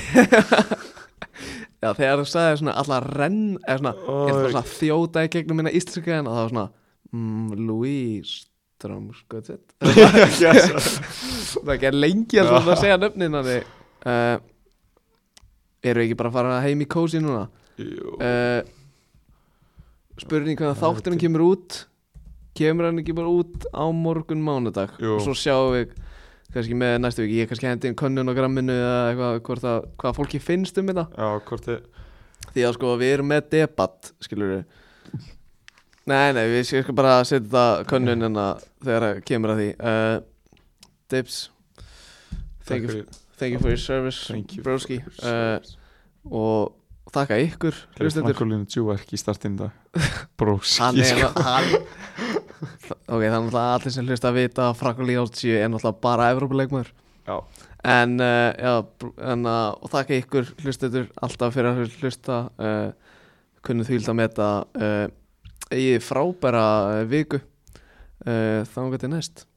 Speaker 1: Já, þegar þú sagði svona alltaf renn eða svona, ég held það svona að þjóta í gegnum minna íslenska en það var svona mm, Louis Strömskvötsett Það er ekki lengi að svona að segja nöfnin hann uh, Eru ekki bara að fara heim í kósi núna?
Speaker 2: Jú
Speaker 1: uh, spurning hvaðan
Speaker 2: Já,
Speaker 1: þátturinn
Speaker 2: þetta-
Speaker 1: kemur út kemur hann ekki bara út á morgun mánudag
Speaker 2: Jú.
Speaker 1: og svo sjáum við kannski með næstu viki, ég kannski hendi inn könnun á gramminu eða eitthvað, hvort að, hvað fólki finnst um þetta
Speaker 2: Já, hvort þið
Speaker 1: því að sko við erum með debatt skilur við nei, nei, við skal bara setja þetta könnun en að þegar að kemur að því uh, Dibs Thank
Speaker 2: Takk
Speaker 1: you.
Speaker 2: fyrir
Speaker 1: thank you for your service,
Speaker 2: Thank you
Speaker 1: broski
Speaker 2: for your
Speaker 1: uh,
Speaker 2: service.
Speaker 1: og þakka ykkur, hlustendur
Speaker 2: Frankolínu Djúverk í startinn í dag Brós
Speaker 1: hann er hann, sko- ok, þannig að allir sem hlusta að vita að Franko Líháldsjö er náttúrulega bara Evrópuleikmaður
Speaker 2: Já.
Speaker 1: en, uh, já, br- en uh, og þakka ykkur hlustendur alltaf fyrir að hlusta uh, kunnu þvíld að eh, meta uh, eigið frábæra uh, viku uh, þannig að þetta er næst